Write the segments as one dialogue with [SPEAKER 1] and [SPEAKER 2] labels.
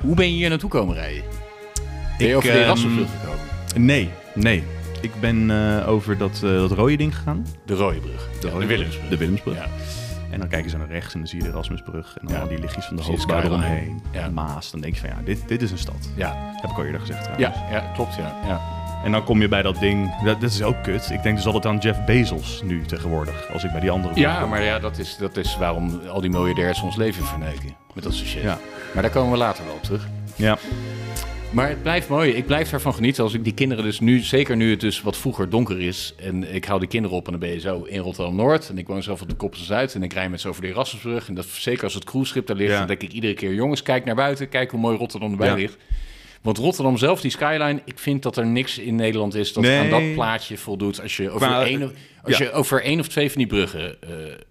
[SPEAKER 1] Hoe ben je hier naartoe komen rijden? Ben je
[SPEAKER 2] Ik,
[SPEAKER 1] over de
[SPEAKER 2] ehm,
[SPEAKER 1] Erasmusbrug gekomen?
[SPEAKER 2] Nee, nee. Ik ben eh, over dat, eh, dat rode ding gegaan.
[SPEAKER 1] De rode brug. Ja, De,
[SPEAKER 2] Rode Brug.
[SPEAKER 1] Willemsbrug.
[SPEAKER 2] De Willemsbrug.
[SPEAKER 1] Ja.
[SPEAKER 2] En dan kijken ze naar rechts en dan zie je de Erasmusbrug. En dan
[SPEAKER 1] Ja.
[SPEAKER 2] al die lichtjes van de
[SPEAKER 1] Zie je
[SPEAKER 2] hoofdstad
[SPEAKER 1] skyline.
[SPEAKER 2] eromheen.
[SPEAKER 1] Ja.
[SPEAKER 2] Maas. Dan denk je van ja, dit, dit is een stad.
[SPEAKER 1] Ja.
[SPEAKER 2] Heb ik al eerder gezegd trouwens.
[SPEAKER 1] Ja, ja, klopt ja. ja.
[SPEAKER 2] En dan kom je bij dat ding. Dat, dat is ook kut. Ik denk dus altijd aan Jeff Bezos nu tegenwoordig. Als ik bij die andere
[SPEAKER 1] Ja, maar ja, dat is, dat is waarom al die miljardairs ons leven verneuken. Met dat soort shit.
[SPEAKER 2] Ja.
[SPEAKER 1] Maar daar komen we later wel op terug.
[SPEAKER 2] Ja.
[SPEAKER 1] Maar het blijft mooi. Ik blijf daarvan genieten als ik die kinderen dus nu, zeker nu het dus wat vroeger donker is. En ik hou die kinderen op en dan ben je zo in Rotterdam-Noord. En ik woon zelf op de Koppen Zuid. En ik rij met ze over de Erasmusbrug. En dat, zeker als het cruiseschip daar ligt,
[SPEAKER 2] Ja.
[SPEAKER 1] dan denk ik iedere keer... jongens, kijk naar buiten, kijk hoe mooi Rotterdam erbij
[SPEAKER 2] Ja.
[SPEAKER 1] ligt. Want Rotterdam zelf, die skyline, ik vind dat er niks in Nederland is... dat
[SPEAKER 2] Nee.
[SPEAKER 1] aan dat plaatje voldoet als je over,
[SPEAKER 2] Qua-
[SPEAKER 1] één, of- als
[SPEAKER 2] ja.
[SPEAKER 1] je over één of twee van die bruggen... eh,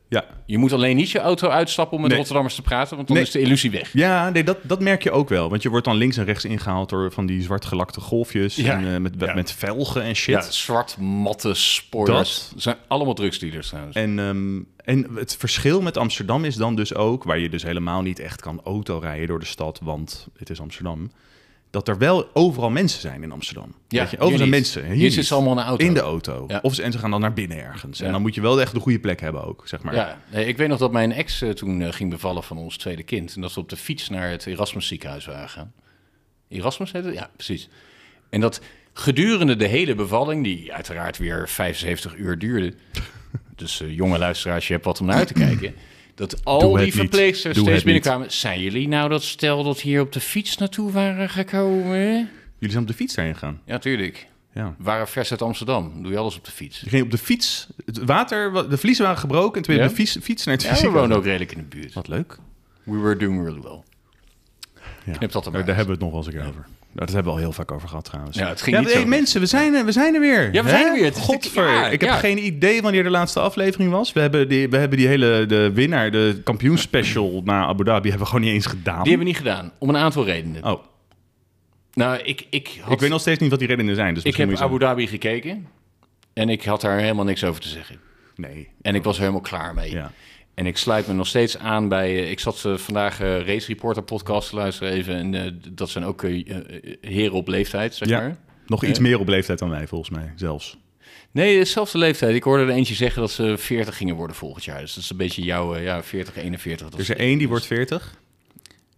[SPEAKER 2] Ja.
[SPEAKER 1] je moet alleen niet je auto uitstappen om met
[SPEAKER 2] Nee.
[SPEAKER 1] Rotterdammers te praten... want dan
[SPEAKER 2] Nee.
[SPEAKER 1] is de illusie weg.
[SPEAKER 2] Ja, nee, dat, dat merk je ook wel. Want je wordt dan links en rechts ingehaald door van die zwart gelakte golfjes.
[SPEAKER 1] Ja.
[SPEAKER 2] En, eh, met,
[SPEAKER 1] Ja.
[SPEAKER 2] met velgen en
[SPEAKER 1] Ja,
[SPEAKER 2] shit.
[SPEAKER 1] zwart, matte, spoilers.
[SPEAKER 2] Dat-
[SPEAKER 1] zijn allemaal drugsdealers trouwens.
[SPEAKER 2] En, ehm, en het verschil met Amsterdam is dan dus ook, waar je dus helemaal niet echt kan autorijden door de stad, want het is Amsterdam. Dat er wel overal mensen zijn in Amsterdam.
[SPEAKER 1] Ja,
[SPEAKER 2] Weet je, overal
[SPEAKER 1] hier
[SPEAKER 2] zijn
[SPEAKER 1] niet.
[SPEAKER 2] mensen.
[SPEAKER 1] Hier zitten
[SPEAKER 2] niet.
[SPEAKER 1] ze allemaal in de auto.
[SPEAKER 2] In de auto.
[SPEAKER 1] Ja.
[SPEAKER 2] Of ze, en ze gaan dan naar binnen ergens.
[SPEAKER 1] Ja.
[SPEAKER 2] En dan moet je wel echt de goede plek hebben ook, zeg maar.
[SPEAKER 1] Ja, nee, ik weet nog dat mijn ex eh, toen eh, ging bevallen van ons tweede kind. En dat ze op de fiets naar het Erasmus ziekenhuis waren gegaan. Erasmus heette het? Ja, precies. En dat gedurende de hele bevalling, die uiteraard weer 75 uur duurde. Dus eh, jonge luisteraars, je hebt wat om naar uit te kijken. Dat al
[SPEAKER 2] Doe het
[SPEAKER 1] die
[SPEAKER 2] niet.
[SPEAKER 1] verpleegsters
[SPEAKER 2] Doe
[SPEAKER 1] steeds
[SPEAKER 2] het niet.
[SPEAKER 1] binnenkwamen. Zijn jullie nou dat stel dat hier op de fiets naartoe waren gekomen?
[SPEAKER 2] Jullie zijn op de fiets daarheen gegaan.
[SPEAKER 1] Ja, tuurlijk.
[SPEAKER 2] Ja.
[SPEAKER 1] We waren vers uit Amsterdam. Doe je alles op de fiets.
[SPEAKER 2] Je ging op de fiets. Het water, wa- de vliezen waren gebroken. En toen je
[SPEAKER 1] Ja.
[SPEAKER 2] op de fiets, fiets naar het
[SPEAKER 1] Ja, we
[SPEAKER 2] ziekenhuis.
[SPEAKER 1] woonden ook redelijk in de buurt.
[SPEAKER 2] Wat leuk.
[SPEAKER 1] We were doing really well.
[SPEAKER 2] Ja.
[SPEAKER 1] Knip dat er maar
[SPEAKER 2] Oh, daar,
[SPEAKER 1] uit.
[SPEAKER 2] hebben we het nog wel eens een keer over. Nou, dat hebben we al heel vaak over gehad trouwens.
[SPEAKER 1] Ja, het ging niet
[SPEAKER 2] hey,
[SPEAKER 1] zo.
[SPEAKER 2] mensen, we zijn, er- we zijn er weer.
[SPEAKER 1] Ja, we zijn er weer. Het is
[SPEAKER 2] Godver.
[SPEAKER 1] natuurlijk- ja,
[SPEAKER 2] ik heb
[SPEAKER 1] ja.
[SPEAKER 2] geen idee wanneer de laatste aflevering was. We hebben die, we hebben die hele de winnaar, de kampioensspecial naar Abu Dhabi, hebben we gewoon niet eens gedaan.
[SPEAKER 1] Die hebben we niet gedaan, om een aantal redenen.
[SPEAKER 2] Oh,
[SPEAKER 1] Nou, ik, ik, had,
[SPEAKER 2] ik weet nog steeds niet wat die redenen zijn. Dus
[SPEAKER 1] ik
[SPEAKER 2] misschien
[SPEAKER 1] heb Abu
[SPEAKER 2] moet
[SPEAKER 1] Dhabi gekeken en ik had daar helemaal niks over te zeggen.
[SPEAKER 2] je zo- Nee.
[SPEAKER 1] En ik was er helemaal klaar mee.
[SPEAKER 2] Ja.
[SPEAKER 1] En ik sluit me nog steeds aan bij... eh, ik zat eh, vandaag eh, Race Reporter podcast te luisteren even. En eh, d- dat zijn ook eh, eh, heren op leeftijd, zeg
[SPEAKER 2] ja.
[SPEAKER 1] maar.
[SPEAKER 2] Nog iets meer op leeftijd dan wij, volgens mij, zelfs.
[SPEAKER 1] Nee, dezelfde leeftijd. Ik hoorde er eentje zeggen dat ze 40 gingen worden volgend jaar. Dus dat is een beetje jouw eh, ja, 40, 41. Dat
[SPEAKER 2] Er is
[SPEAKER 1] is-
[SPEAKER 2] er één die wordt 40.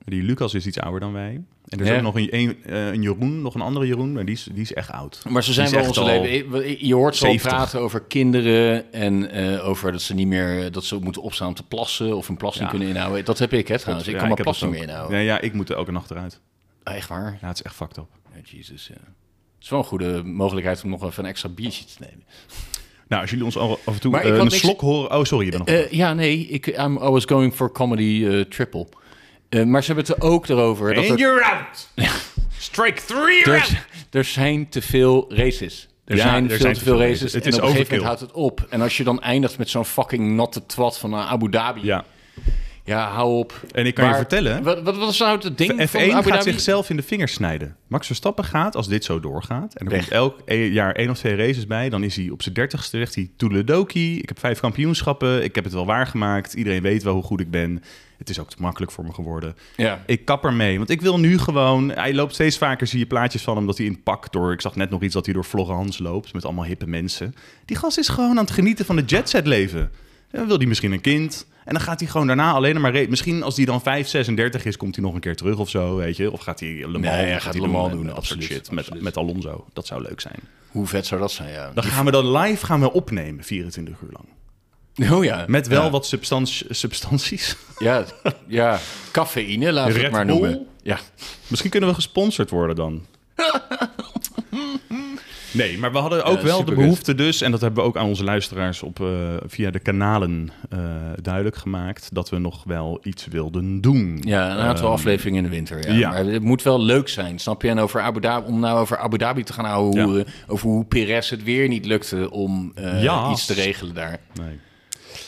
[SPEAKER 2] Die Lucas is iets ouder dan wij. En er is
[SPEAKER 1] Ja.
[SPEAKER 2] ook nog een, een, eh, een Jeroen, nog een andere Jeroen, maar die is, die is echt oud.
[SPEAKER 1] Maar ze zijn
[SPEAKER 2] Die
[SPEAKER 1] wel
[SPEAKER 2] is
[SPEAKER 1] onze
[SPEAKER 2] echt al
[SPEAKER 1] leven. Je hoort ze al
[SPEAKER 2] 70.
[SPEAKER 1] praten over kinderen en eh, over dat ze niet meer eh, dat ze moeten opstaan om te plassen of hun plas niet
[SPEAKER 2] Ja.
[SPEAKER 1] kunnen inhouden. Dat heb ik hè trouwens. dus ik
[SPEAKER 2] Ja,
[SPEAKER 1] kan mijn nou. plas
[SPEAKER 2] heb dat
[SPEAKER 1] niet meer
[SPEAKER 2] ook.
[SPEAKER 1] inhouden.
[SPEAKER 2] Nee, ja, ik moet er ook een nacht eruit.
[SPEAKER 1] Ah, echt waar?
[SPEAKER 2] Ja, het is echt fucked up.
[SPEAKER 1] Ja, Jezus. Ja. Het is wel een goede mogelijkheid om nog even een extra biertje te nemen.
[SPEAKER 2] Nou, als jullie ons al- af en toe
[SPEAKER 1] Maar ik
[SPEAKER 2] eh,
[SPEAKER 1] had
[SPEAKER 2] een
[SPEAKER 1] niks-
[SPEAKER 2] slok horen... Oh, sorry, je bent nog...
[SPEAKER 1] Eh, ja, nee. Ik I'm, I was going for comedy eh, triple. Eh, maar ze hebben het er ook erover. dat er,
[SPEAKER 2] you're out! Strike three
[SPEAKER 1] er, er zijn te veel races. Er
[SPEAKER 2] Ja,
[SPEAKER 1] zijn
[SPEAKER 2] er
[SPEAKER 1] veel
[SPEAKER 2] zijn
[SPEAKER 1] te veel races.
[SPEAKER 2] Het
[SPEAKER 1] en
[SPEAKER 2] is
[SPEAKER 1] op een gegeven
[SPEAKER 2] overkill.
[SPEAKER 1] moment houdt het op. En als je dan eindigt met zo'n fucking natte twat van eh, Abu Dhabi.
[SPEAKER 2] Ja,
[SPEAKER 1] Ja, hou op.
[SPEAKER 2] En ik kan je vertellen-
[SPEAKER 1] Wat, wat was nou het ding
[SPEAKER 2] de
[SPEAKER 1] van
[SPEAKER 2] F1
[SPEAKER 1] Abu
[SPEAKER 2] gaat
[SPEAKER 1] Dhabi?
[SPEAKER 2] zichzelf in de vingers snijden. Max Verstappen gaat, als dit zo doorgaat... en er
[SPEAKER 1] Weg.
[SPEAKER 2] komt elk e- jaar één of twee races bij... dan is hij op zijn dertigste, zegt hij... Toedeledoki, ik heb vijf kampioenschappen... ik heb het wel waargemaakt, iedereen weet wel hoe goed ik ben... Het is ook te makkelijk voor me geworden.
[SPEAKER 1] Ja.
[SPEAKER 2] Ik kap ermee, want ik wil nu gewoon... Hij loopt steeds vaker, zie je plaatjes van hem dat hij in pak door... Ik zag net nog iets dat hij door Florence loopt met allemaal hippe mensen. Die gast is gewoon aan het genieten van het jetset leven. Dan wil hij misschien een kind. En dan gaat hij gewoon daarna alleen maar... re- Misschien als hij dan 5, 36 is, komt hij nog een keer terug of zo, weet je. Of gaat hij Le Mans,
[SPEAKER 1] Nee, hij gaat Le Mans doen,
[SPEAKER 2] en dat soort
[SPEAKER 1] absoluut,
[SPEAKER 2] shit met,
[SPEAKER 1] absoluut.
[SPEAKER 2] met Alonso. Dat zou leuk zijn.
[SPEAKER 1] Hoe vet zou dat zijn, ja.
[SPEAKER 2] Dan gaan we dan live gaan we opnemen, 24 uur lang.
[SPEAKER 1] Oh ja.
[SPEAKER 2] Met wel
[SPEAKER 1] ja.
[SPEAKER 2] wat substantie- substanties.
[SPEAKER 1] Ja, ja. cafeïne, laten we het
[SPEAKER 2] Red
[SPEAKER 1] maar
[SPEAKER 2] Bull?
[SPEAKER 1] noemen. Ja.
[SPEAKER 2] Misschien kunnen we gesponsord worden dan. Nee, maar we hadden ook
[SPEAKER 1] Ja,
[SPEAKER 2] wel de
[SPEAKER 1] supergoed.
[SPEAKER 2] behoefte dus... en dat hebben we ook aan onze luisteraars op, eh, via de kanalen eh, duidelijk gemaakt... dat we nog wel iets wilden doen.
[SPEAKER 1] ja, een aantal afleveringen in de winter. Ja.
[SPEAKER 2] Ehm, ja.
[SPEAKER 1] Maar het moet wel leuk zijn, snap je? En over Abu Dhabi, om nou over Abu Dhabi te gaan houden, hoe, eh, over hoe Perez het weer niet lukte om eh,
[SPEAKER 2] Ja.
[SPEAKER 1] iets te regelen daar.
[SPEAKER 2] Nee.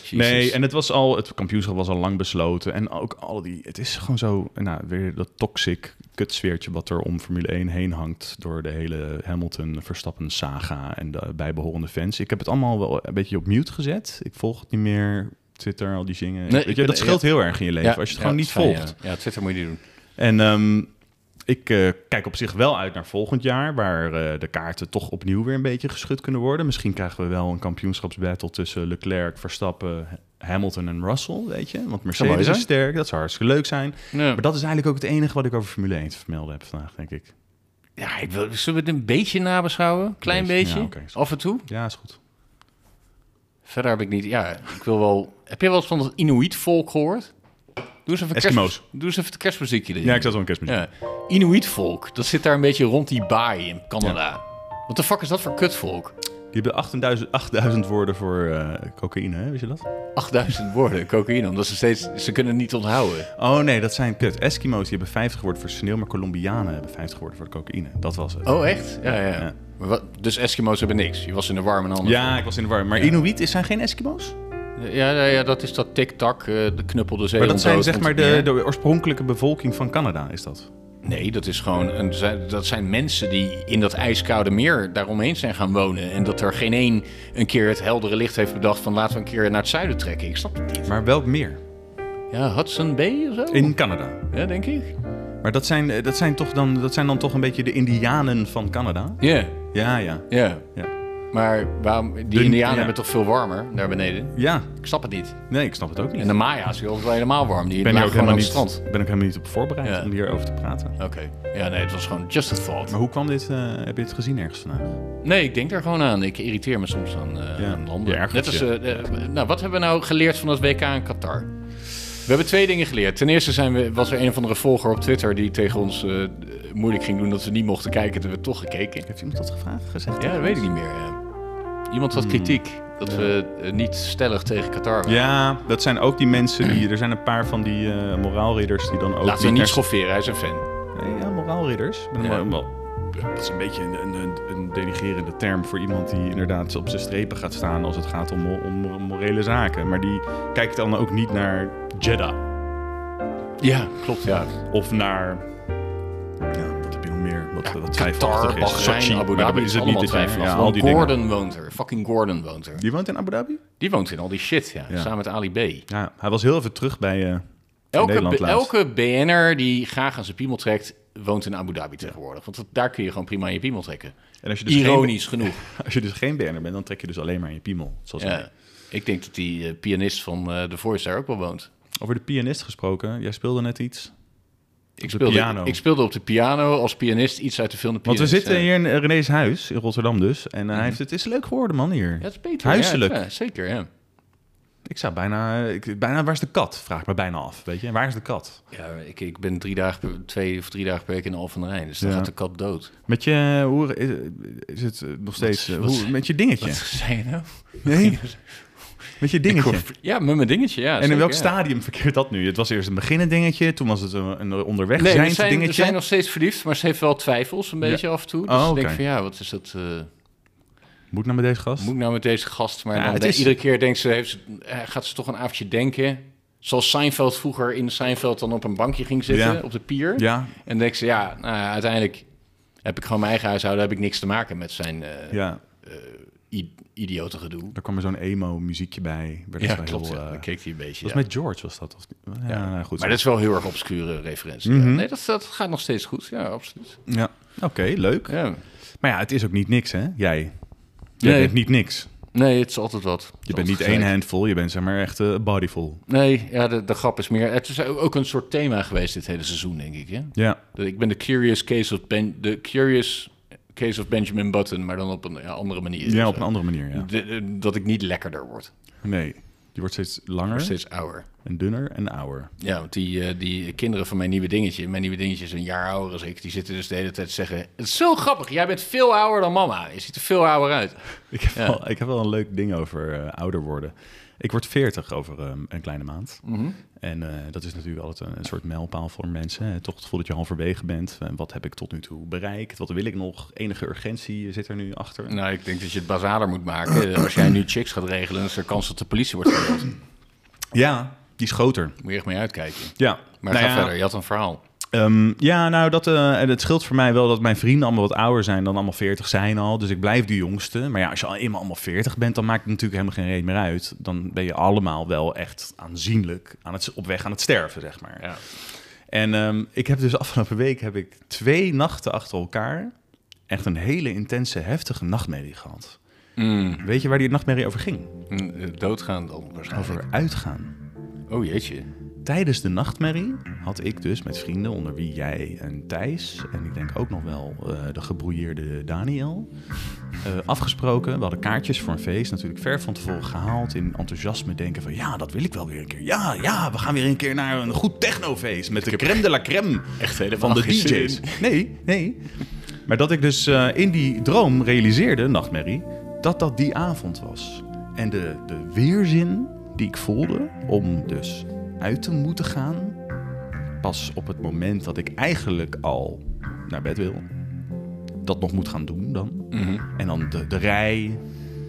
[SPEAKER 1] Jezus.
[SPEAKER 2] nee, en het was al... het kampioenschap was al lang besloten. En ook al die... het is gewoon zo... nou, weer dat toxic kutsfeertje... wat er om Formule 1 heen hangt... door de hele Hamilton-Verstappen-saga... en de bijbehorende fans. Ik heb het allemaal wel een beetje op mute gezet. Ik volg het niet meer... Twitter, al die zingen.
[SPEAKER 1] ik
[SPEAKER 2] Weet je,
[SPEAKER 1] ben-
[SPEAKER 2] dat scheelt heel erg in je leven als je het gewoon
[SPEAKER 1] ja,
[SPEAKER 2] niet
[SPEAKER 1] dat is fijn,
[SPEAKER 2] volgt.
[SPEAKER 1] Ja. ja, Twitter moet je niet doen.
[SPEAKER 2] En ehm, Ik eh, kijk op zich wel uit naar volgend jaar, waar eh, de kaarten toch opnieuw weer een beetje geschud kunnen worden. Misschien krijgen we wel een kampioenschapsbattle tussen Leclerc, Verstappen, Hamilton en Russell, weet je. Want
[SPEAKER 1] mooi
[SPEAKER 2] Mercedes
[SPEAKER 1] zijn.
[SPEAKER 2] is sterk, dat zou hartstikke leuk zijn.
[SPEAKER 1] Ja.
[SPEAKER 2] Maar dat is eigenlijk ook het enige wat ik over Formule 1 te vermelden heb vandaag, denk ik.
[SPEAKER 1] Ja, ik wil, zullen we het een beetje nabeschouwen? Klein
[SPEAKER 2] Beetje,
[SPEAKER 1] beetje,
[SPEAKER 2] ja, oké.
[SPEAKER 1] af en toe.
[SPEAKER 2] Ja, is goed.
[SPEAKER 1] Verder heb ik niet... Ja, ik wil wel... Heb je wel eens van dat Inuit-volk gehoord? Doe eens even, kerst-
[SPEAKER 2] Eskimo's.
[SPEAKER 1] doe eens even het kerstmuziekje erin.
[SPEAKER 2] Ja, ik zat wel een kerstmuziek.
[SPEAKER 1] Ja. Inuit-volk, dat zit daar een beetje rond die baai in Canada. Wat de fuck is dat voor kutvolk?
[SPEAKER 2] Die hebben 8000, 8000 woorden voor eh, cocaïne, hè? weet je dat?
[SPEAKER 1] 8000 woorden cocaïne, omdat ze steeds... Ze kunnen het niet onthouden.
[SPEAKER 2] Oh nee, dat zijn kut. Eskimo's die hebben 50 woorden voor sneeuw, maar Colombianen hebben 50 woorden voor cocaïne. Dat was het.
[SPEAKER 1] Oh, echt? Ja, ja.
[SPEAKER 2] Ja.
[SPEAKER 1] Maar wat- dus Eskimo's hebben niks. Je was in de warme en anders.
[SPEAKER 2] Ja, ik was in de war. Maar Inuit is- zijn geen Eskimo's?
[SPEAKER 1] Ja, ja, ja, dat is dat tik-tak, eh, de knuppel de zee.
[SPEAKER 2] Maar dat zijn
[SPEAKER 1] ontdood,
[SPEAKER 2] zeg
[SPEAKER 1] want-
[SPEAKER 2] maar de,
[SPEAKER 1] Ja.
[SPEAKER 2] de oorspronkelijke bevolking van Canada, is dat?
[SPEAKER 1] Nee, dat is gewoon... Een, zijn- dat zijn mensen die in dat ijskoude meer daaromheen zijn gaan wonen. En dat er geen één een keer het heldere licht heeft bedacht van... laten we een keer naar het zuiden trekken. Ik snap het niet.
[SPEAKER 2] Maar welk meer?
[SPEAKER 1] Ja, Hudson Bay of zo?
[SPEAKER 2] In Canada.
[SPEAKER 1] Ja, denk ik.
[SPEAKER 2] Maar dat zijn, eh, dat, zijn toch dan, dat zijn dan toch een beetje de Indianen van Canada?
[SPEAKER 1] Ja,
[SPEAKER 2] Ja, ja.
[SPEAKER 1] ja.
[SPEAKER 2] Ja,
[SPEAKER 1] Maar waarom, die
[SPEAKER 2] De-
[SPEAKER 1] Indianen
[SPEAKER 2] ja.
[SPEAKER 1] hebben het toch veel warmer daar beneden?
[SPEAKER 2] ja.
[SPEAKER 1] Ik snap het niet.
[SPEAKER 2] nee, ik snap het ook niet.
[SPEAKER 1] En de Maya's, die hadden het wel helemaal warm. Die
[SPEAKER 2] ben
[SPEAKER 1] lagen
[SPEAKER 2] hier ook
[SPEAKER 1] gewoon
[SPEAKER 2] helemaal
[SPEAKER 1] aan het
[SPEAKER 2] niet,
[SPEAKER 1] strand.
[SPEAKER 2] ben ook helemaal niet op voorbereid
[SPEAKER 1] Ja.
[SPEAKER 2] om hierover te praten.
[SPEAKER 1] Oké. Ja, nee, het was gewoon just a thought.
[SPEAKER 2] Maar hoe kwam dit? eh, heb je het gezien ergens vandaag?
[SPEAKER 1] Nee, ik denk daar gewoon aan. Ik irriteer me soms aan, eh
[SPEAKER 2] Ja.
[SPEAKER 1] aan landen.
[SPEAKER 2] Je ergert
[SPEAKER 1] Net als,
[SPEAKER 2] je.
[SPEAKER 1] eh, eh, nou, wat hebben we nou geleerd van dat WK in Qatar? We hebben twee dingen geleerd. Ten eerste zijn we, was er een van de volger op Twitter die tegen ons eh, moeilijk ging doen dat we niet mochten kijken, toen we toch gekeken.
[SPEAKER 2] Heeft iemand dat gevraagd? Gezegd?
[SPEAKER 1] Ja, dat weet ik niet meer. ja. Iemand had kritiek dat we eh, niet stellig tegen Qatar waren.
[SPEAKER 2] Ja, dat zijn ook die mensen die. Er zijn een paar van die eh moraalridders die dan ook.
[SPEAKER 1] Laten we niet
[SPEAKER 2] naar-
[SPEAKER 1] schofferen, hij is een fan.
[SPEAKER 2] Nee, ja, moraalridders. Ik ben
[SPEAKER 1] Ja.
[SPEAKER 2] wel- wel- dat is een beetje een, een, een, een denigerende term voor iemand die inderdaad op zijn strepen gaat staan als het gaat om, mo- om morele zaken. Maar die kijkt dan ook niet naar Jeddah
[SPEAKER 1] Ja, klopt. Ja.
[SPEAKER 2] of naar. Ja, wat heb je nog meer? Wat, wat
[SPEAKER 1] Qatar,
[SPEAKER 2] twijfelachtig is. Sochi,
[SPEAKER 1] Bahrein, Abu
[SPEAKER 2] maar
[SPEAKER 1] Dhabi,
[SPEAKER 2] daar
[SPEAKER 1] is
[SPEAKER 2] is
[SPEAKER 1] het
[SPEAKER 2] het niet
[SPEAKER 1] allemaal
[SPEAKER 2] te twijfelen.
[SPEAKER 1] twijfelachtig.
[SPEAKER 2] Ja, al die dingen.
[SPEAKER 1] Gordon woont er. Fucking Gordon woont er.
[SPEAKER 2] Die woont in Abu Dhabi?
[SPEAKER 1] Die woont in al die shit, ja. Samen met Ali B.
[SPEAKER 2] Ja, hij was heel even terug bij. eh, in
[SPEAKER 1] Elke,
[SPEAKER 2] Nederland
[SPEAKER 1] B-
[SPEAKER 2] laatst.
[SPEAKER 1] elke BN'er die graag aan zijn piemel trekt, woont in Abu Dhabi tegenwoordig. Want dat- daar kun je gewoon prima aan je piemel trekken.
[SPEAKER 2] En als je dus
[SPEAKER 1] Ironisch genoeg.
[SPEAKER 2] Geen, als je dus geen BN'er bent, dan trek je dus alleen maar in je piemel. Zoals mij.
[SPEAKER 1] Ja. Ik denk dat die eh, pianist van eh The Voice daar ook wel woont.
[SPEAKER 2] Over de pianist gesproken, jij speelde net iets.
[SPEAKER 1] Ik
[SPEAKER 2] de
[SPEAKER 1] speelde,
[SPEAKER 2] piano.
[SPEAKER 1] ik speelde op de piano als pianist iets uit de film De
[SPEAKER 2] Want we
[SPEAKER 1] Pianist,
[SPEAKER 2] zitten
[SPEAKER 1] ja.
[SPEAKER 2] hier in eh, René's huis, in Rotterdam dus. En hij heeft het, is leuk geworden man hier.
[SPEAKER 1] Mhm. Ja, het is beter.
[SPEAKER 2] Huiselijk.
[SPEAKER 1] Ja, ja, zeker, ja.
[SPEAKER 2] Ik zou bijna, ik, bijna, waar is de kat? Vraag ik me bijna af, weet je. En Waar is de kat?
[SPEAKER 1] ja ik, ik ben drie dagen, per- twee of drie dagen per week in Al van de Rijn. Dus dan
[SPEAKER 2] Ja.
[SPEAKER 1] gaat de kat dood.
[SPEAKER 2] Met je, hoe is, is het eh, nog steeds, eh,
[SPEAKER 1] wat-
[SPEAKER 2] hoe, met je dingetje.
[SPEAKER 1] Wat zei je nou?
[SPEAKER 2] nee, met je dingetje.
[SPEAKER 1] Ja, met mijn dingetje, ja.
[SPEAKER 2] en in
[SPEAKER 1] zeker,
[SPEAKER 2] welk
[SPEAKER 1] ja.
[SPEAKER 2] stadium verkeert dat nu? Het was eerst een beginnen dingetje, toen was het een, een onderweg
[SPEAKER 1] Nee,
[SPEAKER 2] zijn
[SPEAKER 1] we zijn, we
[SPEAKER 2] dingetje.
[SPEAKER 1] zijn nog steeds verliefd, maar ze heeft wel twijfels een beetje af en toe. Dus
[SPEAKER 2] Oh,
[SPEAKER 1] ik denk
[SPEAKER 2] oké.
[SPEAKER 1] van ja, wat is dat... eh,
[SPEAKER 2] Moet nou met deze gast?
[SPEAKER 1] Moet ik nou met deze gast? Maar
[SPEAKER 2] Ja,
[SPEAKER 1] dan
[SPEAKER 2] het
[SPEAKER 1] denk-
[SPEAKER 2] is-
[SPEAKER 1] iedere keer denkt ze, heeft ze, eh, gaat ze toch een avondje denken. Zoals Seinfeld vroeger in Seinfeld dan op een bankje ging zitten,
[SPEAKER 2] Ja.
[SPEAKER 1] op de pier.
[SPEAKER 2] Ja,
[SPEAKER 1] En denkt ze, ja, nou ja, uiteindelijk heb ik gewoon mijn eigen huishouden, heb ik niks te maken met zijn eh
[SPEAKER 2] ja.
[SPEAKER 1] i- idiote gedoe.
[SPEAKER 2] Daar kwam er zo'n emo-muziekje bij. Werd
[SPEAKER 1] Ja,
[SPEAKER 2] wel
[SPEAKER 1] klopt.
[SPEAKER 2] heel,
[SPEAKER 1] ja.
[SPEAKER 2] eh,
[SPEAKER 1] Dan keek hij een beetje.
[SPEAKER 2] was
[SPEAKER 1] ja.
[SPEAKER 2] met George, was dat? Of, ja, nou, goed. Mhm.
[SPEAKER 1] maar
[SPEAKER 2] zo.
[SPEAKER 1] dat is wel heel erg obscure referentie. ja. Nee, dat, dat gaat nog steeds goed. Ja, absoluut.
[SPEAKER 2] Ja, oké, leuk.
[SPEAKER 1] Ja.
[SPEAKER 2] Maar ja, het is ook niet niks, hè? Jij. Jij
[SPEAKER 1] Nee.
[SPEAKER 2] bent niet niks.
[SPEAKER 1] Nee, het is altijd wat. Het is
[SPEAKER 2] Je bent
[SPEAKER 1] altijd
[SPEAKER 2] niet
[SPEAKER 1] gezeik.
[SPEAKER 2] één handful, je bent zeg maar echt eh, bodyful.
[SPEAKER 1] Nee, ja, de, de grap is meer... Het is ook een soort thema geweest dit hele seizoen, denk ik. Hè?
[SPEAKER 2] Ja.
[SPEAKER 1] Dat Ik ben de curious case of, ben, de curious case of Benjamin Button, maar dan op een ja, andere manier.
[SPEAKER 2] ja,
[SPEAKER 1] Zo.
[SPEAKER 2] op een andere manier, ja.
[SPEAKER 1] De- de- dat ik niet lekkerder word.
[SPEAKER 2] Nee, je wordt steeds langer
[SPEAKER 1] Maar steeds ouder.
[SPEAKER 2] en dunner en ouder.
[SPEAKER 1] Ja, want die, eh, die kinderen van mijn nieuwe dingetje, mijn nieuwe dingetje is een jaar ouder als ik, die zitten dus de hele tijd te zeggen: Het is zo grappig, jij bent veel ouder dan mama. Je ziet er veel ouder uit.
[SPEAKER 2] Ik heb, wel, ik heb wel een leuk ding over eh, ouder worden. Ik word 40 over eh, een kleine maand.
[SPEAKER 1] Mhm.
[SPEAKER 2] En eh, dat is natuurlijk altijd een, een soort mijlpaal voor mensen. Hè. Toch het gevoel dat je halverwege bent. En wat heb ik tot nu toe bereikt? Wat wil ik nog? Enige urgentie eh, zit er nu achter.
[SPEAKER 1] Nou, ik denk dat je het bazaler moet maken. eh, Als jij nu chicks gaat regelen, is er kans dat de politie wordt gebeld.
[SPEAKER 2] Ja, die is groter.
[SPEAKER 1] Moet je echt mee uitkijken.
[SPEAKER 2] Ja,
[SPEAKER 1] Maar
[SPEAKER 2] Nou
[SPEAKER 1] ga
[SPEAKER 2] ja,
[SPEAKER 1] verder, je had een verhaal.
[SPEAKER 2] Ehm, ja, nou, dat, eh, en het scheelt voor mij wel dat mijn vrienden allemaal wat ouder zijn dan allemaal 40 zijn al. Dus ik blijf de jongste. Maar ja, als je al eenmaal allemaal 40 bent, dan maakt het natuurlijk helemaal geen reet meer uit. Dan ben je allemaal wel echt aanzienlijk aan het, op weg aan het sterven, zeg maar.
[SPEAKER 1] Ja.
[SPEAKER 2] En ehm, ik heb dus afgelopen week heb ik twee nachten achter elkaar echt een hele intense, heftige nachtmerrie gehad.
[SPEAKER 1] Mm,
[SPEAKER 2] Weet je waar die nachtmerrie over ging?
[SPEAKER 1] mm, eh, doodgaan dan waarschijnlijk.
[SPEAKER 2] Over uitgaan.
[SPEAKER 1] Oh jeetje.
[SPEAKER 2] Tijdens de nachtmerrie had ik dus met vrienden, onder wie jij en Thijs, en ik denk ook nog wel eh, de gebrouilleerde Daniel, eh, afgesproken. We hadden kaartjes voor een feest, natuurlijk ver van tevoren gehaald. In enthousiasme denken van ja, dat wil ik wel weer een keer. Ja, ja, we gaan weer een keer naar een goed technofeest met de crème de la crème
[SPEAKER 1] Echt helemaal
[SPEAKER 2] van de
[SPEAKER 1] geen zin
[SPEAKER 2] DJ's.
[SPEAKER 1] in.
[SPEAKER 2] Nee, nee. Maar dat ik dus eh, in die droom realiseerde, nachtmerrie, dat dat die avond was. En de, de weerzin die ik voelde om dus uit te moeten gaan, pas op het moment dat ik eigenlijk al naar bed wil, dat nog moet gaan doen dan.
[SPEAKER 1] Mhm.
[SPEAKER 2] En dan de, de rij,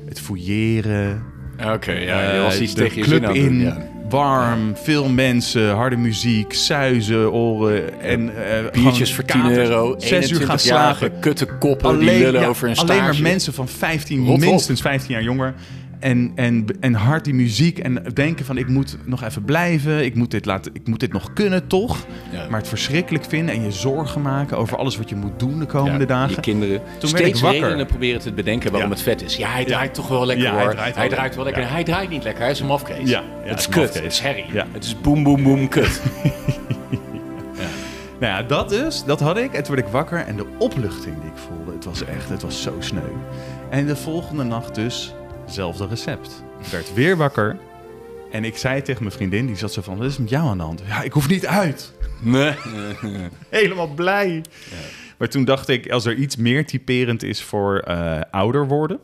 [SPEAKER 2] het fouilleren,
[SPEAKER 1] Ah, Oké, ja, je was
[SPEAKER 2] eh,
[SPEAKER 1] iets
[SPEAKER 2] de
[SPEAKER 1] tegen je
[SPEAKER 2] club
[SPEAKER 1] zin aan het
[SPEAKER 2] in,
[SPEAKER 1] doen, ja.
[SPEAKER 2] warm, veel mensen, harde muziek, suizen, oren en eh,
[SPEAKER 1] Biertjes voor
[SPEAKER 2] gewoon
[SPEAKER 1] 10
[SPEAKER 2] katers.
[SPEAKER 1] euro,
[SPEAKER 2] Zes uur gaan
[SPEAKER 1] 21
[SPEAKER 2] slapen.
[SPEAKER 1] jarige kutte koppen die lullen
[SPEAKER 2] ja,
[SPEAKER 1] over een
[SPEAKER 2] alleen maar
[SPEAKER 1] staartje.
[SPEAKER 2] mensen van 15,
[SPEAKER 1] Rot op.
[SPEAKER 2] minstens 15 jaar jonger. En, en, en hard die muziek en denken van ik moet nog even blijven, ik moet dit, laten, ik moet dit nog kunnen toch.
[SPEAKER 1] Ja.
[SPEAKER 2] Maar het verschrikkelijk vinden en je zorgen maken over alles wat je moet doen de komende
[SPEAKER 1] Ja,
[SPEAKER 2] dagen.
[SPEAKER 1] Je kinderen.
[SPEAKER 2] ik
[SPEAKER 1] Steeds
[SPEAKER 2] wakker.
[SPEAKER 1] redenen proberen te bedenken waarom
[SPEAKER 2] Ja.
[SPEAKER 1] het vet is. Ja, hij draait toch wel lekker
[SPEAKER 2] Ja, hij
[SPEAKER 1] hoor.
[SPEAKER 2] draait wel
[SPEAKER 1] hij draait wel
[SPEAKER 2] lekker.
[SPEAKER 1] lekker. Hij draait niet lekker. Hij is een mafkees.
[SPEAKER 2] Ja, ja, hij
[SPEAKER 1] het
[SPEAKER 2] is
[SPEAKER 1] is
[SPEAKER 2] een
[SPEAKER 1] kut.
[SPEAKER 2] mafkees.
[SPEAKER 1] Het is herrie.
[SPEAKER 2] Ja.
[SPEAKER 1] Het is boem, boem, boem, kut.
[SPEAKER 2] Nou ja, dat dus, dat had ik. En toen werd ik wakker en de opluchting die ik voelde, het was echt, het was zo sneu. En de volgende nacht dus, hetzelfde recept. Ik werd weer wakker en ik zei tegen mijn vriendin, die zat zo van, wat is er met jou aan de hand? Ja, ik hoef niet uit.
[SPEAKER 1] Nee.
[SPEAKER 2] Helemaal blij. Maar toen dacht ik, als er iets meer typerend is voor eh, ouder worden,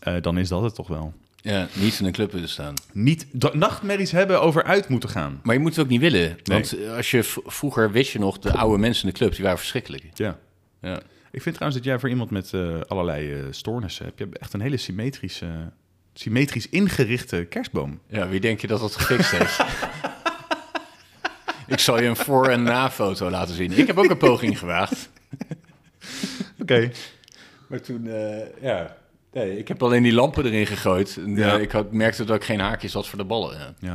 [SPEAKER 2] eh, dan is dat het toch wel.
[SPEAKER 1] Ja, niet in een club willen staan.
[SPEAKER 2] Niet dat nachtmerries hebben over uit moeten gaan.
[SPEAKER 1] Maar je moet het ook niet willen. Want eh, als je v- vroeger wist je nog, de oude mensen in de club, die waren verschrikkelijk.
[SPEAKER 2] Ja.
[SPEAKER 1] Ja.
[SPEAKER 2] Ik vind trouwens dat jij voor iemand met eh, allerlei eh, stoornissen hebt, je hebt echt een hele symmetrische, symmetrisch ingerichte kerstboom.
[SPEAKER 1] ja, wie denk je dat dat gefixt heeft? Ik zal je een voor- en na-foto laten zien. Ik heb ook een poging gewaagd.
[SPEAKER 2] Oké.
[SPEAKER 1] Maar toen, eh, ja. Nee, ik heb alleen die lampen erin gegooid. En,
[SPEAKER 2] Ja.
[SPEAKER 1] eh, ik had, merkte dat ik geen haakjes had voor de ballen. Ja.
[SPEAKER 2] Ja.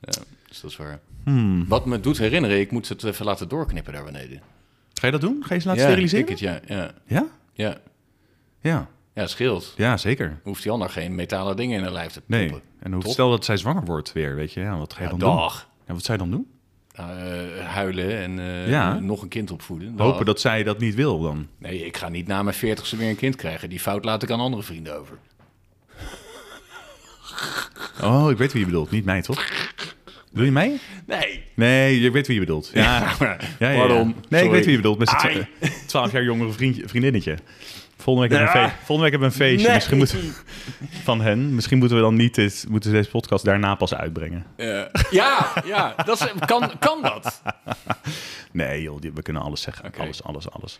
[SPEAKER 1] Ja, dus dat is waar.
[SPEAKER 2] Hmm.
[SPEAKER 1] Wat me doet herinneren, ik moet het even laten doorknippen daar beneden.
[SPEAKER 2] Ga je dat doen? Ga je ze laten
[SPEAKER 1] ja,
[SPEAKER 2] steriliseren?
[SPEAKER 1] ik denk het, ja, ja,
[SPEAKER 2] Ja?
[SPEAKER 1] ja.
[SPEAKER 2] Ja.
[SPEAKER 1] Ja, het scheelt.
[SPEAKER 2] Ja, zeker.
[SPEAKER 1] Hoeft die ander geen metalen dingen in haar lijf te
[SPEAKER 2] Nee.
[SPEAKER 1] pompen.
[SPEAKER 2] En hoe,
[SPEAKER 1] Top.
[SPEAKER 2] stel dat zij zwanger wordt weer, weet je, ja, wat ga je
[SPEAKER 1] Ja,
[SPEAKER 2] dan doen?
[SPEAKER 1] dag.
[SPEAKER 2] Ja, wat zou je dan doen?
[SPEAKER 1] Eh, huilen en eh,
[SPEAKER 2] Ja.
[SPEAKER 1] nog een kind opvoeden. Dag.
[SPEAKER 2] Hopen dat zij dat niet wil dan.
[SPEAKER 1] Nee, ik ga niet na mijn veertigste weer een kind krijgen. Die fout laat ik aan andere vrienden over.
[SPEAKER 2] Oh, ik weet wie je bedoelt. Niet mij, toch? Doe je mij?
[SPEAKER 1] Nee.
[SPEAKER 2] Nee, je weet wie je bedoelt. Ja, ja, ja, ja.
[SPEAKER 1] Pardon.
[SPEAKER 2] Nee,
[SPEAKER 1] Sorry.
[SPEAKER 2] ik weet wie je bedoelt. Met z'n
[SPEAKER 1] Ai.
[SPEAKER 2] twa- 12 jaar jongere vriendje, vriendinnetje. Volgende week, hebben we een
[SPEAKER 1] Ja.
[SPEAKER 2] feest- Volgende week hebben we een feestje.
[SPEAKER 1] Nee.
[SPEAKER 2] Misschien moeten, van hen. Misschien moeten we dan niet dit, moeten we deze podcast daarna pas uitbrengen.
[SPEAKER 1] Eh, ja, ja. Dat is- kan, kan dat?
[SPEAKER 2] Nee, joh, die- we kunnen alles zeggen.
[SPEAKER 1] Oké.
[SPEAKER 2] Alles, alles, alles.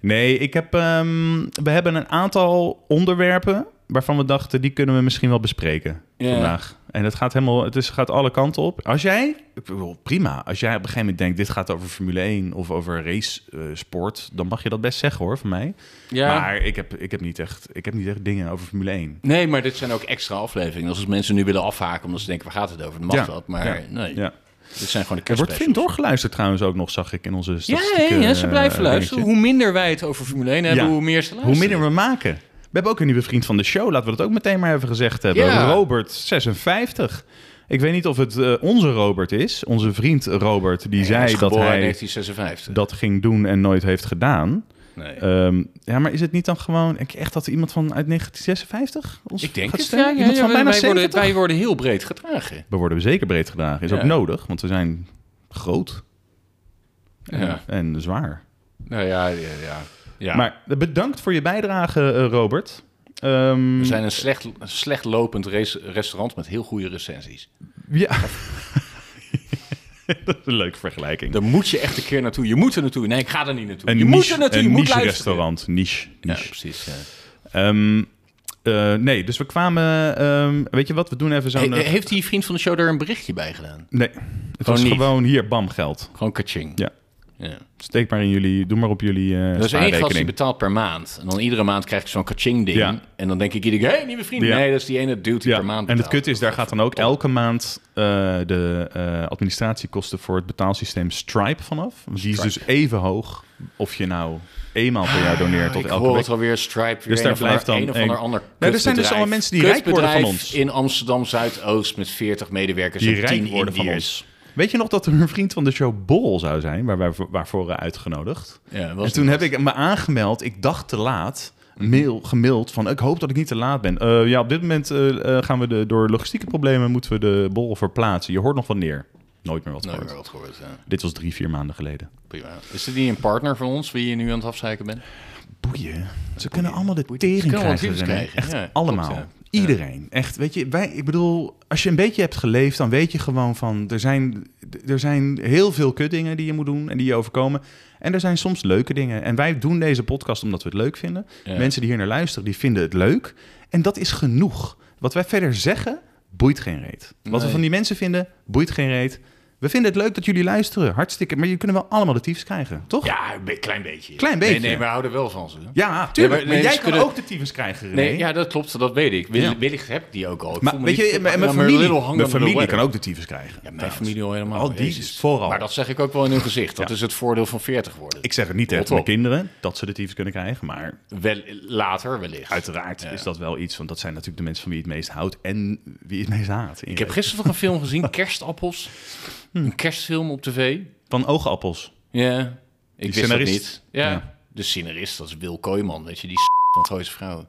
[SPEAKER 2] Nee, ik heb, ehm, we hebben een aantal onderwerpen waarvan we dachten, die kunnen we misschien wel bespreken
[SPEAKER 1] Ja.
[SPEAKER 2] vandaag. En het gaat helemaal, het is, gaat alle kanten op. Als jij, ik bedoel, prima, als jij op een gegeven moment denkt, dit gaat over Formule 1 of over racesport, sport, dan mag je dat best zeggen hoor, van mij.
[SPEAKER 1] Ja.
[SPEAKER 2] Maar ik heb, ik, heb niet echt, ik heb niet echt dingen over Formule 1.
[SPEAKER 1] Nee, maar dit zijn ook extra afleveringen. Als mensen nu willen afhaken omdat ze denken, waar gaat het over? Dan mag
[SPEAKER 2] Ja,
[SPEAKER 1] dat, maar
[SPEAKER 2] ja,
[SPEAKER 1] nee.
[SPEAKER 2] Ja.
[SPEAKER 1] Dit zijn gewoon de
[SPEAKER 2] Er wordt
[SPEAKER 1] kerstspecials.
[SPEAKER 2] flink doorgeluisterd trouwens ook nog, zag ik in onze
[SPEAKER 1] Ja,
[SPEAKER 2] statistieken.
[SPEAKER 1] ja, ja, ze
[SPEAKER 2] eh,
[SPEAKER 1] blijven
[SPEAKER 2] dingetje.
[SPEAKER 1] luisteren. Hoe minder wij het over Formule 1 hebben,
[SPEAKER 2] Ja.
[SPEAKER 1] hoe meer ze
[SPEAKER 2] Hoe
[SPEAKER 1] luisteren.
[SPEAKER 2] minder we maken. We hebben ook een nieuwe vriend van de show. Laten we dat ook meteen maar even gezegd hebben.
[SPEAKER 1] Ja.
[SPEAKER 2] Robert 56. Ik weet niet of het eh, onze Robert is. Onze vriend Robert die
[SPEAKER 1] Hij
[SPEAKER 2] zei
[SPEAKER 1] is
[SPEAKER 2] dat
[SPEAKER 1] geboren in
[SPEAKER 2] hij
[SPEAKER 1] 1956.
[SPEAKER 2] dat ging doen en nooit heeft gedaan.
[SPEAKER 1] nee.
[SPEAKER 2] Ehm, ja, maar is het niet dan gewoon ik- echt dat iemand van uit 1956 ons
[SPEAKER 1] Ik denk
[SPEAKER 2] gaat
[SPEAKER 1] het.
[SPEAKER 2] steunen?
[SPEAKER 1] Ja, ja,
[SPEAKER 2] Iemand
[SPEAKER 1] ja,
[SPEAKER 2] van
[SPEAKER 1] wij,
[SPEAKER 2] bijna
[SPEAKER 1] wij
[SPEAKER 2] 70?
[SPEAKER 1] worden, wij worden heel breed gedragen.
[SPEAKER 2] We worden zeker breed gedragen. Is
[SPEAKER 1] Ja.
[SPEAKER 2] ook nodig, want we zijn groot en,
[SPEAKER 1] Ja.
[SPEAKER 2] en zwaar.
[SPEAKER 1] Nou ja, ja, ja. ja.
[SPEAKER 2] Maar eh, bedankt voor je bijdrage, eh, Robert. Ehm,
[SPEAKER 1] we zijn een slecht, een slecht lopend race- restaurant met heel goede recensies.
[SPEAKER 2] Ja. dat is een leuke vergelijking.
[SPEAKER 1] Daar moet je echt een keer naartoe. Je moet er naartoe. Nee, ik ga er niet naartoe.
[SPEAKER 2] Een
[SPEAKER 1] je moet
[SPEAKER 2] niche,
[SPEAKER 1] er naartoe.
[SPEAKER 2] een
[SPEAKER 1] Je moet
[SPEAKER 2] niche
[SPEAKER 1] luisteren.
[SPEAKER 2] restaurant. Niche.
[SPEAKER 1] Ja,
[SPEAKER 2] niche.
[SPEAKER 1] precies. ja.
[SPEAKER 2] Ehm, eh, nee, dus we kwamen... ehm, weet je wat, we doen even zo'n...
[SPEAKER 1] He-
[SPEAKER 2] eh,
[SPEAKER 1] heeft die vriend van de show daar een berichtje bij gedaan?
[SPEAKER 2] nee, het was
[SPEAKER 1] niet.
[SPEAKER 2] gewoon hier, bam, geld.
[SPEAKER 1] Gewoon kaching.
[SPEAKER 2] Ja.
[SPEAKER 1] Ja.
[SPEAKER 2] Steek maar in jullie, doe maar op jullie eh
[SPEAKER 1] Er is één gast die
[SPEAKER 2] spaarrekening.
[SPEAKER 1] betaalt per maand. En dan iedere maand krijg ik zo'n kaching ding.
[SPEAKER 2] Ja.
[SPEAKER 1] En dan denk ik iedere keer, hey, nieuwe vriend.
[SPEAKER 2] Ja.
[SPEAKER 1] Nee, dat is die ene dude die
[SPEAKER 2] Ja,
[SPEAKER 1] per maand
[SPEAKER 2] en het
[SPEAKER 1] betaalt.
[SPEAKER 2] kut is, daar gaat dan ook elke maand eh, de eh, administratiekosten voor het betaalsysteem Stripe vanaf. Want Die is dus even hoog of je nou eenmaal per jaar doneert tot
[SPEAKER 1] Ah, ik
[SPEAKER 2] elke
[SPEAKER 1] hoor
[SPEAKER 2] week.
[SPEAKER 1] het alweer, Stripe, weer
[SPEAKER 2] Dus
[SPEAKER 1] een
[SPEAKER 2] daar
[SPEAKER 1] of ander-
[SPEAKER 2] blijft dan
[SPEAKER 1] een of
[SPEAKER 2] één-
[SPEAKER 1] ander ander
[SPEAKER 2] Nou, er zijn dus
[SPEAKER 1] kutbedrijf.
[SPEAKER 2] allemaal mensen die rijk worden van
[SPEAKER 1] Kutbedrijf
[SPEAKER 2] ons.
[SPEAKER 1] in Amsterdam Zuidoost met 40 medewerkers
[SPEAKER 2] Die
[SPEAKER 1] en 10
[SPEAKER 2] rijk worden van
[SPEAKER 1] Indiërs.
[SPEAKER 2] ons. Weet je nog dat er een vriend van de show Bol zou zijn, waar wij voor- waarvoor we uitgenodigd?
[SPEAKER 1] Ja,
[SPEAKER 2] En
[SPEAKER 1] was Mhm.
[SPEAKER 2] toen heb ik me aangemeld. Ik dacht te laat. Mail, gemaild van ik hoop dat ik niet te laat ben. Eh, ja, op dit moment eh, eh, gaan we de, door logistieke problemen moeten we de bol verplaatsen. Je hoort nog van neer. Nooit meer wat
[SPEAKER 1] nooit
[SPEAKER 2] gehoord.
[SPEAKER 1] meer wat gehoord. ja.
[SPEAKER 2] Dit was drie, vier maanden geleden.
[SPEAKER 1] Prima. Is dit niet een partner van ons, wie je nu aan het afzeiken bent?
[SPEAKER 2] Boeien. Ze kunnen allemaal de
[SPEAKER 1] Ze
[SPEAKER 2] tering
[SPEAKER 1] kunnen wel
[SPEAKER 2] krijgen.
[SPEAKER 1] een virus
[SPEAKER 2] René.
[SPEAKER 1] krijgen,
[SPEAKER 2] Echt
[SPEAKER 1] ja, klopt,
[SPEAKER 2] allemaal.
[SPEAKER 1] ja.
[SPEAKER 2] Iedereen. Echt, weet je, wij, ik bedoel, als je een beetje hebt geleefd, dan weet je gewoon van, er zijn, er zijn heel veel kutdingen die je moet doen en die je overkomen. En er zijn soms leuke dingen. En wij doen deze podcast omdat we het leuk vinden.
[SPEAKER 1] Ja.
[SPEAKER 2] Mensen die hier naar luisteren, die vinden het leuk. En dat is genoeg. Wat wij verder zeggen, boeit geen reet. Wat we
[SPEAKER 1] Nee.
[SPEAKER 2] van die mensen vinden, boeit geen reet. We vinden het leuk dat jullie luisteren. Hartstikke. Maar je kunnen wel allemaal de tyfus krijgen, toch?
[SPEAKER 1] Ja, een be- klein beetje.
[SPEAKER 2] Klein
[SPEAKER 1] Nee,
[SPEAKER 2] beetje.
[SPEAKER 1] Nee, maar we houden wel van ze. hè?
[SPEAKER 2] Ja, tuurlijk.
[SPEAKER 1] Ja, maar
[SPEAKER 2] maar, jij
[SPEAKER 1] mensen
[SPEAKER 2] kan
[SPEAKER 1] kunnen-
[SPEAKER 2] ook de tyfus krijgen, René.
[SPEAKER 1] Nee, ja, dat klopt, dat weet ik. Wil-
[SPEAKER 2] Ja.
[SPEAKER 1] Wellicht heb ik die ook al. Ik voel
[SPEAKER 2] Maar
[SPEAKER 1] me
[SPEAKER 2] weet
[SPEAKER 1] niet-
[SPEAKER 2] je, mijn,
[SPEAKER 1] I'm a
[SPEAKER 2] mijn familie,
[SPEAKER 1] little hung
[SPEAKER 2] mijn
[SPEAKER 1] under the
[SPEAKER 2] familie
[SPEAKER 1] weather.
[SPEAKER 2] kan ook de tyfus krijgen.
[SPEAKER 1] Ja, mijn
[SPEAKER 2] trouwens.
[SPEAKER 1] familie al helemaal.
[SPEAKER 2] Al die
[SPEAKER 1] Jezus.
[SPEAKER 2] vooral.
[SPEAKER 1] Maar dat zeg ik ook wel in hun gezicht. Dat is het voordeel van 40 worden.
[SPEAKER 2] Ik zeg het niet tegen
[SPEAKER 1] Rot
[SPEAKER 2] mijn
[SPEAKER 1] op.
[SPEAKER 2] kinderen, dat ze de tyfus kunnen krijgen. Maar
[SPEAKER 1] Wel, later wellicht.
[SPEAKER 2] uiteraard
[SPEAKER 1] Ja.
[SPEAKER 2] is dat wel iets, want dat zijn natuurlijk de mensen van wie het meest houdt en wie het meest haat.
[SPEAKER 1] Ik heb gisteren nog een film gezien, Kerstappels.
[SPEAKER 2] Hm.
[SPEAKER 1] Een kerstfilm op tv.
[SPEAKER 2] Van oogappels.
[SPEAKER 1] Ja, ik wist dat
[SPEAKER 2] scenarist.
[SPEAKER 1] niet. Ja.
[SPEAKER 2] Ja.
[SPEAKER 1] de scenarist, dat is Wil Kooijman, weet je, die s- van Gooise Vrouwen.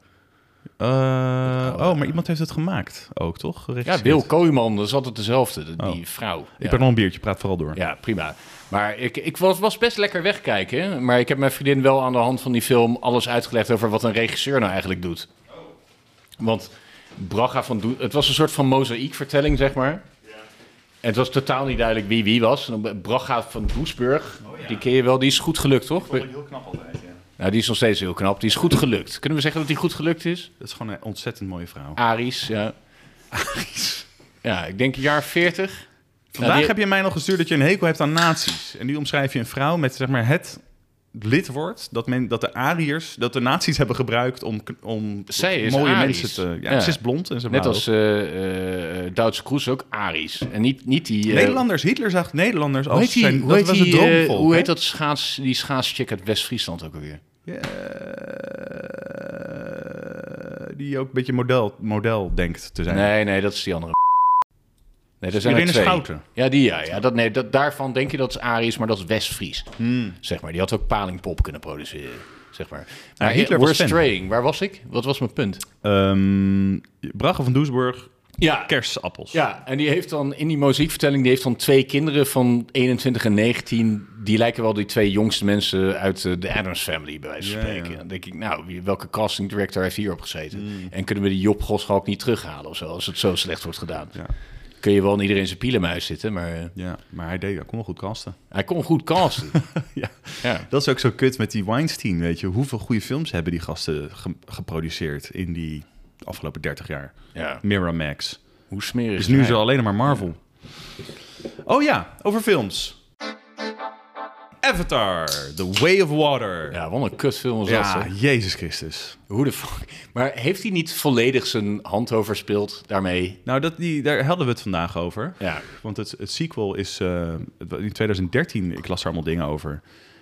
[SPEAKER 2] Eh, oh, maar iemand heeft het gemaakt ook, toch?
[SPEAKER 1] Ja,
[SPEAKER 2] Geregisseerd.
[SPEAKER 1] Wil Kooijman, dat is altijd dezelfde, de- die
[SPEAKER 2] Oh.
[SPEAKER 1] vrouw.
[SPEAKER 2] Ik
[SPEAKER 1] Ja.
[SPEAKER 2] ben nog een biertje, praat vooral door.
[SPEAKER 1] Ja, prima. Maar ik, ik was, was best lekker wegkijken. hè. Maar ik heb mijn vriendin wel aan de hand van die film alles uitgelegd over wat een regisseur nou eigenlijk doet. Want Braga van Doe, het was een soort van mozaïekvertelling, zeg maar. En het was totaal niet duidelijk wie wie was. En dan Braga van Doesburg,
[SPEAKER 2] Oh,
[SPEAKER 1] die ken je wel, die is goed gelukt, toch?
[SPEAKER 2] heel knap altijd,
[SPEAKER 1] Nou, die is nog steeds heel knap. Die is goed gelukt. Kunnen we zeggen dat die goed gelukt is?
[SPEAKER 2] Dat is gewoon een ontzettend mooie vrouw.
[SPEAKER 1] Aries, ja. Aries? Ja, ik denk een jaar 40.
[SPEAKER 2] Vandaag
[SPEAKER 1] die-
[SPEAKER 2] heb je mij nog gestuurd dat je een hekel hebt aan nazi's. En nu omschrijf je een vrouw met zeg maar het lidwoord dat, men, dat de Ariërs, dat de nazi's hebben gebruikt om, om
[SPEAKER 1] Zij is
[SPEAKER 2] mooie
[SPEAKER 1] Arisch.
[SPEAKER 2] mensen te... Ja,
[SPEAKER 1] Ja.
[SPEAKER 2] Ze is blond en ze
[SPEAKER 1] Net
[SPEAKER 2] blauw.
[SPEAKER 1] als eh eh Duitse Kroes ook Aries. En niet, niet die... eh,
[SPEAKER 2] Nederlanders, Hitler zag Nederlanders als
[SPEAKER 1] Hoe heet die,
[SPEAKER 2] zijn...
[SPEAKER 1] hoe
[SPEAKER 2] dat
[SPEAKER 1] heet
[SPEAKER 2] was
[SPEAKER 1] die,
[SPEAKER 2] een
[SPEAKER 1] eh,
[SPEAKER 2] droomvolk.
[SPEAKER 1] hoe
[SPEAKER 2] hè?
[SPEAKER 1] heet dat schaats, die schaatscheck uit West-Friesland ook alweer?
[SPEAKER 2] Ja, eh, die ook een beetje model, model denkt te zijn.
[SPEAKER 1] Nee, nee, dat is die andere. Nee, er zijn er
[SPEAKER 2] Irene
[SPEAKER 1] twee.
[SPEAKER 2] Schouten.
[SPEAKER 1] Ja, die ja. ja dat, nee, dat, daarvan denk je dat is Aries, maar dat is West-Fries.
[SPEAKER 2] Hmm.
[SPEAKER 1] Zeg maar, die had ook palingpop kunnen produceren. Zeg maar. Maar eh,
[SPEAKER 2] Hitler was
[SPEAKER 1] we're
[SPEAKER 2] fan.
[SPEAKER 1] straying. Waar was ik? Wat was mijn punt?
[SPEAKER 2] Ehm, Bragge van Doesburg,
[SPEAKER 1] Ja,
[SPEAKER 2] kersappels.
[SPEAKER 1] Ja, en die heeft dan in die muziekvertelling, die heeft dan twee kinderen van 21 en 19. Die lijken wel die twee jongste mensen uit eh, de Adams Family, bij wijze van
[SPEAKER 2] Ja,
[SPEAKER 1] spreken.
[SPEAKER 2] ja.
[SPEAKER 1] Dan denk ik, nou, wie- welke casting director heeft hierop gezeten?
[SPEAKER 2] Mm.
[SPEAKER 1] En kunnen we die Job Goschalk niet terughalen of zo, als het zo slecht wordt gedaan?
[SPEAKER 2] Ja.
[SPEAKER 1] Kun je wel in iedereen zijn pielenmuis zitten, maar eh,
[SPEAKER 2] Ja, maar hij deed, hij kon wel goed kasten.
[SPEAKER 1] hij kon goed casten.
[SPEAKER 2] Ja.
[SPEAKER 1] ja.
[SPEAKER 2] Dat is ook zo kut met die Weinstein, weet je. Hoeveel goede films hebben die gasten ge- geproduceerd in die afgelopen 30 jaar?
[SPEAKER 1] ja,
[SPEAKER 2] Miramax.
[SPEAKER 1] hoe smerig
[SPEAKER 2] Dus
[SPEAKER 1] is
[SPEAKER 2] nu
[SPEAKER 1] hij?
[SPEAKER 2] is er alleen maar Marvel. Oh ja, over films. Avatar, The Way of Water. Ja,
[SPEAKER 1] Ja, wat een kutfilm was dat, zeg.
[SPEAKER 2] Jezus Christus.
[SPEAKER 1] Hoe de fuck? Maar heeft hij niet volledig zijn hand overspeeld daarmee?
[SPEAKER 2] Nou, dat, die, daar hadden we het vandaag over.
[SPEAKER 1] Ja.
[SPEAKER 2] Want het, het sequel is eh, het wa- in 2013, ik las er allemaal dingen over.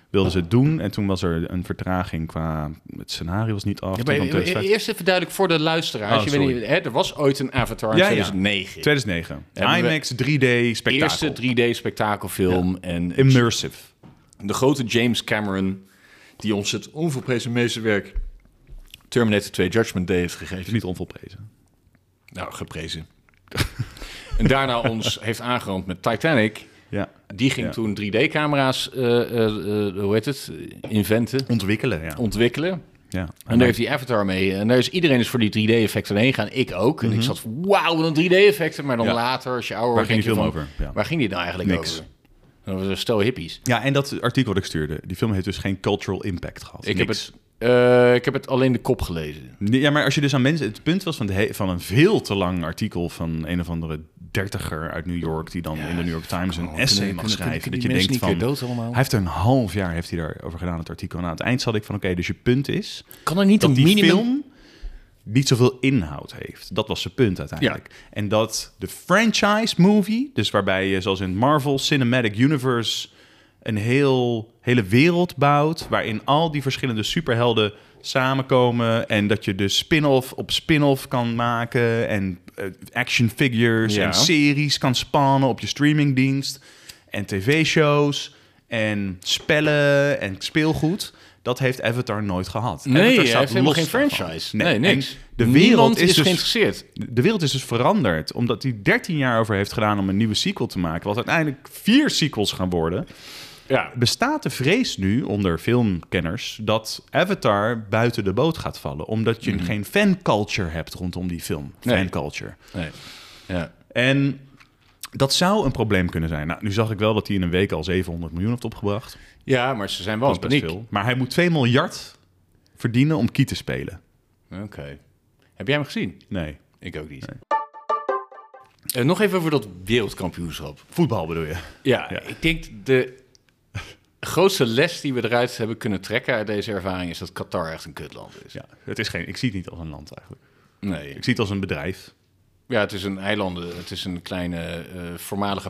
[SPEAKER 2] Wilden ze het doen en toen was er een vertraging qua... Het scenario was niet af.
[SPEAKER 1] Ja,
[SPEAKER 2] toen
[SPEAKER 1] maar
[SPEAKER 2] kwam
[SPEAKER 1] e-
[SPEAKER 2] 2015.
[SPEAKER 1] eerst even duidelijk voor de luisteraar.
[SPEAKER 2] Oh,
[SPEAKER 1] Als je weet
[SPEAKER 2] sorry.
[SPEAKER 1] niet, hè, er was ooit een Avatar in
[SPEAKER 2] Ja, ja.
[SPEAKER 1] 2009.
[SPEAKER 2] 2009.
[SPEAKER 1] Hebben we-
[SPEAKER 2] IMAX 3D
[SPEAKER 1] De
[SPEAKER 2] spektakel.
[SPEAKER 1] eerste 3D-spektakelfilm. En
[SPEAKER 2] Immersive.
[SPEAKER 1] de grote James Cameron, die ons het onvolprezen meesterwerk Terminator 2 Judgment Day heeft
[SPEAKER 2] Is
[SPEAKER 1] gegeven.
[SPEAKER 2] niet onvolprezen.
[SPEAKER 1] Nou, geprezen. en daarna ons heeft aangerand met Titanic.
[SPEAKER 2] Ja.
[SPEAKER 1] Die ging
[SPEAKER 2] Ja.
[SPEAKER 1] toen 3D-camera's, eh, eh, eh, hoe heet het, inventen,
[SPEAKER 2] Ontwikkelen, ja.
[SPEAKER 1] ontwikkelen.
[SPEAKER 2] ja.
[SPEAKER 1] En daar heeft die Avatar mee. En daar is iedereen is voor die 3D-effecten heen gaan. Ik ook. En ik zat van, wauw, wat een 3D-effecten. Maar dan
[SPEAKER 2] Mhm. Ja.
[SPEAKER 1] later, als je ouder
[SPEAKER 2] Waar
[SPEAKER 1] wordt,
[SPEAKER 2] ging
[SPEAKER 1] denk
[SPEAKER 2] die
[SPEAKER 1] je
[SPEAKER 2] film
[SPEAKER 1] van,
[SPEAKER 2] over? Ja.
[SPEAKER 1] Waar ging die nou eigenlijk
[SPEAKER 2] Niks.
[SPEAKER 1] over? Dat was een stel hippies.
[SPEAKER 2] ja, en dat artikel dat ik stuurde, die film heeft dus geen cultural impact gehad.
[SPEAKER 1] Ik heb,
[SPEAKER 2] Niks.
[SPEAKER 1] het, eh, ik heb het alleen de kop gelezen.
[SPEAKER 2] Nee, Ja, maar als je dus aan mensen... Het punt was van, de he- van een veel te lang artikel van een of andere dertiger uit New York die dan in de New York Times een
[SPEAKER 1] Oh,
[SPEAKER 2] essay
[SPEAKER 1] kunnen-
[SPEAKER 2] mag
[SPEAKER 1] kunnen-
[SPEAKER 2] schrijven.
[SPEAKER 1] kunnen die
[SPEAKER 2] dat je
[SPEAKER 1] mensen
[SPEAKER 2] denkt
[SPEAKER 1] niet
[SPEAKER 2] van,
[SPEAKER 1] een keer dood allemaal?
[SPEAKER 2] hij heeft er een half jaar heeft hij daarover gedaan, het artikel. En aan het eind zat ik van, oké, dus je punt is
[SPEAKER 1] Kan er niet
[SPEAKER 2] dat
[SPEAKER 1] een
[SPEAKER 2] die
[SPEAKER 1] minimum...
[SPEAKER 2] film niet zoveel inhoud heeft. Dat was zijn punt uiteindelijk. En dat de franchise movie, dus waarbij je zoals in Marvel Cinematic Universe een heel, hele wereld bouwt, waarin al die verschillende superhelden samenkomen en dat je dus spin-off op spin-off kan maken en eh, action figures
[SPEAKER 1] Ja.
[SPEAKER 2] en series kan spannen op je streamingdienst en tv-shows en spellen en speelgoed. Dat heeft Avatar nooit gehad.
[SPEAKER 1] Nee,
[SPEAKER 2] Avatar
[SPEAKER 1] hij
[SPEAKER 2] staat
[SPEAKER 1] heeft helemaal
[SPEAKER 2] los
[SPEAKER 1] geen
[SPEAKER 2] daarvan.
[SPEAKER 1] franchise. Nee, niks.
[SPEAKER 2] en De wereld
[SPEAKER 1] Niemand
[SPEAKER 2] is, dus,
[SPEAKER 1] geïnteresseerd.
[SPEAKER 2] de wereld is dus veranderd. Omdat hij 13 jaar over heeft gedaan om een nieuwe sequel te maken. Wat uiteindelijk vier sequels gaan worden.
[SPEAKER 1] Ja.
[SPEAKER 2] Bestaat de vrees nu onder filmkenners dat Avatar buiten de boot gaat vallen? Omdat je geen fanculture hebt rondom die film.
[SPEAKER 1] Mhm. Nee.
[SPEAKER 2] Fanculture.
[SPEAKER 1] Nee. Ja.
[SPEAKER 2] En dat zou een probleem kunnen zijn. Nou, nu zag ik wel dat hij in een week al 700 miljoen heeft opgebracht.
[SPEAKER 1] ja, maar ze zijn wel in
[SPEAKER 2] Dat is best
[SPEAKER 1] Oh, paniek.
[SPEAKER 2] veel. Maar hij moet 2 miljard verdienen om Key te spelen.
[SPEAKER 1] Oké. Heb jij hem gezien?
[SPEAKER 2] Nee.
[SPEAKER 1] Ik ook niet. Eh, nog even over dat wereldkampioenschap.
[SPEAKER 2] Voetbal bedoel je?
[SPEAKER 1] Ja,
[SPEAKER 2] Ja.
[SPEAKER 1] ik denk de grootste les die we eruit hebben kunnen trekken uit deze ervaring is dat Qatar echt een kutland is.
[SPEAKER 2] Ja, het is geen, ik zie het niet als een land eigenlijk.
[SPEAKER 1] Nee.
[SPEAKER 2] Ik zie het als een bedrijf.
[SPEAKER 1] Ja, het is een eilanden. Het is een kleine eh, voormalige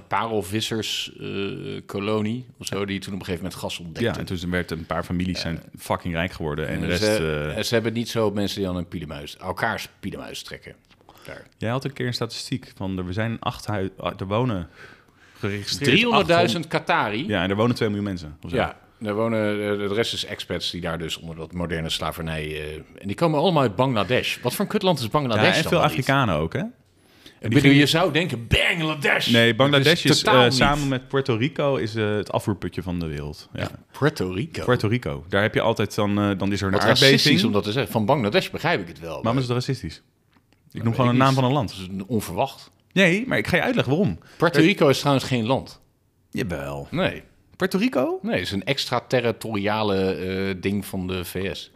[SPEAKER 1] parelvisserskolonie eh, of zo, die toen op een gegeven moment gas
[SPEAKER 2] Ja,
[SPEAKER 1] ontdekte.
[SPEAKER 2] en toen werd een paar families zijn fucking rijk geworden. En de rest...
[SPEAKER 1] Eh, ze,
[SPEAKER 2] eh,
[SPEAKER 1] ze hebben niet zo mensen die aan een pielenmuis, elkaars pielenmuis trekken. Daar.
[SPEAKER 2] jij had een keer een statistiek van er zijn acht huizen... Er wonen geregistreerd... 800
[SPEAKER 1] 300.000 Qatari. Ja.
[SPEAKER 2] Ja, en er wonen 2 miljoen mensen. of zo.
[SPEAKER 1] daar wonen, eh, de rest is expats die daar dus onder dat moderne slavernij... eh, en die komen allemaal uit Bangladesh. Wat voor een kutland is
[SPEAKER 2] Ja,
[SPEAKER 1] Bangladesh dan
[SPEAKER 2] en veel
[SPEAKER 1] wel
[SPEAKER 2] Afrikanen ook, hè?
[SPEAKER 1] niet? Ik bedoel, Je zou denken, Bangladesh!
[SPEAKER 2] Nee, Bangladesh
[SPEAKER 1] Dat
[SPEAKER 2] is,
[SPEAKER 1] Dus totaal
[SPEAKER 2] eh,
[SPEAKER 1] niet.
[SPEAKER 2] samen met Puerto Rico is eh, het afvoerputje van de wereld. Ja.
[SPEAKER 1] Puerto Rico.
[SPEAKER 2] Puerto Rico. Daar heb je altijd dan, eh, dan is er een
[SPEAKER 1] Wat
[SPEAKER 2] aardbeving.
[SPEAKER 1] racistisch om dat te zeggen. Van Bangladesh begrijp ik het wel.
[SPEAKER 2] Waarom is het racistisch? Ik noem
[SPEAKER 1] weet
[SPEAKER 2] gewoon
[SPEAKER 1] ik
[SPEAKER 2] een naam
[SPEAKER 1] niet.
[SPEAKER 2] van een
[SPEAKER 1] Dat
[SPEAKER 2] land. Eh,
[SPEAKER 1] is een onverwacht.
[SPEAKER 2] Nee, maar ik ga je uitleggen waarom.
[SPEAKER 1] Puerto Rico is trouwens geen land.
[SPEAKER 2] Jawel.
[SPEAKER 1] Nee.
[SPEAKER 2] Puerto Rico?
[SPEAKER 1] Nee, het is een extraterritoriale eh ding van de VS.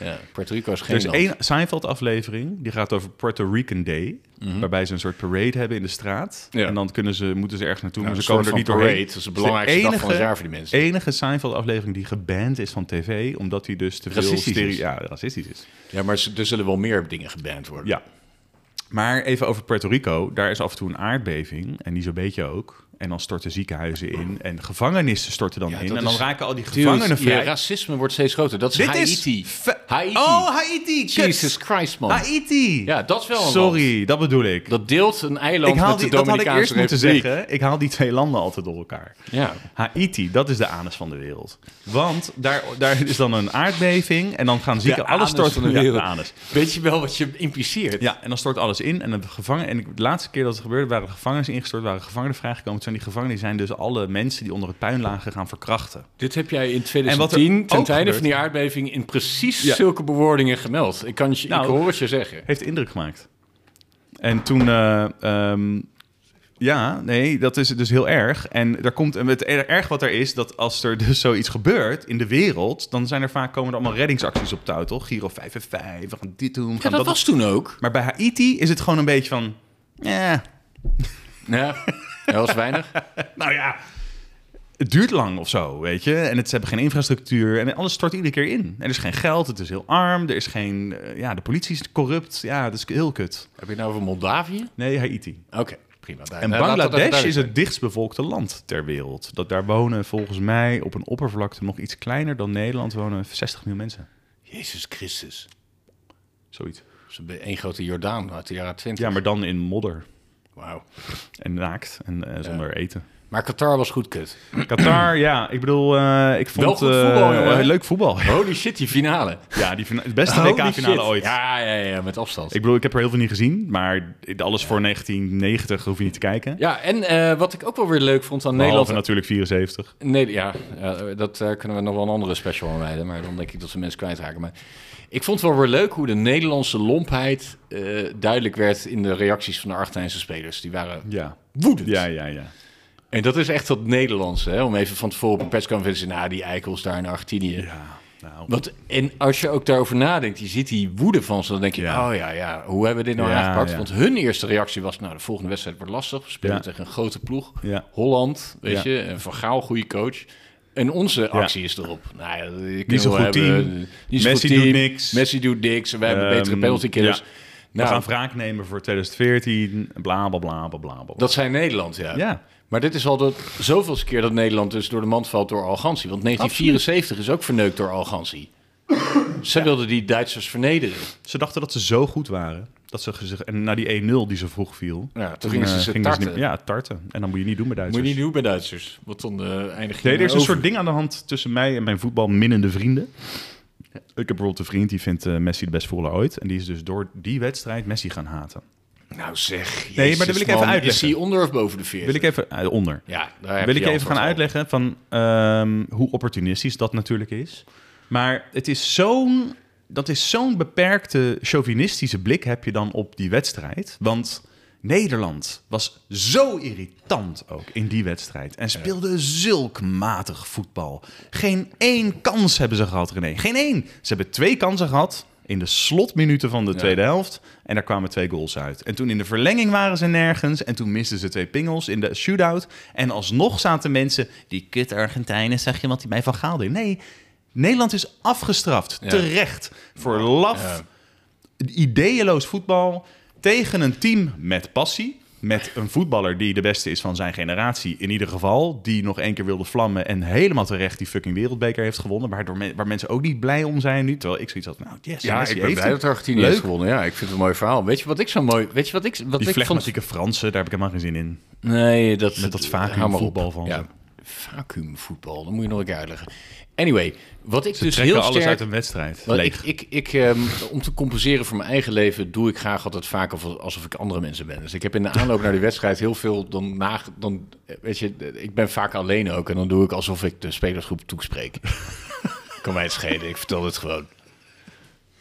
[SPEAKER 1] Ja, Puerto Rico is geen
[SPEAKER 2] Er is
[SPEAKER 1] land.
[SPEAKER 2] één Seinfeld-aflevering, die gaat over Puerto Rican Day. Waarbij ze een soort parade hebben in de straat.
[SPEAKER 1] Mhm. Ja.
[SPEAKER 2] En dan kunnen ze, moeten ze ergens naartoe,
[SPEAKER 1] Nou,
[SPEAKER 2] maar
[SPEAKER 1] een
[SPEAKER 2] ze komen
[SPEAKER 1] soort
[SPEAKER 2] er niet
[SPEAKER 1] van
[SPEAKER 2] doorheen.
[SPEAKER 1] parade. Dat is de belangrijkste dag van het jaar voor die mensen.
[SPEAKER 2] enige Seinfeld-aflevering die geband is van tv, omdat die dus te veel...
[SPEAKER 1] Racistisch
[SPEAKER 2] stere-
[SPEAKER 1] is.
[SPEAKER 2] Ja, racistisch is.
[SPEAKER 1] Ja, maar ze- er zullen wel meer dingen geband worden.
[SPEAKER 2] Ja. Maar even over Puerto Rico. Daar is af en toe een aardbeving. En die zo'n beetje ook. En dan storten ziekenhuizen in. En gevangenissen storten dan
[SPEAKER 1] Ja,
[SPEAKER 2] in.
[SPEAKER 1] dat
[SPEAKER 2] En dan
[SPEAKER 1] is-
[SPEAKER 2] raken al die
[SPEAKER 1] Dude,
[SPEAKER 2] gevangenen
[SPEAKER 1] ja,
[SPEAKER 2] vrij.
[SPEAKER 1] racisme wordt steeds groter. Dat is
[SPEAKER 2] Dit
[SPEAKER 1] Haiti.
[SPEAKER 2] is... fe-
[SPEAKER 1] Haiti.
[SPEAKER 2] Oh, Haiti. kut.
[SPEAKER 1] Jesus Christ, man.
[SPEAKER 2] Haiti.
[SPEAKER 1] Ja, dat is wel een land.
[SPEAKER 2] Sorry, dat bedoel ik.
[SPEAKER 1] Dat deelt een eiland
[SPEAKER 2] ik haal
[SPEAKER 1] met de
[SPEAKER 2] die, dat had ik eerst
[SPEAKER 1] Dominicaanse
[SPEAKER 2] moeten
[SPEAKER 1] Republiek.
[SPEAKER 2] zeggen. Ik haal die twee landen altijd door elkaar.
[SPEAKER 1] Ja.
[SPEAKER 2] Haiti, dat is de anus van de wereld. Want daar, daar is dan een aardbeving. En dan gaan zieken... Alles stort Ja, de anus.
[SPEAKER 1] Weet je wel wat je impliceert?
[SPEAKER 2] Ja, en dan stort alles in. En de gevangenen. En ik- de laatste keer dat het gebeurde, waren de gevangenis ingestort, waren gevangenen vrijgekomen. Toen zijn die gevangenen die zijn dus alle mensen die onder het puin lagen gaan verkrachten.
[SPEAKER 1] Dit heb jij in
[SPEAKER 2] wat er
[SPEAKER 1] 2010, ten
[SPEAKER 2] ook
[SPEAKER 1] tijde van
[SPEAKER 2] gebeurt-
[SPEAKER 1] die aardbeving, in precies
[SPEAKER 2] Ja.
[SPEAKER 1] zulke bewoordingen gemeld. Ik, kan je,
[SPEAKER 2] Nou,
[SPEAKER 1] ik hoor het je zeggen.
[SPEAKER 2] Heeft indruk gemaakt. En toen. eh, ehm, ja, nee, dat is dus heel erg. En daar komt, en het er- erg wat er is, dat als er dus zoiets gebeurt in de wereld, dan zijn er vaak komen er allemaal reddingsacties op touw, toch? Giro 5 en 5, we gaan dit doen, we gaan
[SPEAKER 1] Ja, dat was toen ook.
[SPEAKER 2] Maar bij Haiti is het gewoon een beetje van, eh,
[SPEAKER 1] Ja, dat was weinig.
[SPEAKER 2] Nou ja, het duurt lang of zo, weet je. En het, ze hebben geen infrastructuur en alles stort iedere keer in. En er is geen geld, het is heel arm, er is geen... eh, ja, de politie is corrupt. Ja, dat is heel kut.
[SPEAKER 1] Heb je het nou over Moldavië?
[SPEAKER 2] Nee, Haiti.
[SPEAKER 1] Oké, prima. Daar-
[SPEAKER 2] En
[SPEAKER 1] daar- Eh, laat dat even
[SPEAKER 2] Bangladesh
[SPEAKER 1] duidelijk
[SPEAKER 2] is het dichtstbevolkte land ter wereld. Dat daar wonen volgens mij op een oppervlakte nog iets kleiner dan Nederland wonen 60 miljoen mensen.
[SPEAKER 1] zijn. Jezus Christus.
[SPEAKER 2] Zoiets.
[SPEAKER 1] Dat is een be- één grote Jordaan uit de jaren 20.
[SPEAKER 2] Ja, maar dan in modder
[SPEAKER 1] Wauw.
[SPEAKER 2] en naakt en eh, zonder eten.
[SPEAKER 1] Maar Qatar was goed kut.
[SPEAKER 2] Qatar, ja, ik bedoel, eh, ik vond
[SPEAKER 1] goed
[SPEAKER 2] eh,
[SPEAKER 1] voetbal, jongen.
[SPEAKER 2] leuk voetbal.
[SPEAKER 1] Holy shit, die finale.
[SPEAKER 2] Ja, die fina- het beste
[SPEAKER 1] Holy
[SPEAKER 2] WK-finale
[SPEAKER 1] shit.
[SPEAKER 2] ooit.
[SPEAKER 1] Ja, ja, ja, met afstand.
[SPEAKER 2] Ik bedoel, ik heb er heel veel niet gezien, maar alles voor 1990 hoef je niet te kijken.
[SPEAKER 1] Ja, en eh, wat ik ook wel weer leuk vond aan Nederland...
[SPEAKER 2] Behalve natuurlijk 74.
[SPEAKER 1] Nee, ja, ja, dat eh, kunnen we nog wel een andere special aan wijden. Maar dan denk ik dat ze mensen kwijtraken. Maar ik vond het wel weer leuk hoe de Nederlandse lompheid eh, duidelijk werd in de reacties van de Argentijnse spelers. Die waren
[SPEAKER 2] Ja.
[SPEAKER 1] woedend.
[SPEAKER 2] Ja, ja, ja.
[SPEAKER 1] En dat is echt dat Nederlandse, hè? om even van tevoren op een persconferentie... Nou, die eikels daar in Argentinië.
[SPEAKER 2] Ja. Nou,
[SPEAKER 1] Wat, en als je ook daarover nadenkt, je ziet die woede van ze, dan denk je,
[SPEAKER 2] Ja.
[SPEAKER 1] oh ja, ja, hoe hebben we dit nou
[SPEAKER 2] Ja,
[SPEAKER 1] aangepakt?
[SPEAKER 2] ja.
[SPEAKER 1] Want hun eerste reactie was, nou, de volgende wedstrijd wordt lastig. We spelen
[SPEAKER 2] Ja.
[SPEAKER 1] tegen een grote ploeg.
[SPEAKER 2] Ja.
[SPEAKER 1] Holland, weet
[SPEAKER 2] Ja.
[SPEAKER 1] je, en Van Gaal, goede coach. En onze actie is erop. Nou, ja, je kunt
[SPEAKER 2] zo'n
[SPEAKER 1] wel
[SPEAKER 2] goed
[SPEAKER 1] hebben,
[SPEAKER 2] team.
[SPEAKER 1] eh, niet zo'n
[SPEAKER 2] Messi
[SPEAKER 1] goed team.
[SPEAKER 2] doet niks.
[SPEAKER 1] Messi doet niks. We hebben
[SPEAKER 2] Ehm,
[SPEAKER 1] betere penalty killers.
[SPEAKER 2] ja.
[SPEAKER 1] Nou,
[SPEAKER 2] we gaan wraak nemen voor 2014, bla bla bla bla bla. bla.
[SPEAKER 1] dat zijn Nederland, ja.
[SPEAKER 2] Ja.
[SPEAKER 1] Maar dit is al de zoveelste keer dat Nederland dus door de mand valt door arrogantie. Want 1974 is ook verneukt door arrogantie. Ze wilden die Duitsers vernederen.
[SPEAKER 2] Ze dachten dat ze zo goed waren. Dat ze zich, en na die 1-0 die ze vroeg viel.
[SPEAKER 1] Ja, toen gingen ze
[SPEAKER 2] eh,
[SPEAKER 1] ze
[SPEAKER 2] gingen
[SPEAKER 1] tarten.
[SPEAKER 2] niet- ja, tarten. En dat moet je niet doen bij Duitsers.
[SPEAKER 1] Moet je niet doen bij Duitsers. Want dan eh eindig je
[SPEAKER 2] Nee, er is een
[SPEAKER 1] over.
[SPEAKER 2] soort ding aan de hand tussen mij en mijn voetbalminnende vrienden. Ik heb bijvoorbeeld een vriend die vindt eh, Messi de beste voetballer ooit. En die is dus door die wedstrijd Messi gaan haten.
[SPEAKER 1] Nou zeg,
[SPEAKER 2] maar
[SPEAKER 1] Jezus,
[SPEAKER 2] dat wil ik
[SPEAKER 1] man.
[SPEAKER 2] even uitleggen.
[SPEAKER 1] Is hij onder of boven de 40?
[SPEAKER 2] Wil ik even eh, onder.
[SPEAKER 1] ja, daar heb
[SPEAKER 2] Wil
[SPEAKER 1] je
[SPEAKER 2] ik
[SPEAKER 1] je
[SPEAKER 2] even gaan
[SPEAKER 1] antwoord
[SPEAKER 2] uitleggen van ehm, hoe opportunistisch dat natuurlijk is. Maar het is zo'n, dat is zo'n beperkte chauvinistische blik heb je dan op die wedstrijd. Want Nederland was zo irritant ook in die wedstrijd. En speelde zulk matig voetbal. Geen één kans hebben ze gehad, René. Geen één. Ze hebben twee kansen gehad in de slotminuten van de tweede helft. En daar kwamen twee goals uit. En toen in de verlenging waren ze nergens. En toen misten ze twee pingels in de shootout. En alsnog zaten mensen... Die kut Argentijnen, zeg je wat die mij van Gaal deed. Nee, Nederland is afgestraft.
[SPEAKER 1] Ja.
[SPEAKER 2] Terecht. Voor laf
[SPEAKER 1] Ja.
[SPEAKER 2] ideeloos voetbal tegen een team met passie. Met een voetballer die de beste is van zijn generatie in ieder geval. Die nog één keer wilde vlammen en helemaal terecht die fucking wereldbeker heeft gewonnen. Waardoor men- waar mensen ook niet blij om zijn nu. Terwijl ik zoiets had, nou yes,
[SPEAKER 1] Ja,
[SPEAKER 2] Messi
[SPEAKER 1] ik ben
[SPEAKER 2] heeft
[SPEAKER 1] blij
[SPEAKER 2] het.
[SPEAKER 1] dat Argentinië
[SPEAKER 2] Leuk.
[SPEAKER 1] heeft gewonnen. Ja, ik vind het een mooi verhaal. Weet je wat ik zo mooi... Weet je wat ik, wat
[SPEAKER 2] Die
[SPEAKER 1] ik vond? dus
[SPEAKER 2] flegmatieke Fransen, daar heb ik helemaal geen zin in.
[SPEAKER 1] Nee, dat...
[SPEAKER 2] Met dat vacuümvoetbal
[SPEAKER 1] vacuumvoetbal
[SPEAKER 2] van ze.
[SPEAKER 1] Ja, vacuümvoetbal. Dat moet je nog een keer uitleggen. Anyway, wat ik dus
[SPEAKER 2] Trekken
[SPEAKER 1] heel
[SPEAKER 2] alles
[SPEAKER 1] sterk...
[SPEAKER 2] uit een wedstrijd.
[SPEAKER 1] Wel,
[SPEAKER 2] Leeg.
[SPEAKER 1] Ik, ik, ik, ehm, om te compenseren voor mijn eigen leven doe ik graag altijd vaak of- alsof ik andere mensen ben. Dus ik heb in de aanloop naar die wedstrijd heel veel dan na, dan eh, weet je, eh, ik ben vaak alleen ook en dan doe ik alsof ik de spelersgroep toespreek. kan mij het schelen. Ik vertel het gewoon.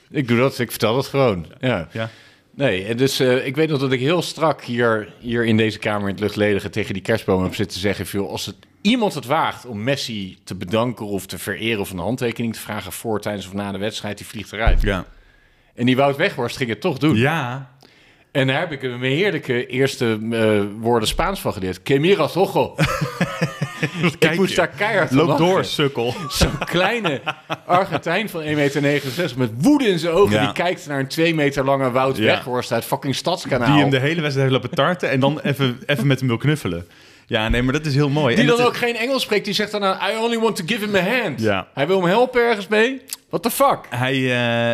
[SPEAKER 1] Ik doe dat. Ik vertel het gewoon. Ja.
[SPEAKER 2] Ja.
[SPEAKER 1] Nee, en dus eh, ik weet nog dat ik heel strak hier, hier in deze kamer in het luchtledige tegen die kerstboom heb zitten zeggen: veel, als het, iemand het waagt om Messi te bedanken of te vereren of een handtekening te vragen voor, tijdens of na de wedstrijd, die vliegt eruit.
[SPEAKER 2] Ja.
[SPEAKER 1] En die Wout Weghorst ging het toch doen.
[SPEAKER 2] ja,
[SPEAKER 1] En daar heb ik een heerlijke eerste eh, woorden Spaans van geleerd. Que miras ojo. ik
[SPEAKER 2] kijk
[SPEAKER 1] moest
[SPEAKER 2] je.
[SPEAKER 1] daar keihard om
[SPEAKER 2] loop
[SPEAKER 1] lachen.
[SPEAKER 2] door, sukkel.
[SPEAKER 1] Zo'n kleine Argentijn van 1,69 meter met woede in zijn ogen.
[SPEAKER 2] Ja.
[SPEAKER 1] Die kijkt naar een 2 meter lange Wout
[SPEAKER 2] Ja.
[SPEAKER 1] Weghorst uit fucking Stadskanaal.
[SPEAKER 2] Die hem de hele wedstrijd heeft lopen tarten en dan even, even met hem wil knuffelen. Ja, nee, maar dat is heel mooi.
[SPEAKER 1] Die
[SPEAKER 2] En
[SPEAKER 1] dan
[SPEAKER 2] het-
[SPEAKER 1] ook geen Engels spreekt. Die zegt dan, nou, I only want to give him a hand.
[SPEAKER 2] Ja.
[SPEAKER 1] Hij wil hem helpen ergens mee. What the fuck?
[SPEAKER 2] Hij,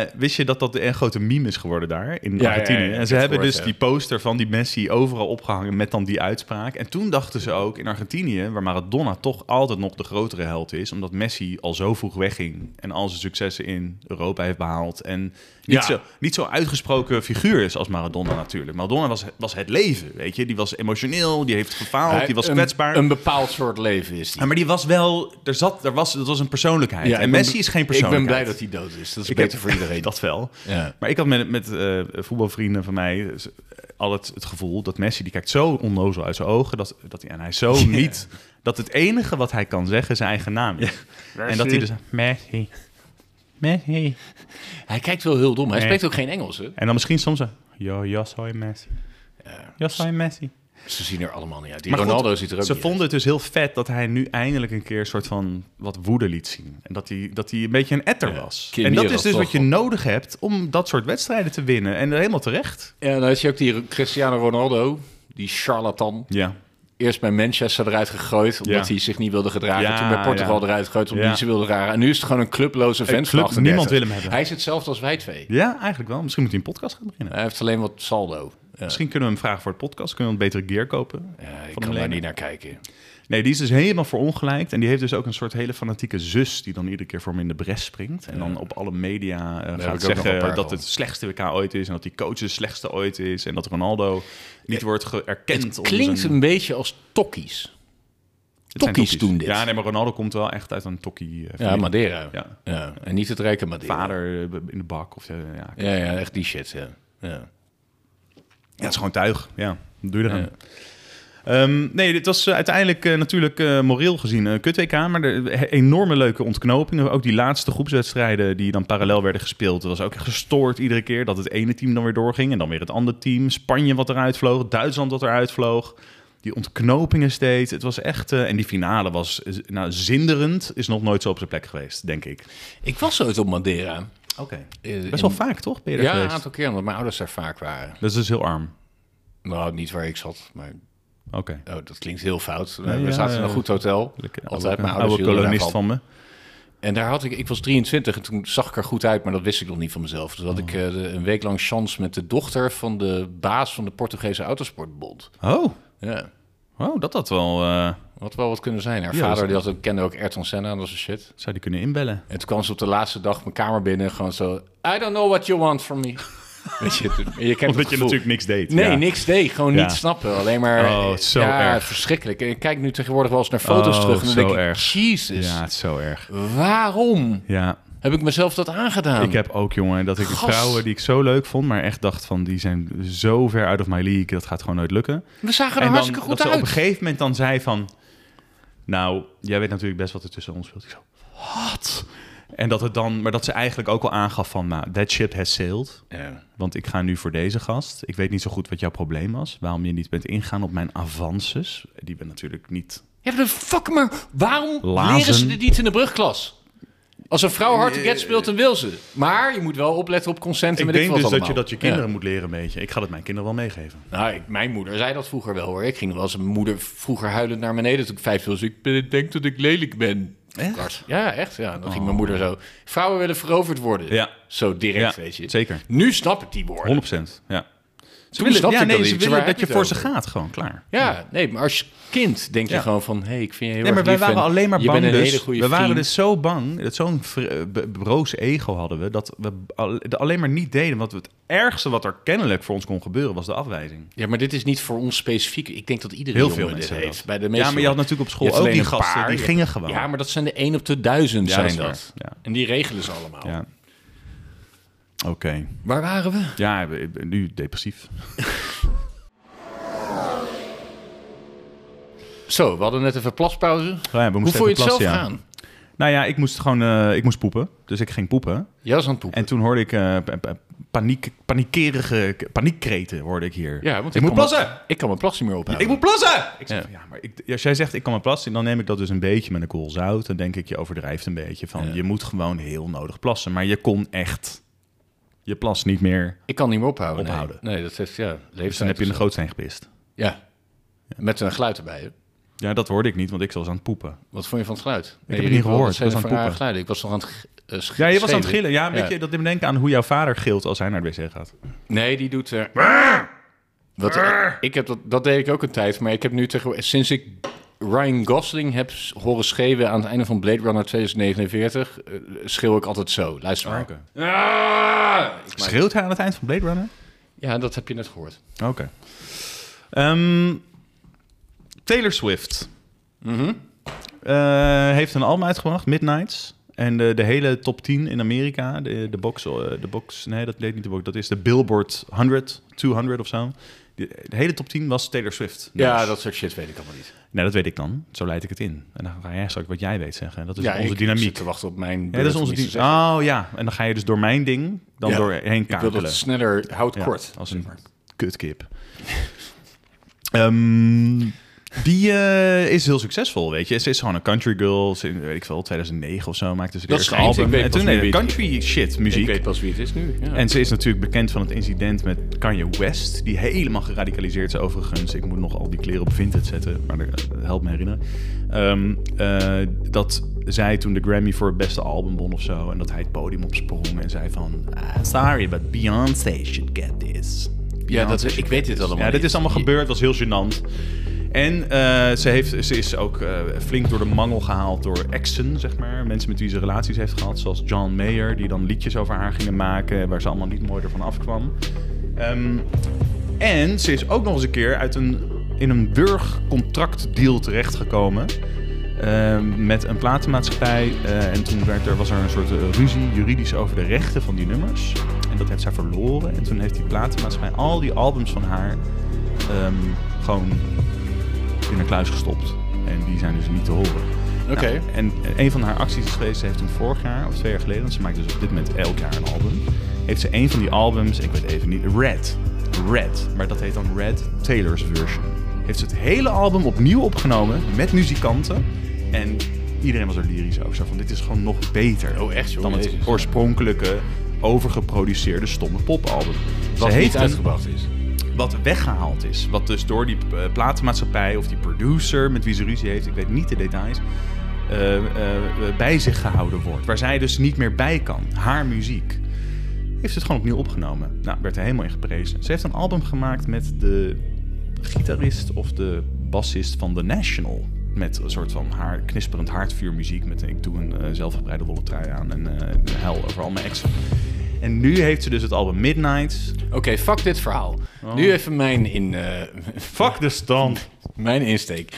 [SPEAKER 2] eh, wist je dat dat een grote meme is geworden daar in
[SPEAKER 1] ja,
[SPEAKER 2] Argentinië?
[SPEAKER 1] ja, ik
[SPEAKER 2] en ze
[SPEAKER 1] heb
[SPEAKER 2] hebben
[SPEAKER 1] gehoord,
[SPEAKER 2] dus
[SPEAKER 1] ja.
[SPEAKER 2] die poster van die Messi overal opgehangen met dan die uitspraak. En toen dachten ze ook in Argentinië, waar Maradona toch altijd nog de grotere held is, omdat Messi al zo vroeg wegging en al zijn successen in Europa heeft behaald. En niet,
[SPEAKER 1] Ja.
[SPEAKER 2] zo, niet zo uitgesproken figuur is als Maradona natuurlijk. Maradona was, was het leven, weet je. Die was emotioneel, die heeft gefaald,
[SPEAKER 1] Hij-
[SPEAKER 2] die was
[SPEAKER 1] een-
[SPEAKER 2] kwetsbaar.
[SPEAKER 1] Een bepaald soort leven is die.
[SPEAKER 2] Ja, maar die was wel, er zat, er was, dat was een persoonlijkheid.
[SPEAKER 1] Ja,
[SPEAKER 2] en
[SPEAKER 1] ik ben-
[SPEAKER 2] Messi is geen
[SPEAKER 1] Ik
[SPEAKER 2] persoonlijkheid.
[SPEAKER 1] ben blij dat hij dood is. Dat is
[SPEAKER 2] Ik
[SPEAKER 1] beter
[SPEAKER 2] heb-
[SPEAKER 1] voor iedereen.
[SPEAKER 2] Dat wel.
[SPEAKER 1] Ja.
[SPEAKER 2] Maar ik had met, met eh, voetbalvrienden van mij eh, altijd het gevoel dat Messi, die kijkt zo onnozel uit zijn ogen, dat, dat hij, en hij is zo niet, dat het enige wat hij kan zeggen zijn eigen naam is. En dat hij dus, Messi, Messi.
[SPEAKER 1] Hij kijkt wel heel dom. Hij
[SPEAKER 2] Nee.
[SPEAKER 1] spreekt ook geen Engels, hè?
[SPEAKER 2] En dan misschien soms een, yo, yo soy Messi. Yo soy Messi.
[SPEAKER 1] Ze zien er allemaal niet uit. Die
[SPEAKER 2] Maar goed,
[SPEAKER 1] Ronaldo ziet er ook
[SPEAKER 2] Ze
[SPEAKER 1] niet
[SPEAKER 2] vonden het dus heel vet dat hij nu eindelijk een keer een soort van wat woede liet zien. En dat hij, dat hij een beetje een etter was.
[SPEAKER 1] Kim
[SPEAKER 2] en dat
[SPEAKER 1] Miras
[SPEAKER 2] is dus
[SPEAKER 1] toch
[SPEAKER 2] wat je
[SPEAKER 1] wel.
[SPEAKER 2] nodig hebt om dat soort wedstrijden te winnen. En helemaal terecht.
[SPEAKER 1] uit. Ja, dan had je ook die Cristiano Ronaldo. Die charlatan.
[SPEAKER 2] Ja.
[SPEAKER 1] Eerst bij Manchester eruit gegooid, omdat
[SPEAKER 2] Ja.
[SPEAKER 1] hij zich niet wilde gedragen.
[SPEAKER 2] Ja,
[SPEAKER 1] Toen bij Portugal
[SPEAKER 2] ja.
[SPEAKER 1] eruit gegooid, omdat
[SPEAKER 2] Ja.
[SPEAKER 1] hij ze wilde dragen. En nu is het gewoon een clubloze vent van
[SPEAKER 2] club-
[SPEAKER 1] 38.
[SPEAKER 2] niemand wil hem hebben.
[SPEAKER 1] Hij is hetzelfde als wij twee.
[SPEAKER 2] Ja, eigenlijk wel. Misschien moet hij een podcast gaan beginnen.
[SPEAKER 1] Hij heeft alleen wat saldo. Ja.
[SPEAKER 2] Misschien kunnen we hem vragen voor het podcast. Kunnen we een betere gear kopen?
[SPEAKER 1] Ja, ik
[SPEAKER 2] Van
[SPEAKER 1] kan
[SPEAKER 2] de
[SPEAKER 1] daar
[SPEAKER 2] lenen.
[SPEAKER 1] niet naar kijken.
[SPEAKER 2] Nee, die is dus helemaal verongelijkt. En die heeft dus ook een soort hele fanatieke zus... die dan iedere keer voor hem in de bres springt. En dan op alle media eh,
[SPEAKER 1] heb ik ook
[SPEAKER 2] gaat
[SPEAKER 1] nog een paar
[SPEAKER 2] zeggen dat
[SPEAKER 1] van.
[SPEAKER 2] het slechtste WK ooit is... en dat die coach de slechtste ooit is... en dat Ronaldo niet wordt ge- erkend.
[SPEAKER 1] Het
[SPEAKER 2] onder
[SPEAKER 1] klinkt
[SPEAKER 2] zijn-
[SPEAKER 1] een beetje als tokkies.
[SPEAKER 2] Het zijn
[SPEAKER 1] tokkies doen dit.
[SPEAKER 2] Ja, nee, maar Ronaldo komt wel echt uit een tokkie. eh,
[SPEAKER 1] Ja,
[SPEAKER 2] familie.
[SPEAKER 1] Madeira. Ja.
[SPEAKER 2] Ja.
[SPEAKER 1] En niet het rijke Madeira.
[SPEAKER 2] Vader eh, in de bak. Of, eh, ja.
[SPEAKER 1] Ja, ja, echt die shit. Ja. Ja.
[SPEAKER 2] ja, het is gewoon tuig. Ja, wat doe je eraan?
[SPEAKER 1] Ja.
[SPEAKER 2] Oké, Ehm, nee, dit was eh, uiteindelijk eh, natuurlijk eh, moreel gezien een kut-WK. Maar de, he- enorme leuke ontknopingen. Ook die laatste groepswedstrijden die dan parallel werden gespeeld. Dat was ook echt gestoord iedere keer. Dat het ene team dan weer doorging en dan weer het andere team. Spanje wat eruit vloog, Duitsland wat eruit vloog. Die ontknopingen steeds. Het was echt... eh, en die finale was eh, nou, zinderend. Is nog nooit zo op zijn plek geweest, denk ik.
[SPEAKER 1] Ik was ooit op Madeira.
[SPEAKER 2] Oké.
[SPEAKER 1] Eh,
[SPEAKER 2] Best
[SPEAKER 1] in-
[SPEAKER 2] wel vaak, toch? Ben je daar
[SPEAKER 1] Ja, een
[SPEAKER 2] geweest?
[SPEAKER 1] aantal keer, omdat mijn ouders daar vaak waren.
[SPEAKER 2] Dat is dus heel arm.
[SPEAKER 1] Nou, niet waar ik zat, maar
[SPEAKER 2] Oké.
[SPEAKER 1] oh, dat klinkt heel fout.
[SPEAKER 2] Nee,
[SPEAKER 1] we
[SPEAKER 2] ja,
[SPEAKER 1] zaten in een
[SPEAKER 2] eh,
[SPEAKER 1] goed hotel.
[SPEAKER 2] Lekker.
[SPEAKER 1] Altijd mijn
[SPEAKER 2] Oude-
[SPEAKER 1] ouders
[SPEAKER 2] oude
[SPEAKER 1] hielden
[SPEAKER 2] kolonist
[SPEAKER 1] daarvan.
[SPEAKER 2] van me.
[SPEAKER 1] En daar had ik, ik was 23 en toen zag ik er goed uit, maar dat wist ik nog niet van mezelf. Dus had ik
[SPEAKER 2] Oh.
[SPEAKER 1] eh, de- een week lang chance met de dochter van de baas van de Portugese Autosportbond.
[SPEAKER 2] Oh,
[SPEAKER 1] Ja,
[SPEAKER 2] oh dat had wel... eh,
[SPEAKER 1] had wel wat kunnen zijn. Haar
[SPEAKER 2] Ja,
[SPEAKER 1] vader
[SPEAKER 2] dat is-
[SPEAKER 1] die had, ook- kende ook Ayrton Senna en dat soort shit.
[SPEAKER 2] zou die kunnen inbellen?
[SPEAKER 1] En toen kwam ze op de laatste dag mijn kamer binnen en gewoon zo... I don't know what you want from me. Weet je, toen- je kent
[SPEAKER 2] Omdat
[SPEAKER 1] het
[SPEAKER 2] je
[SPEAKER 1] gevoel.
[SPEAKER 2] natuurlijk niks deed.
[SPEAKER 1] Nee,
[SPEAKER 2] ja.
[SPEAKER 1] niks deed. Gewoon
[SPEAKER 2] Ja.
[SPEAKER 1] niet snappen. Alleen maar...
[SPEAKER 2] Oh, zo
[SPEAKER 1] ja,
[SPEAKER 2] erg.
[SPEAKER 1] verschrikkelijk. En ik kijk nu tegenwoordig wel eens naar foto's
[SPEAKER 2] Oh,
[SPEAKER 1] terug. En dan
[SPEAKER 2] zo
[SPEAKER 1] denk ik,
[SPEAKER 2] erg.
[SPEAKER 1] jezus,
[SPEAKER 2] Ja, het is zo erg.
[SPEAKER 1] waarom
[SPEAKER 2] Dus- Ja,
[SPEAKER 1] heb ik mezelf dat aangedaan?
[SPEAKER 2] ik heb ook, jongen, dat ik
[SPEAKER 1] Gast.
[SPEAKER 2] vrouwen die ik zo leuk vond, maar echt dacht van, die zijn zo ver out of my league, dat gaat gewoon nooit lukken.
[SPEAKER 1] We zagen er
[SPEAKER 2] en dan,
[SPEAKER 1] hartstikke
[SPEAKER 2] dat
[SPEAKER 1] goed
[SPEAKER 2] ze op
[SPEAKER 1] uit.
[SPEAKER 2] een gegeven moment dan zei van, nou, jij weet natuurlijk best wat er tussen ons speelt. Ik zo, wat? En dat het dan, maar dat ze eigenlijk ook al aangaf van, nou, that ship has sailed.
[SPEAKER 1] Ja.
[SPEAKER 2] Want ik ga nu voor deze gast. Ik weet niet zo goed wat jouw probleem was. Waarom je niet bent ingegaan op mijn avances. Die ben natuurlijk niet...
[SPEAKER 1] Ja, maar de fuck, maar waarom
[SPEAKER 2] Lazen.
[SPEAKER 1] leren ze dit niet in de brugklas? Als een vrouw hard get speelt, dan wil ze. Maar je moet wel opletten op consent en
[SPEAKER 2] Ik
[SPEAKER 1] weet
[SPEAKER 2] denk
[SPEAKER 1] ik
[SPEAKER 2] dus
[SPEAKER 1] wat
[SPEAKER 2] dat je
[SPEAKER 1] allemaal.
[SPEAKER 2] dat je kinderen moet leren een beetje. Ik ga dat mijn kinderen wel meegeven.
[SPEAKER 1] Ja. Nou, ik- mijn moeder zei dat vroeger wel hoor. Ik ging wel eens mijn moeder vroeger huilend naar beneden toen ik vijf was. Ik ben- denk dat ik lelijk ben. Echt? Ja, echt. Ja. Dan ging mijn moeder zo. Vrouwen willen veroverd worden.
[SPEAKER 2] Oh. Ja.
[SPEAKER 1] Zo direct, weet je.
[SPEAKER 2] zeker.
[SPEAKER 1] Nu snap ik die woorden.
[SPEAKER 2] 100%. Ja.
[SPEAKER 1] Toen snapte
[SPEAKER 2] ja,
[SPEAKER 1] ik
[SPEAKER 2] nee,
[SPEAKER 1] dat
[SPEAKER 2] ze
[SPEAKER 1] niet. Zo, waar
[SPEAKER 2] willen
[SPEAKER 1] heb
[SPEAKER 2] dat je
[SPEAKER 1] het
[SPEAKER 2] voor ze
[SPEAKER 1] over?
[SPEAKER 2] gaat. Gewoon klaar.
[SPEAKER 1] Ja, nee, maar als kind denk je
[SPEAKER 2] Ja.
[SPEAKER 1] gewoon van... hé, hey, ik vind je heel
[SPEAKER 2] Nee, maar
[SPEAKER 1] erg
[SPEAKER 2] wij
[SPEAKER 1] lief
[SPEAKER 2] waren
[SPEAKER 1] en
[SPEAKER 2] alleen maar
[SPEAKER 1] je
[SPEAKER 2] bang.
[SPEAKER 1] bent een
[SPEAKER 2] dus.
[SPEAKER 1] hele goede
[SPEAKER 2] we waren
[SPEAKER 1] vriend.
[SPEAKER 2] dus zo bang, dat zo'n vr- eh, be- broos ego hadden we, dat we al- dat alleen maar niet deden. Want het ergste wat er kennelijk voor ons kon gebeuren was de afwijzing.
[SPEAKER 1] Ja, maar dit is niet voor ons specifiek. Ik denk dat iedereen
[SPEAKER 2] Heel veel
[SPEAKER 1] dit
[SPEAKER 2] mensen
[SPEAKER 1] heeft. Bij de
[SPEAKER 2] Ja,
[SPEAKER 1] meeste
[SPEAKER 2] maar je had natuurlijk op
[SPEAKER 1] Je
[SPEAKER 2] school
[SPEAKER 1] hebt
[SPEAKER 2] ook
[SPEAKER 1] alleen
[SPEAKER 2] die
[SPEAKER 1] een
[SPEAKER 2] gasten,
[SPEAKER 1] paar.
[SPEAKER 2] die
[SPEAKER 1] Je-
[SPEAKER 2] gingen gewoon.
[SPEAKER 1] Ja, maar dat zijn de 1 op de 1000
[SPEAKER 2] Ja,
[SPEAKER 1] zijn
[SPEAKER 2] dat is
[SPEAKER 1] dat.
[SPEAKER 2] waar. Ja.
[SPEAKER 1] En die regelen ze allemaal.
[SPEAKER 2] Ja. Oké.
[SPEAKER 1] Waar waren we?
[SPEAKER 2] Ja, we- we- nu depressief.
[SPEAKER 1] Zo, we hadden net even plaspauze.
[SPEAKER 2] Oh Ja, we
[SPEAKER 1] Hoe
[SPEAKER 2] moesten
[SPEAKER 1] voel je het
[SPEAKER 2] even
[SPEAKER 1] zelf
[SPEAKER 2] plassen, ja.
[SPEAKER 1] gaan?
[SPEAKER 2] Nou ja, ik moest gewoon eh, ik moest poepen. Dus ik ging poepen.
[SPEAKER 1] Jij was aan het poepen.
[SPEAKER 2] En toen hoorde ik eh, pa- pa- paniek, paniekerige k- paniekkreten hoorde ik hier.
[SPEAKER 1] ja, want
[SPEAKER 2] ik moet
[SPEAKER 1] kan me-
[SPEAKER 2] plassen!
[SPEAKER 1] ik kan mijn plas niet meer ophouden.
[SPEAKER 2] Ik moet plassen! Ik zeg
[SPEAKER 1] Ja.
[SPEAKER 2] van, ja, maar ik, als jij zegt ik kan me plassen, dan neem ik dat dus een beetje met een kool zout. Dan denk ik, je overdrijft een beetje van,
[SPEAKER 1] Ja.
[SPEAKER 2] je moet gewoon heel nodig plassen. Maar je kon echt je plas niet meer.
[SPEAKER 1] Ik kan niet meer ophouden. nee.
[SPEAKER 2] Ophouden.
[SPEAKER 1] Nee, dat heeft ja, leeftijd.
[SPEAKER 2] Dus dan heb je in
[SPEAKER 1] of
[SPEAKER 2] de
[SPEAKER 1] zo.
[SPEAKER 2] gootsteen gepist.
[SPEAKER 1] Ja. Met een geluid erbij. hè?
[SPEAKER 2] Ja, dat hoorde ik niet, want ik was aan het poepen.
[SPEAKER 1] Wat vond je van het geluid? Ik
[SPEAKER 2] het niet gehoord. Ik was aan het poepen.
[SPEAKER 1] geluiden. Ik was nog aan het eh, sch-
[SPEAKER 2] Ja, je was aan het
[SPEAKER 1] schreeuwen.
[SPEAKER 2] gillen. Ja, een beetje dat deed me denken aan hoe jouw vader gilt als hij naar de wc gaat.
[SPEAKER 1] Nee, die doet. eh, wat, ik heb dat, dat deed ik ook een tijd, maar ik heb nu tegenwoordig. Sinds ik Ryan Gosling heb s- horen schreeuwen aan het einde van Blade Runner 2049, eh, schreeuw ik altijd zo. Luister maar. Ah! Ik maak-
[SPEAKER 2] Schreeuwt hij aan het eind van Blade Runner?
[SPEAKER 1] Ja, dat heb je net gehoord.
[SPEAKER 2] Oké. Ehm, Taylor Swift
[SPEAKER 1] Mhm.
[SPEAKER 2] Eh, heeft een album uitgebracht, Midnights. En de, de hele top 10 in Amerika, de, de, box, eh, de box, nee, dat deed niet de box, dat is de Billboard 100, 200 of zo. De, de hele top 10 was Taylor Swift.
[SPEAKER 1] Ja,
[SPEAKER 2] Dus-
[SPEAKER 1] dat soort shit weet ik allemaal niet.
[SPEAKER 2] Nee, dat weet ik dan. Zo leid ik het in. En dan ga jij straks wat jij weet zeggen. En Dat is
[SPEAKER 1] ja,
[SPEAKER 2] onze
[SPEAKER 1] ik zit
[SPEAKER 2] dynamiek.
[SPEAKER 1] te wachten op mijn.
[SPEAKER 2] Ja, dat is
[SPEAKER 1] beurt om
[SPEAKER 2] onze
[SPEAKER 1] iets te
[SPEAKER 2] dynamiek.
[SPEAKER 1] zeggen.
[SPEAKER 2] Oh ja, en dan ga je dus door mijn ding dan
[SPEAKER 1] Ja.
[SPEAKER 2] doorheen
[SPEAKER 1] Ik wil
[SPEAKER 2] kakelen.
[SPEAKER 1] dat het sneller, houd
[SPEAKER 2] Ja,
[SPEAKER 1] kort.
[SPEAKER 2] Als
[SPEAKER 1] zeg
[SPEAKER 2] een
[SPEAKER 1] maar.
[SPEAKER 2] kutkip. Ehm, die eh, is heel succesvol, weet je. Ze is gewoon een country girl. Ze, weet ik veel, 2009 of zo maakte ze de
[SPEAKER 1] Dat
[SPEAKER 2] eerste
[SPEAKER 1] schijnt,
[SPEAKER 2] album.
[SPEAKER 1] ik weet
[SPEAKER 2] en
[SPEAKER 1] pas
[SPEAKER 2] toen nee,
[SPEAKER 1] wie het-
[SPEAKER 2] country shit
[SPEAKER 1] Ik
[SPEAKER 2] muziek.
[SPEAKER 1] weet pas wie het is nu. Ja.
[SPEAKER 2] En ze is natuurlijk bekend van het incident met Kanye West. Die helemaal geradicaliseerd is overigens. Ik moet nog al die kleren op Vinted zetten. Maar dat dat helpt me herinneren. Ehm, eh, dat zij toen de Grammy voor het beste album won of zo. En dat hij het podium opsprong en zei van... "Ah, sorry, but Beyoncé should get this.
[SPEAKER 1] ja, dat,
[SPEAKER 2] Beyoncé
[SPEAKER 1] ik weet dit allemaal.
[SPEAKER 2] ja, dit
[SPEAKER 1] niet.
[SPEAKER 2] is allemaal gebeurd. was heel gênant. En eh, ze, heeft, ze is ook eh, flink door de mangel gehaald door exen, zeg maar. Mensen met wie ze relaties heeft gehad, zoals John Mayer... die dan liedjes over haar gingen maken... waar ze allemaal niet mooi ervan afkwam. Ehm, en ze is ook nog eens een keer uit een, in een wurgcontractdeal terechtgekomen... ehm, met een platenmaatschappij. Eh, en toen werd er, was er een soort eh, ruzie juridisch over de rechten van die nummers. En dat heeft zij verloren. En toen heeft die platenmaatschappij al die albums van haar ehm, gewoon in een kluis gestopt. En die zijn dus niet te horen.
[SPEAKER 1] Oké.
[SPEAKER 2] Nou, en een van haar acties is geweest, ze heeft toen vorig jaar of twee jaar geleden, want ze maakt dus op dit moment elk jaar een album, heeft ze een van die albums, ik weet even niet, Red. Red, maar dat heet dan Red Taylor's Version. Heeft ze het hele album opnieuw opgenomen met muzikanten en iedereen was er lyrisch over. Zo van, dit is gewoon nog beter
[SPEAKER 1] Oh, echt, joh?
[SPEAKER 2] dan het
[SPEAKER 1] Jezus.
[SPEAKER 2] oorspronkelijke, overgeproduceerde, stomme popalbum.
[SPEAKER 1] Wat
[SPEAKER 2] ze heeft
[SPEAKER 1] niet
[SPEAKER 2] een-
[SPEAKER 1] uitgebracht is.
[SPEAKER 2] wat weggehaald is. Wat dus door die eh, platenmaatschappij of die producer met wie ze ruzie heeft, ik weet niet de details, eh, eh, eh, bij zich gehouden wordt. Waar zij dus niet meer bij kan. Haar muziek. Heeft ze het gewoon opnieuw opgenomen. Nou, werd er helemaal in geprezen. Ze heeft een album gemaakt met de gitarist of de bassist van The National. Met een soort van haar knisperend haardvuurmuziek. Met een- ik doe een eh, zelfgebreide wollen trui aan en eh hel over al mijn exen. En nu heeft ze dus het album Midnight.
[SPEAKER 1] Oké, fuck dit verhaal.
[SPEAKER 2] Oh.
[SPEAKER 1] Nu even mijn, in, eh,
[SPEAKER 2] Fuck de stand.
[SPEAKER 1] mijn insteek.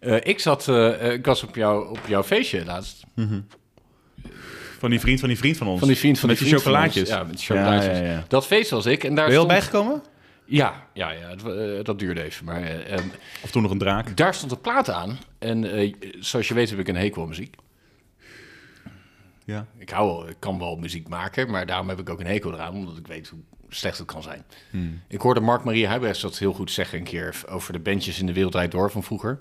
[SPEAKER 1] Eh, ik, zat, eh, eh, ik was op, jou, op jouw feestje laatst.
[SPEAKER 2] Van die vriend van die vriend van ons.
[SPEAKER 1] Van die vriend van
[SPEAKER 2] Met
[SPEAKER 1] die
[SPEAKER 2] die
[SPEAKER 1] vriend van ons.
[SPEAKER 2] chocolaatjes.
[SPEAKER 1] Ja, met die chocolaatjes.
[SPEAKER 2] Ja, ja, ja.
[SPEAKER 1] Dat feest was ik. En daar
[SPEAKER 2] Ben je al
[SPEAKER 1] stond-
[SPEAKER 2] bijgekomen?
[SPEAKER 1] Ja, ja, ja het wa- eh, dat duurde even. Maar eh, ehm,
[SPEAKER 2] Of toen nog een draak?
[SPEAKER 1] daar stond een plaat aan. En eh, zoals je weet heb ik een hekel aan muziek.
[SPEAKER 2] Ja.
[SPEAKER 1] Ik, hou, wel- ik kan wel muziek maken, maar daarom heb ik ook een hekel eraan. Omdat ik weet hoe slecht het kan zijn. Ik hoorde Mark-Marie Huibrechts dat heel goed zeggen een keer... over de bandjes in de wereldwijd door van vroeger.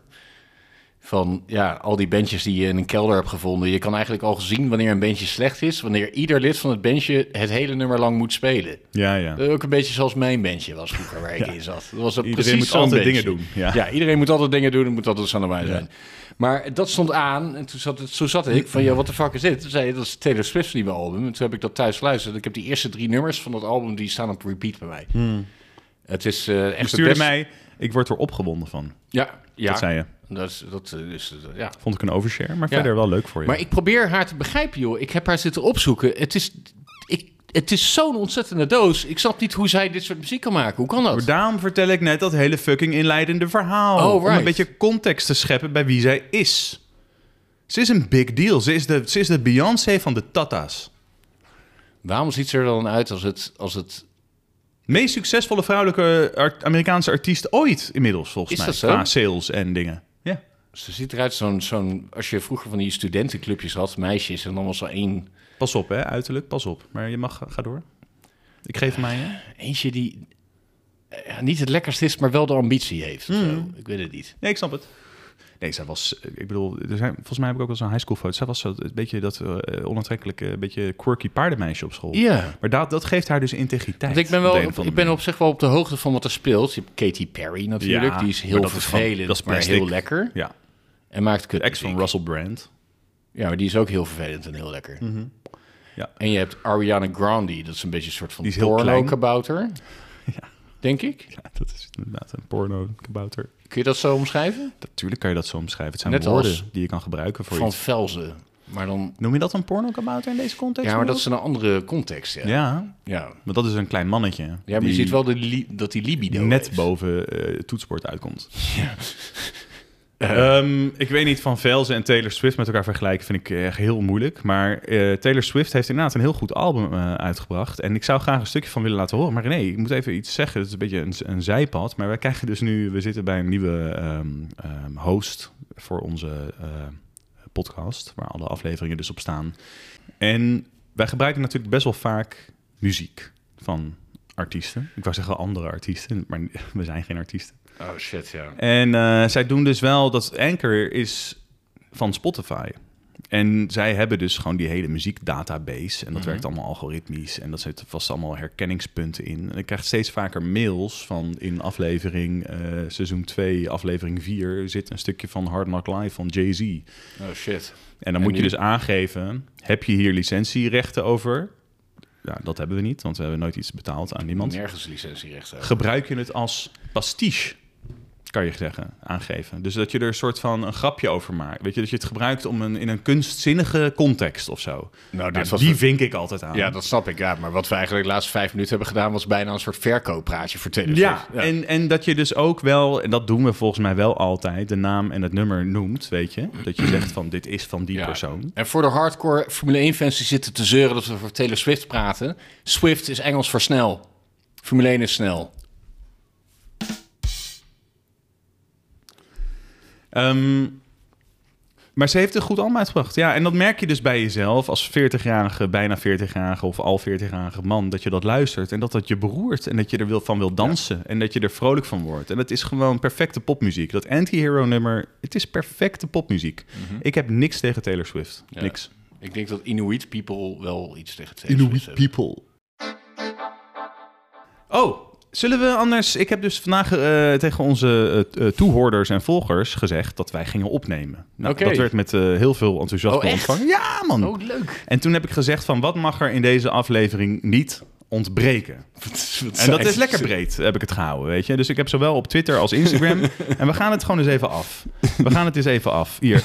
[SPEAKER 1] Van ja, al die bandjes die je in een kelder hebt gevonden. Je kan eigenlijk al zien wanneer een bandje slecht is. Wanneer ieder lid van het bandje het hele nummer lang moet spelen.
[SPEAKER 2] Ja, ja.
[SPEAKER 1] Eh, Ook een beetje zoals mijn bandje was vroeger waar ik in zat. Dat was
[SPEAKER 2] Iedereen
[SPEAKER 1] precies
[SPEAKER 2] moet
[SPEAKER 1] zo'n
[SPEAKER 2] altijd
[SPEAKER 1] bandje.
[SPEAKER 2] dingen doen, ja.
[SPEAKER 1] iedereen moet altijd dingen doen. Er moet altijd aan mij zijn. Maar dat stond aan en toen zat, het, zo zat ik van, ja, wat de fuck is dit? Toen zei je, dat is Taylor Swift's nieuwe album. En toen heb ik dat thuis geluisterd. Ik heb die eerste drie nummers van dat album, die staan op repeat bij mij. Het is eh, echt
[SPEAKER 2] Je
[SPEAKER 1] het
[SPEAKER 2] Hmm. stuurde
[SPEAKER 1] beste-
[SPEAKER 2] mij, ik word er opgewonden van.
[SPEAKER 1] Ja, ja.
[SPEAKER 2] Dat zei je.
[SPEAKER 1] Dat is, dat eh, is, eh, ja.
[SPEAKER 2] Vond ik een overshare, maar
[SPEAKER 1] Ja.
[SPEAKER 2] verder wel leuk voor je.
[SPEAKER 1] Maar ik probeer haar te begrijpen, joh. Ik heb haar zitten opzoeken. Het is, ik, het is zo'n ontzettende doos. Ik snap niet hoe zij dit soort muziek kan maken. Hoe kan dat?
[SPEAKER 2] Maar daarom vertel ik net dat hele fucking inleidende verhaal.
[SPEAKER 1] Oh,
[SPEAKER 2] Om een
[SPEAKER 1] right.
[SPEAKER 2] beetje context te scheppen bij wie zij is. Ze is een big deal. Ze is de, ze is de Beyoncé van de Tata's.
[SPEAKER 1] Waarom ziet ze er dan uit als het... Als het
[SPEAKER 2] Meest succesvolle vrouwelijke art- Amerikaanse artiest ooit inmiddels, volgens
[SPEAKER 1] Is
[SPEAKER 2] mij.
[SPEAKER 1] dat zo?
[SPEAKER 2] Qua sales en dingen. Ja.
[SPEAKER 1] ze ziet eruit zo'n... zo'n als je vroeger van die studentenclubjes had, meisjes... en dan was er één...
[SPEAKER 2] Pas op, hè, uiterlijk, pas op. Maar je mag, ga door. Ik geef mij, hè.
[SPEAKER 1] Eentje die eh, ja, niet het lekkerst is, maar wel de ambitie heeft. of
[SPEAKER 2] Hmm.
[SPEAKER 1] zo. Ik weet het niet.
[SPEAKER 2] Nee, ik snap het. Nee, zij was, eh, ik bedoel, er zijn, volgens mij heb ik ook wel zo'n high school foto. Zij was zo een beetje dat eh, onaantrekkelijke, een beetje quirky paardenmeisje op school.
[SPEAKER 1] Ja.
[SPEAKER 2] Maar dat, dat geeft haar dus integriteit.
[SPEAKER 1] Want ik ben,
[SPEAKER 2] op
[SPEAKER 1] wel,
[SPEAKER 2] de een of andere
[SPEAKER 1] ik ben
[SPEAKER 2] manier.
[SPEAKER 1] op zich wel op de hoogte van wat er speelt. Je hebt Katy Perry natuurlijk.
[SPEAKER 2] Ja,
[SPEAKER 1] die is
[SPEAKER 2] maar
[SPEAKER 1] heel
[SPEAKER 2] dat is gewoon-
[SPEAKER 1] vervelend,
[SPEAKER 2] dat is
[SPEAKER 1] maar
[SPEAKER 2] plastic.
[SPEAKER 1] heel lekker.
[SPEAKER 2] Ja,
[SPEAKER 1] En maakt kut.
[SPEAKER 2] ex van Russell Brand.
[SPEAKER 1] Ja, maar die is ook heel vervelend en heel lekker.
[SPEAKER 2] Mhm. Ja.
[SPEAKER 1] En je hebt Ariana Grande. Dat is een beetje een soort van
[SPEAKER 2] Die is heel klein.
[SPEAKER 1] porno-kabouter. Denk ik.
[SPEAKER 2] Ja, dat is inderdaad een porno-kabouter.
[SPEAKER 1] Kun je dat zo omschrijven?
[SPEAKER 2] Natuurlijk kan je dat zo omschrijven. Het zijn
[SPEAKER 1] Net
[SPEAKER 2] woorden
[SPEAKER 1] als
[SPEAKER 2] die je kan gebruiken voor
[SPEAKER 1] Van
[SPEAKER 2] iets.
[SPEAKER 1] Velzen. Maar dan...
[SPEAKER 2] Noem je dat een porno-kabouter in deze context?
[SPEAKER 1] Ja, maar dat is een andere context, ja. Ja,
[SPEAKER 2] Ja,
[SPEAKER 1] ja.
[SPEAKER 2] maar dat is een klein mannetje. Ja,
[SPEAKER 1] maar je ziet wel de li- dat die libido
[SPEAKER 2] net
[SPEAKER 1] heeft.
[SPEAKER 2] boven eh, het toetsenbord uitkomt. Ehm, ik weet niet, Van Velzen en Taylor Swift met elkaar vergelijken vind ik echt heel moeilijk. Maar eh, Taylor Swift heeft inderdaad een heel goed album eh, uitgebracht. En ik zou graag een stukje van willen laten horen. Maar nee, ik moet even iets zeggen. Het is een beetje een, een zijpad. Maar wij krijgen dus nu, we zitten bij een nieuwe ehm, ehm, host voor onze eh, podcast. Waar alle afleveringen dus op staan. En wij gebruiken natuurlijk best wel vaak muziek van artiesten. Ik wou zeggen andere artiesten, maar we zijn geen artiesten.
[SPEAKER 1] Oh shit, ja.
[SPEAKER 2] En eh, zij doen dus wel dat Anchor is van Spotify. En zij hebben dus gewoon die hele muziekdatabase. En dat werkt allemaal algoritmisch. En dat zitten vast allemaal herkenningspunten in. En ik krijg steeds vaker mails van in aflevering eh, seizoen 2, aflevering 4... zit een stukje van Hard Knock Live van Jay-Z.
[SPEAKER 1] Oh shit.
[SPEAKER 2] En
[SPEAKER 1] En
[SPEAKER 2] dan moet je
[SPEAKER 1] nu-
[SPEAKER 2] dus aangeven, heb je hier licentierechten over? Nou, dat hebben we niet, want we hebben nooit iets betaald aan niemand.
[SPEAKER 1] Nergens licentierecht over.
[SPEAKER 2] Gebruik je het als pastiche, kan je zeggen, aangeven. Dus dat je er een soort van een grapje over maakt. Weet je, dat je het gebruikt om een, in een kunstzinnige context of zo.
[SPEAKER 1] Nou,
[SPEAKER 2] Nou,
[SPEAKER 1] dit was
[SPEAKER 2] die
[SPEAKER 1] een-
[SPEAKER 2] vink ik altijd aan.
[SPEAKER 1] Ja, dat snap ik. Ja, maar wat we eigenlijk de laatste vijf minuten hebben gedaan... was bijna een soort verkooppraatje voor Taylor
[SPEAKER 2] Ja,
[SPEAKER 1] Swift.
[SPEAKER 2] en, en Dus dat je dus ook wel, en dat doen we volgens mij wel altijd, de naam en het nummer noemt, weet je. Dat je zegt van dit is van die
[SPEAKER 1] Ja.
[SPEAKER 2] persoon.
[SPEAKER 1] En voor de hardcore Formule 1-fans die zitten te zeuren... dat we voor Taylor Swift praten. Swift is Engels voor snel. Formule 1 is snel.
[SPEAKER 2] Ehm, maar ze heeft een goed album uitgebracht. Ja, en dat merk je dus bij jezelf als 40-jarige, bijna 40-jarige of al 40-jarige man, dat je dat luistert en dat dat je beroert en dat je er wil, van wil dansen en dat je er vrolijk van wordt. En dat is gewoon perfecte popmuziek. Dat anti-hero nummer, het is perfecte popmuziek. Ik heb niks tegen Taylor Swift.
[SPEAKER 1] Ja.
[SPEAKER 2] Niks.
[SPEAKER 1] Ik denk dat Inuit people wel iets tegen het
[SPEAKER 2] people. Oh, zullen we anders... Ik heb dus vandaag eh, tegen onze eh, eh, toehoorders en volgers gezegd dat wij gingen opnemen. Nou,
[SPEAKER 1] Oké.
[SPEAKER 2] Dat werd met eh, heel veel enthousiasme
[SPEAKER 1] Oh, echt?
[SPEAKER 2] ontvangen. Ja, man.
[SPEAKER 1] Oh, leuk.
[SPEAKER 2] En toen heb ik gezegd van wat mag er in deze aflevering niet ontbreken. En dat is lekker breed, heb ik het gehouden, weet je. Dus ik heb zowel op Twitter als Instagram. en we gaan het gewoon eens even af. We gaan het eens even af. Hier.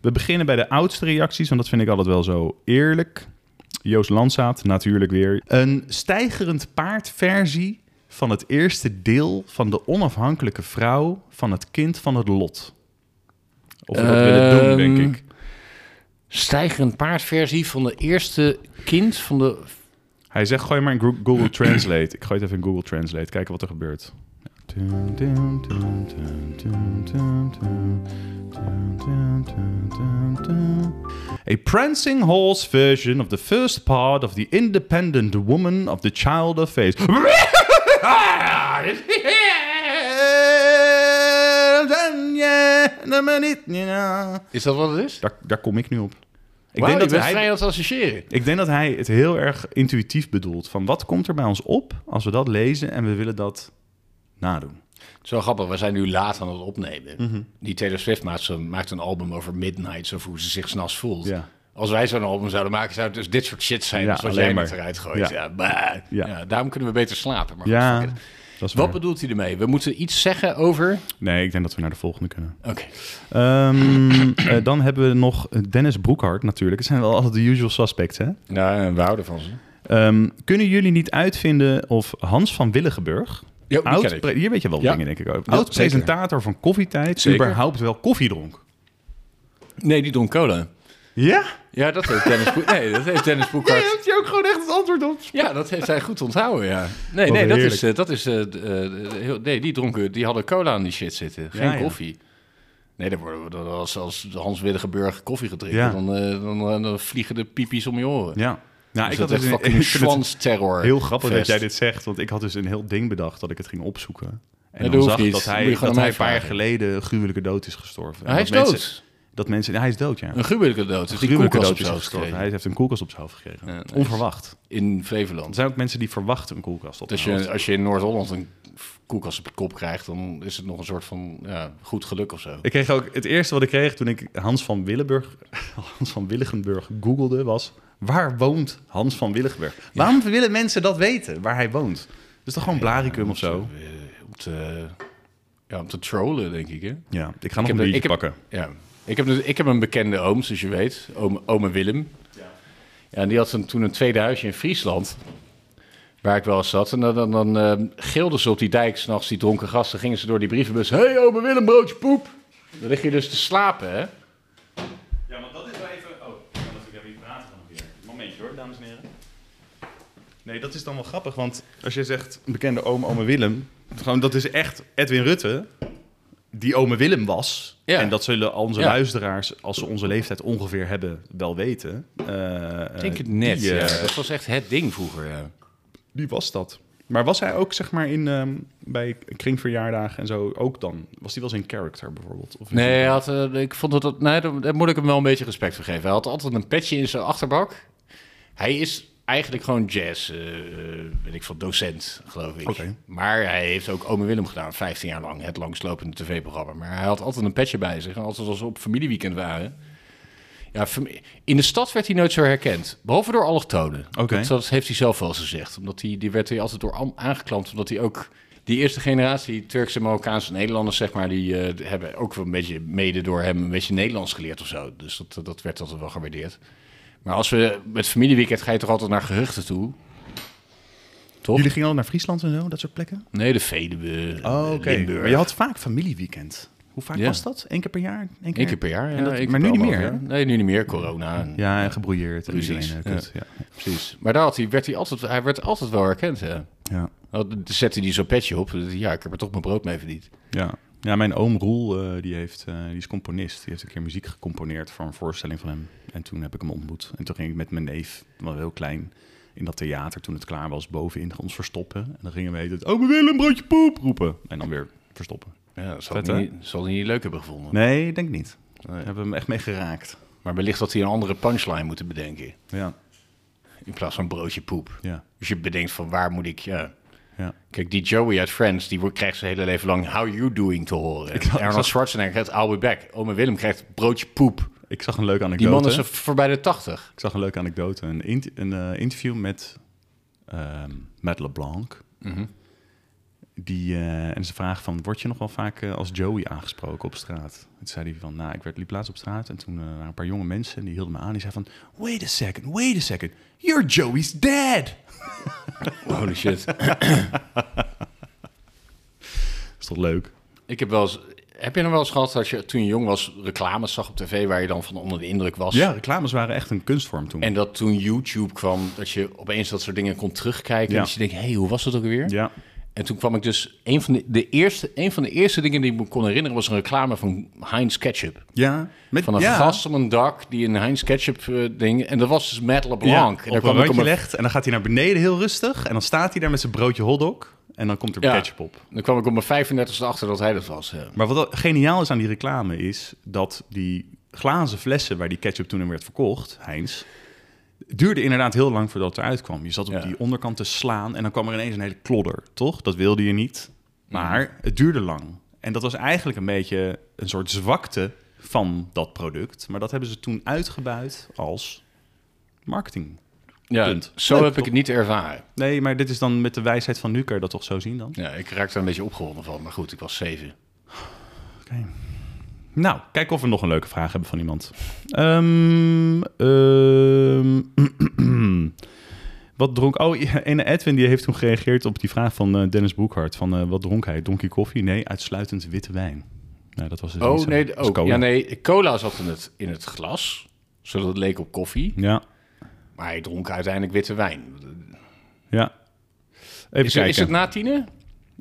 [SPEAKER 2] we beginnen bij de oudste reacties, want dat vind ik altijd wel zo eerlijk. Joost Landzaat, natuurlijk weer. Een stijgerend paardversie van het eerste deel van de onafhankelijke vrouw van het kind van het lot. Of we dat willen doen, denk
[SPEAKER 1] Ehm,
[SPEAKER 2] ik.
[SPEAKER 1] Stijgerend paardversie van de eerste kind van de...
[SPEAKER 2] Hij zegt, gooi maar in Gro- Google Translate. Ik gooi het even in Google Translate, kijken wat er gebeurt. A prancing horse version of the first part of the independent woman of the child of faith.
[SPEAKER 1] Is dat wat het is?
[SPEAKER 2] Daar, daar kom ik nu op. Ik
[SPEAKER 1] Wauw, je
[SPEAKER 2] dat
[SPEAKER 1] bent vrij aan het associëren.
[SPEAKER 2] ik denk dat hij het heel erg intuïtief bedoelt. Van wat komt er bij ons op als we dat lezen en we willen dat nadoen?
[SPEAKER 1] Zo grappig, we zijn nu laat aan het opnemen. Die Taylor Swift maakt, zo- maakt een album over midnights, over hoe ze zich s'nachts voelt.
[SPEAKER 2] Ja.
[SPEAKER 1] Als wij zo'n album zouden maken, zou het dus dit soort shit zijn
[SPEAKER 2] Ja,
[SPEAKER 1] als wat
[SPEAKER 2] alleen
[SPEAKER 1] jij
[SPEAKER 2] maar.
[SPEAKER 1] net eruit gooit.
[SPEAKER 2] Ja.
[SPEAKER 1] Ja. bah.
[SPEAKER 2] Ja.
[SPEAKER 1] Ja. daarom kunnen we beter slapen. Maar goed, fuck it.
[SPEAKER 2] dat is
[SPEAKER 1] Wat
[SPEAKER 2] waar.
[SPEAKER 1] bedoelt hij ermee? We moeten iets zeggen over...
[SPEAKER 2] Nee, ik denk dat we naar de volgende kunnen.
[SPEAKER 1] Oké.
[SPEAKER 2] Ehm, eh, dan hebben we nog Dennis Broekhart natuurlijk. Het zijn wel altijd de usual suspects, hè?
[SPEAKER 1] Nou, we houden van ze.
[SPEAKER 2] Ehm, kunnen jullie niet uitvinden of Hans van Willigenburg...
[SPEAKER 1] Ja, die
[SPEAKER 2] Oud
[SPEAKER 1] ken ik.
[SPEAKER 2] pre- hier weet je wel
[SPEAKER 1] Ja.
[SPEAKER 2] dingen, denk ik ook.
[SPEAKER 1] Ja,
[SPEAKER 2] Oud presentator van Koffietijd,
[SPEAKER 1] Zeker.
[SPEAKER 2] überhaupt wel koffie dronk.
[SPEAKER 1] Nee, die dronk cola.
[SPEAKER 2] Ja?
[SPEAKER 1] Ja, dat heeft Dennis, Boek- nee, dat heeft Dennis
[SPEAKER 2] Jij
[SPEAKER 1] Boekhart.
[SPEAKER 2] hebt je ook gewoon echt het antwoord op.
[SPEAKER 1] Ja, dat heeft hij goed onthouden, ja. Nee,
[SPEAKER 2] Wat
[SPEAKER 1] nee, dat
[SPEAKER 2] heerlijk.
[SPEAKER 1] is, eh, dat is eh, d- eh, heel- nee, die dronken, die hadden cola aan die shit zitten. Geen
[SPEAKER 2] Ja, ja.
[SPEAKER 1] koffie. Nee, dan worden we, dan- als, als Hans Willigenburg koffie gedrinken,
[SPEAKER 2] Ja.
[SPEAKER 1] dan, eh, dan, dan vliegen de pipi's om je oren.
[SPEAKER 2] Ja. Nou,
[SPEAKER 1] Dus
[SPEAKER 2] had
[SPEAKER 1] dat is
[SPEAKER 2] dus een-
[SPEAKER 1] fucking
[SPEAKER 2] vind het-
[SPEAKER 1] schwansterror.
[SPEAKER 2] Heel grappig dat
[SPEAKER 1] fest.
[SPEAKER 2] jij dit zegt, want ik had dus een heel ding bedacht dat ik het ging opzoeken. En
[SPEAKER 1] dat
[SPEAKER 2] dan
[SPEAKER 1] hoeft
[SPEAKER 2] zag
[SPEAKER 1] niet.
[SPEAKER 2] dat
[SPEAKER 1] Moet
[SPEAKER 2] hij,
[SPEAKER 1] je gewoon aan
[SPEAKER 2] dat hij
[SPEAKER 1] mij
[SPEAKER 2] een paar jaar
[SPEAKER 1] vragen.
[SPEAKER 2] geleden een gruwelijke dood is gestorven. En
[SPEAKER 1] Hij is
[SPEAKER 2] dat
[SPEAKER 1] dood.
[SPEAKER 2] Mensen, dat mensen, hij is dood, ja.
[SPEAKER 1] Een gruwelijke dood. Dus die
[SPEAKER 2] gruwelijke
[SPEAKER 1] koelkast op
[SPEAKER 2] dood is hij
[SPEAKER 1] zijn
[SPEAKER 2] gestorven.
[SPEAKER 1] hoofd
[SPEAKER 2] Hij heeft een koelkast op zijn hoofd gekregen.
[SPEAKER 1] Ja, nice.
[SPEAKER 2] Onverwacht.
[SPEAKER 1] gekregen. in
[SPEAKER 2] Er
[SPEAKER 1] Flevoland.
[SPEAKER 2] zijn ook mensen die verwachten een koelkast op
[SPEAKER 1] Dus
[SPEAKER 2] hun
[SPEAKER 1] je,
[SPEAKER 2] hoofd.
[SPEAKER 1] als je in Noord-Holland een koelkast op je kop krijgt, dan is het nog een soort van ja, goed geluk of zo.
[SPEAKER 2] Ik kreeg ook het eerste wat ik kreeg toen ik Hans van Willenburg, Hans van Willigenburg googelde was: waar woont Hans van Willigenburg? Waarom willen mensen dat weten waar hij woont? Dus toch gewoon Blaricum of zo?
[SPEAKER 1] Eh, om, te, ja, om te trollen, denk ik. Hè?
[SPEAKER 2] Ja, ik ga nog
[SPEAKER 1] heb
[SPEAKER 2] een
[SPEAKER 1] de-
[SPEAKER 2] biertje
[SPEAKER 1] ik heb-
[SPEAKER 2] pakken.
[SPEAKER 1] Ja. Ik, heb, dus- ik heb een bekende oom, zoals je weet. Oom, ome Willem. Ja, en die had een, toen een tweede huisje in Friesland. Waar ik wel eens zat. En dan, dan, dan eh, gilden ze op die dijk s'nachts, die dronken gasten. Gingen ze door die brievenbus. Hé, hey, ome Willem, broodje poep. Dan lig je dus te slapen, hè?
[SPEAKER 2] Ja, want dat is wel even. Oh, dan moet ik even niet praten van weer. Momentje hoor, dames en heren. Nee, dat is dan wel grappig, want als je zegt bekende oom, ome Willem. Gewoon, dat is echt Edwin Rutte, die ome Willem was.
[SPEAKER 1] Ja.
[SPEAKER 2] En dat zullen al onze
[SPEAKER 1] Ja.
[SPEAKER 2] luisteraars, als ze onze leeftijd ongeveer hebben, wel weten. Eh, eh,
[SPEAKER 1] Ik denk het net,
[SPEAKER 2] Die, eh,
[SPEAKER 1] ja. Dat was echt het ding vroeger, ja.
[SPEAKER 2] die was dat. Maar was hij ook, zeg maar, in, ehm, bij kringverjaardagen en zo ook dan? Was hij wel zijn character bijvoorbeeld? Of
[SPEAKER 1] Nee, hij had, eh, ik vond dat... dat nee, daar, daar moet ik hem wel een beetje respect voor geven. Hij had altijd een petje in zijn achterbak. Hij is eigenlijk gewoon jazz, eh eh, weet ik veel, docent, geloof ik.
[SPEAKER 2] Oké.
[SPEAKER 1] Maar hij heeft ook Ome Willem gedaan, 15 jaar lang. Het langslopende tv-programma. Maar hij had altijd een petje bij zich. En altijd als we op familieweekend waren... Ja, fam- in de stad werd hij nooit zo herkend. Behalve door allochtonen.
[SPEAKER 2] Oké.
[SPEAKER 1] Dat, dat heeft hij zelf wel eens gezegd. Omdat hij, die werd hij altijd door am- aangeklampt. Omdat hij ook... Die eerste generatie Turkse, Marokkaanse Nederlanders, zeg maar... die eh, hebben ook wel een beetje mede door hem een beetje Nederlands geleerd of zo. Dus dat, dat werd altijd wel gewaardeerd. Maar als we met familieweekend ga je toch altijd naar gehuchten toe? Toch?
[SPEAKER 2] Jullie gingen al naar Friesland en zo, dat soort plekken?
[SPEAKER 1] Nee, de Veluwe,
[SPEAKER 2] Oh,
[SPEAKER 1] eh,
[SPEAKER 2] oké.
[SPEAKER 1] Limburg.
[SPEAKER 2] Maar je had vaak familieweekend. Hoe vaak
[SPEAKER 1] Ja.
[SPEAKER 2] was dat? Eén keer per jaar? Eén keer,
[SPEAKER 1] Eén keer per jaar, ja.
[SPEAKER 2] En dat-
[SPEAKER 1] Eén keer
[SPEAKER 2] maar nu
[SPEAKER 1] per
[SPEAKER 2] niet
[SPEAKER 1] half
[SPEAKER 2] meer,
[SPEAKER 1] jaar.
[SPEAKER 2] hè?
[SPEAKER 1] Nee, nu niet meer. Corona. en-
[SPEAKER 2] Ja, en gebrouilleerd. En
[SPEAKER 1] Precies,
[SPEAKER 2] iedereen, eh,
[SPEAKER 1] ja.
[SPEAKER 2] kut, ja.
[SPEAKER 1] Precies. Maar daar had hij, werd hij, altijd, hij werd altijd wel herkend, hè.
[SPEAKER 2] Ja.
[SPEAKER 1] Oh, Nou, Dan zette hij zo'n petje op. Ja, ik heb er toch mijn brood mee verdiend.
[SPEAKER 2] ja. Ja, mijn oom Roel, eh, die, heeft, eh, die is componist. Die heeft een keer muziek gecomponeerd voor een voorstelling van hem. En toen heb ik hem ontmoet. En toen ging ik met mijn neef, toen was heel klein, in dat theater toen het klaar was, bovenin ons verstoppen. En dan gingen we het oh, we willen een broodje poep roepen. En dan weer verstoppen.
[SPEAKER 1] Ja, dat zal,
[SPEAKER 2] Vet,
[SPEAKER 1] hij niet, zal hij niet leuk hebben gevonden.
[SPEAKER 2] Nee, ik denk niet.
[SPEAKER 1] Nee.
[SPEAKER 2] Daar hebben we hem echt mee geraakt.
[SPEAKER 1] Maar wellicht had hij een andere punchline moeten bedenken.
[SPEAKER 2] Ja,
[SPEAKER 1] In plaats van broodje poep.
[SPEAKER 2] ja,
[SPEAKER 1] Dus je bedenkt van waar moet ik... Ja.
[SPEAKER 2] ja.
[SPEAKER 1] Kijk, die Joey uit Friends, die wordt, krijgt zijn hele leven lang How You Doing te horen.
[SPEAKER 2] Ik zag- ik
[SPEAKER 1] Arnold
[SPEAKER 2] zag-
[SPEAKER 1] Schwarzenegger krijgt I'll Be Back. Ome Willem krijgt broodje poep.
[SPEAKER 2] Ik zag een leuke anekdote.
[SPEAKER 1] Die man is er voorbij de tachtig.
[SPEAKER 2] Ik zag een leuke anekdote. Een, int- een eh, interview met ehm Matt LeBlanc.
[SPEAKER 1] Mhm.
[SPEAKER 2] Die, eh, en ze vraag van, word je nog wel vaak eh, als Joey aangesproken op straat? Toen zei hij van, nou, ik werd, liep laatst op straat en toen eh, waren een paar jonge mensen en die hielden me aan. Die zei van, wait a second, wait a second, you're Joey's dad.
[SPEAKER 1] Holy shit.
[SPEAKER 2] Is toch leuk?
[SPEAKER 1] Ik heb wel eens... Heb je nog wel eens gehad dat je toen je jong was reclames zag op tv waar je dan van onder de indruk was?
[SPEAKER 2] Ja, reclames waren echt een kunstvorm toen.
[SPEAKER 1] En dat toen YouTube kwam, dat je opeens dat soort dingen kon terugkijken.
[SPEAKER 2] Ja.
[SPEAKER 1] En dat je denkt, hé, hey, hoe was dat ook weer?
[SPEAKER 2] ja,
[SPEAKER 1] En toen kwam ik dus... Een van de, de eerste, een van de eerste dingen die ik me kon herinneren was een reclame van Heinz Ketchup.
[SPEAKER 2] ja. Met,
[SPEAKER 1] Van een
[SPEAKER 2] ja.
[SPEAKER 1] gast op een dak die een Heinz Ketchup eh, ding... En dat was dus Matt
[SPEAKER 2] Ja,
[SPEAKER 1] LeBlanc. en daar
[SPEAKER 2] op
[SPEAKER 1] kwam
[SPEAKER 2] een
[SPEAKER 1] ik om
[SPEAKER 2] randje
[SPEAKER 1] een-
[SPEAKER 2] legt en dan gaat hij naar beneden heel rustig en dan staat hij daar met zijn broodje hotdog en dan komt er
[SPEAKER 1] Ja.
[SPEAKER 2] ketchup op.
[SPEAKER 1] Dan kwam ik op mijn 35e achter dat hij dat was. eh. ja.
[SPEAKER 2] Maar wat al- geniaal is aan die reclame is dat die glazen flessen waar die ketchup toen in werd verkocht, Heinz, duurde inderdaad heel lang voordat het eruit kwam. Je zat op
[SPEAKER 1] Ja.
[SPEAKER 2] die onderkant te slaan en dan kwam er ineens een hele klodder, toch? Dat wilde je niet. Maar het duurde lang. En dat was eigenlijk een beetje een soort zwakte van dat product. Maar dat hebben ze toen uitgebuit als marketing.
[SPEAKER 1] Ja,
[SPEAKER 2] Punt.
[SPEAKER 1] zo
[SPEAKER 2] Leuk,
[SPEAKER 1] heb ik
[SPEAKER 2] toch?
[SPEAKER 1] het niet ervaren.
[SPEAKER 2] Nee, maar dit is dan met de wijsheid van nu, kan je dat toch zo zien dan?
[SPEAKER 1] Ja, ik raakte er een beetje opgewonden van. Maar goed, ik was zeven.
[SPEAKER 2] Oké. Nou, kijk of we nog een leuke vraag hebben van iemand. Ehm, ehm, wat dronk... Oh, ja, ene Edwin die heeft toen gereageerd op die vraag van eh, Dennis Boekhart. Van eh, wat dronk hij? Donkie koffie? Nee, uitsluitend witte wijn. Nou, dat was dus niet
[SPEAKER 1] Oh
[SPEAKER 2] zo.
[SPEAKER 1] nee,
[SPEAKER 2] Dat
[SPEAKER 1] de-
[SPEAKER 2] was
[SPEAKER 1] oh,
[SPEAKER 2] cola.
[SPEAKER 1] ja, nee, cola zat in het, in het glas, zodat het leek op koffie.
[SPEAKER 2] Ja,
[SPEAKER 1] Maar hij dronk uiteindelijk witte wijn.
[SPEAKER 2] ja. Even
[SPEAKER 1] Is,
[SPEAKER 2] kijken.
[SPEAKER 1] is het na tienen?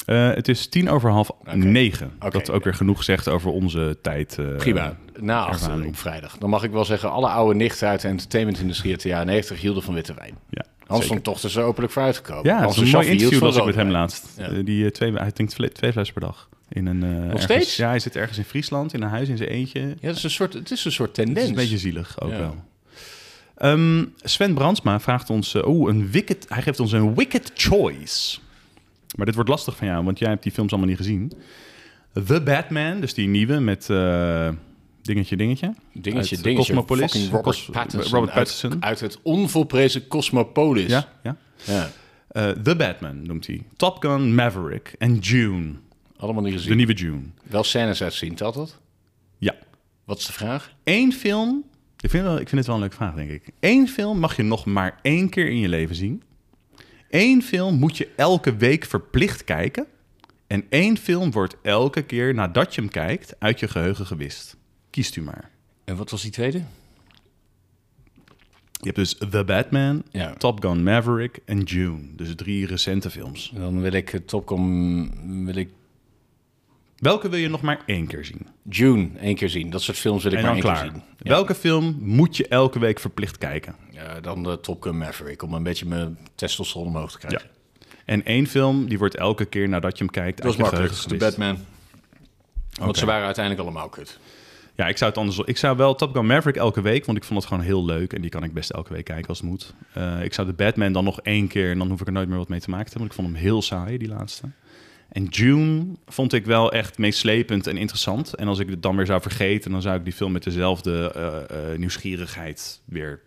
[SPEAKER 2] Eh, het is tien over half negen.
[SPEAKER 1] Oké,
[SPEAKER 2] dat ook
[SPEAKER 1] ja.
[SPEAKER 2] weer genoeg zegt over onze tijd. eh,
[SPEAKER 1] Prima, na achter
[SPEAKER 2] ervaring.
[SPEAKER 1] op vrijdag. Dan mag ik wel zeggen, alle oude nichten uit de entertainmentindustrie uit de jaren 90 hielden van witte wijn.
[SPEAKER 2] ja,
[SPEAKER 1] Hans
[SPEAKER 2] zeker.
[SPEAKER 1] van Tocht is er openlijk voor uitgekomen.
[SPEAKER 2] Ja,
[SPEAKER 1] Hans
[SPEAKER 2] dat is
[SPEAKER 1] de
[SPEAKER 2] een mooi
[SPEAKER 1] Chaffee hield
[SPEAKER 2] interview
[SPEAKER 1] van
[SPEAKER 2] dat ik met
[SPEAKER 1] rood
[SPEAKER 2] hem
[SPEAKER 1] wijn.
[SPEAKER 2] laatst.
[SPEAKER 1] Ja.
[SPEAKER 2] Eh, Die eh, twee, hij drinkt vle- twee flessen per dag. In een, eh, ergens-
[SPEAKER 1] steeds?
[SPEAKER 2] Ja, hij zit ergens in Friesland in een huis in zijn eentje.
[SPEAKER 1] Ja, dat is een soort, het is een soort
[SPEAKER 2] Het is
[SPEAKER 1] tendens.
[SPEAKER 2] een beetje zielig ook
[SPEAKER 1] Ja.
[SPEAKER 2] wel. Ehm, Sven Brandsma vraagt ons, eh, oh, een wicked, hij geeft ons een wicked choice. Maar dit wordt lastig van jou, want jij hebt die films allemaal niet gezien. The Batman, dus die nieuwe met eh, dingetje, dingetje.
[SPEAKER 1] Dingetje,
[SPEAKER 2] Uit
[SPEAKER 1] dingetje.
[SPEAKER 2] Cosmopolis.
[SPEAKER 1] fucking Robert
[SPEAKER 2] Cos-
[SPEAKER 1] Pattinson.
[SPEAKER 2] Robert
[SPEAKER 1] uit-
[SPEAKER 2] Pattinson.
[SPEAKER 1] Uit, het onvolprezen Cosmopolis.
[SPEAKER 2] Ja, ja.
[SPEAKER 1] Ja.
[SPEAKER 2] Eh, The Batman noemt hij. Top Gun, Maverick en June.
[SPEAKER 1] Allemaal niet
[SPEAKER 2] De
[SPEAKER 1] gezien.
[SPEAKER 2] nieuwe June.
[SPEAKER 1] Wel scènes uitzien, dat dat?
[SPEAKER 2] Ja.
[SPEAKER 1] Wat is de vraag?
[SPEAKER 2] Eén film. Ik vind, wel, ik vind het wel een leuke vraag, denk ik. Eén film mag je nog maar één keer in je leven zien. Eén film moet je elke week verplicht kijken. En één film wordt elke keer nadat je hem kijkt uit je geheugen gewist. Kiest u maar.
[SPEAKER 1] En wat was die tweede?
[SPEAKER 2] Je hebt dus The Batman,
[SPEAKER 1] Ja.
[SPEAKER 2] Top Gun Maverick en June. Dus drie recente films.
[SPEAKER 1] Dan wil ik eh, Topcom, wil ik
[SPEAKER 2] Welke wil je nog maar één keer zien?
[SPEAKER 1] June één keer zien. Dat soort films wil ik
[SPEAKER 2] En
[SPEAKER 1] maar
[SPEAKER 2] dan
[SPEAKER 1] één
[SPEAKER 2] klaar.
[SPEAKER 1] keer zien.
[SPEAKER 2] Welke film moet je elke week verplicht kijken?
[SPEAKER 1] Ja, dan de Top Gun Maverick, om een beetje mijn testosteron omhoog te krijgen.
[SPEAKER 2] En één film, die wordt elke keer nadat je hem kijkt
[SPEAKER 1] Dat
[SPEAKER 2] uit
[SPEAKER 1] is
[SPEAKER 2] je
[SPEAKER 1] makkelijk,
[SPEAKER 2] geheugen
[SPEAKER 1] de
[SPEAKER 2] gewist.
[SPEAKER 1] Batman. Want ze waren uiteindelijk allemaal kut.
[SPEAKER 2] Ja, ik zou het anders. Ik zou wel Top Gun Maverick elke week, want ik vond het gewoon heel leuk en die kan ik best elke week kijken als het moet. Eh, ik zou de Batman dan nog één keer en dan hoef ik er nooit meer wat mee te maken te hebben. Want ik vond hem heel saai die laatste. En June vond ik wel echt meeslepend en interessant. En als ik het dan weer zou vergeten, dan zou ik die film met dezelfde eh, eh, nieuwsgierigheid weer.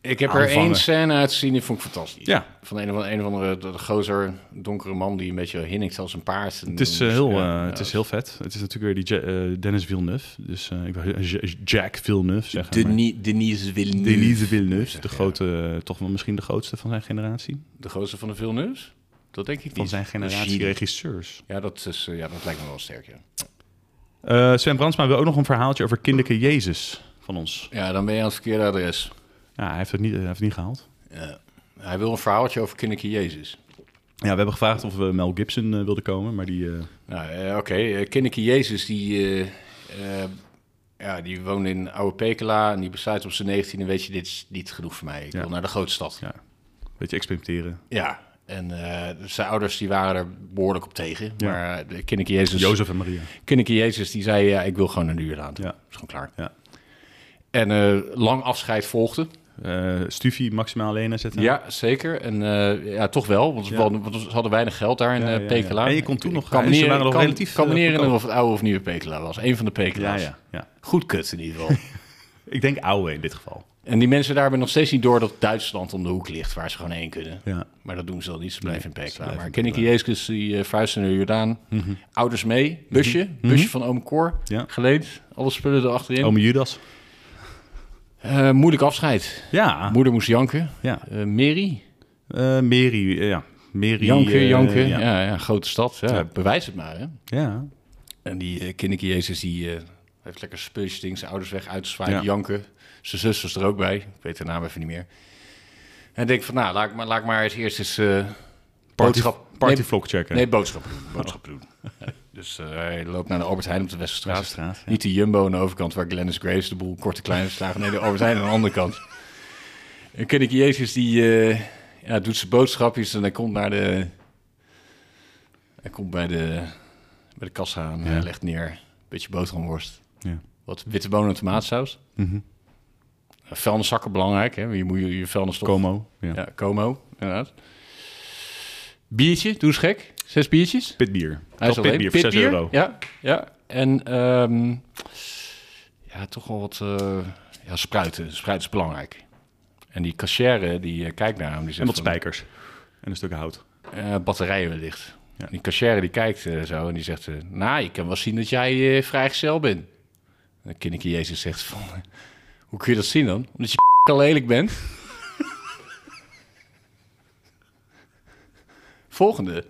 [SPEAKER 1] Ik heb er
[SPEAKER 2] Aanvangen.
[SPEAKER 1] één scène uit zien, die vond ik fantastisch.
[SPEAKER 2] Ja.
[SPEAKER 1] Van een of andere, een of andere de, de gozer, donkere man die een beetje hinnikt als een paard. En,
[SPEAKER 2] Het is eh, heel, eh,
[SPEAKER 1] ja,
[SPEAKER 2] het
[SPEAKER 1] ja.
[SPEAKER 2] is heel vet. Het is natuurlijk weer die Ja- eh, Dennis Villeneuve, dus eh, ik wou eh, Jack Villeneuve zeggen. maar-
[SPEAKER 1] Denis, Denise Villeneuve.
[SPEAKER 2] Denise Villeneuve, de grote, eh, toch wel misschien de grootste van zijn generatie.
[SPEAKER 1] De gozer van de Villeneuve? Dat denk ik niet.
[SPEAKER 2] Van zijn generatie
[SPEAKER 1] Gilles.
[SPEAKER 2] regisseurs.
[SPEAKER 1] Ja, dat, is, eh, ja, dat lijkt me wel sterk, ja.
[SPEAKER 2] Eh, Sven Brandsma wil ook nog een verhaaltje over kinderke Jezus van ons.
[SPEAKER 1] Ja, dan ben je aan het verkeerde adres.
[SPEAKER 2] Ja, hij heeft het niet, hij heeft het niet gehaald.
[SPEAKER 1] Ja. Hij wil een verhaaltje over kinderke Jezus.
[SPEAKER 2] Ja, we hebben gevraagd of we Mel Gibson eh, wilde komen, maar die... eh,
[SPEAKER 1] Nou, eh, oké. eh, Kinneke Jezus, die, eh, eh, ja, die woonde in Oude Pekela en die besluit op zijn 19e, weet je, dit is niet genoeg voor mij. Ik
[SPEAKER 2] Ja.
[SPEAKER 1] wil naar de grote stad. Ja,
[SPEAKER 2] ja, een beetje experimenteren.
[SPEAKER 1] en eh, zijn ouders die waren er behoorlijk op tegen.
[SPEAKER 2] Ja.
[SPEAKER 1] Maar eh, Kinneke Jezus,
[SPEAKER 2] Jozef en Maria.
[SPEAKER 1] Kinneke Jezus, die zei, ja, ik wil gewoon naar de Jordaan.
[SPEAKER 2] Ja.
[SPEAKER 1] Ja. Is gewoon klaar.
[SPEAKER 2] Ja.
[SPEAKER 1] En eh, lang afscheid volgde.
[SPEAKER 2] Eh Stufie maximaal alleen zetten.
[SPEAKER 1] Ja, zeker. En eh, ja, toch wel, want
[SPEAKER 2] Ja.
[SPEAKER 1] we, hadden, want we hadden weinig geld daar in
[SPEAKER 2] Ja,
[SPEAKER 1] eh,
[SPEAKER 2] ja, ja.
[SPEAKER 1] Pekela.
[SPEAKER 2] En je kon toen
[SPEAKER 1] Ik-
[SPEAKER 2] nog-
[SPEAKER 1] ik kan me
[SPEAKER 2] ze
[SPEAKER 1] niet
[SPEAKER 2] waren nog
[SPEAKER 1] kan-
[SPEAKER 2] relatief,
[SPEAKER 1] kan me
[SPEAKER 2] eh,
[SPEAKER 1] niet herinneren
[SPEAKER 2] goedkoop.
[SPEAKER 1] of het oude of nieuwe Pekela was. Eén van de
[SPEAKER 2] ja,
[SPEAKER 1] Pekela's.
[SPEAKER 2] ja, ja.
[SPEAKER 1] Goed kut in ieder geval.
[SPEAKER 2] Ik denk oude in dit geval.
[SPEAKER 1] en die mensen daar hebben nog steeds niet door dat Duitsland om de hoek ligt, waar ze gewoon heen kunnen.
[SPEAKER 2] Ja.
[SPEAKER 1] Maar dat doen ze dan niet, ze blijven in Mhm. Pekela.
[SPEAKER 2] blijven
[SPEAKER 1] Maar
[SPEAKER 2] in
[SPEAKER 1] Kenneke Jezus, die eh, vuisten naar de Jordaan. Ouders mee, busje, busje van oom Cor,
[SPEAKER 2] Ja.
[SPEAKER 1] geleend. Alle spullen erachterin.
[SPEAKER 2] Ome Judas.
[SPEAKER 1] Eh, moeilijk afscheid.
[SPEAKER 2] Ja,
[SPEAKER 1] Moeder moest janken.
[SPEAKER 2] ja.
[SPEAKER 1] Eh Mary,
[SPEAKER 2] Eh Mary, eh, ja. Mary,
[SPEAKER 1] janken,
[SPEAKER 2] eh,
[SPEAKER 1] janken. Ja.
[SPEAKER 2] Ja.
[SPEAKER 1] Ja, grote stad. Ja,
[SPEAKER 2] Ja.
[SPEAKER 1] Bewijs het maar, hè.
[SPEAKER 2] Ja.
[SPEAKER 1] En die eh kinderke Jezus, die eh, heeft lekker spulletjes, dingen, zijn ouders weg, uitzwaaien,
[SPEAKER 2] Ja.
[SPEAKER 1] janken. Zijn zus was er ook bij. Ik weet de naam even niet meer. En denk van, nou, laat ik maar, laat ik maar eens eerst eens eh, boodschap...
[SPEAKER 2] Party
[SPEAKER 1] nee,
[SPEAKER 2] vlog checken.
[SPEAKER 1] nee, boodschappen
[SPEAKER 2] Oh.
[SPEAKER 1] doen. Boodschappen doen. Ja. Dus eh, hij loopt naar de Albert Heijn op de Westerstraat.
[SPEAKER 2] Westerstraat, ja.
[SPEAKER 1] Niet de Jumbo aan de overkant, waar Glennis Grace de boel korte kleine slagen. Nee, de Albert Heijn aan de andere kant. En kinderke Jezus, die eh, ja, doet zijn boodschapjes en hij komt naar de... Hij komt bij de bij de kassa aan,
[SPEAKER 2] Ja.
[SPEAKER 1] eh, legt neer. Beetje boterhamworst.
[SPEAKER 2] Ja.
[SPEAKER 1] Wat witte bonen en tomaatsaus.
[SPEAKER 2] Mhm.
[SPEAKER 1] Eh, Vuilniszakken belangrijk, hè? Je moet je, je vuilnis toch...
[SPEAKER 2] Como. Ja.
[SPEAKER 1] Ja, Como, inderdaad. Biertje, doe eens gek. Zes biertjes.
[SPEAKER 2] Pitbier.
[SPEAKER 1] Hij
[SPEAKER 2] Toch pitbier voor 6
[SPEAKER 1] Pitbier,
[SPEAKER 2] euro.
[SPEAKER 1] Ja, ja. En ehm, ja, toch wel wat eh, ja, spruiten. Spruiten is belangrijk. En die cashier die eh, kijkt naar hem. Die zegt
[SPEAKER 2] En wat
[SPEAKER 1] van,
[SPEAKER 2] spijkers. En een stuk hout.
[SPEAKER 1] eh, batterijen wellicht.
[SPEAKER 2] Ja.
[SPEAKER 1] Die cashier die kijkt eh, zo en die zegt... eh, nou, ik kan wel zien dat jij eh, vrijgezel bent. En dan kinderke Jezus zegt van... eh, hoe kun je dat zien dan? Omdat je al lelijk bent. Volgende.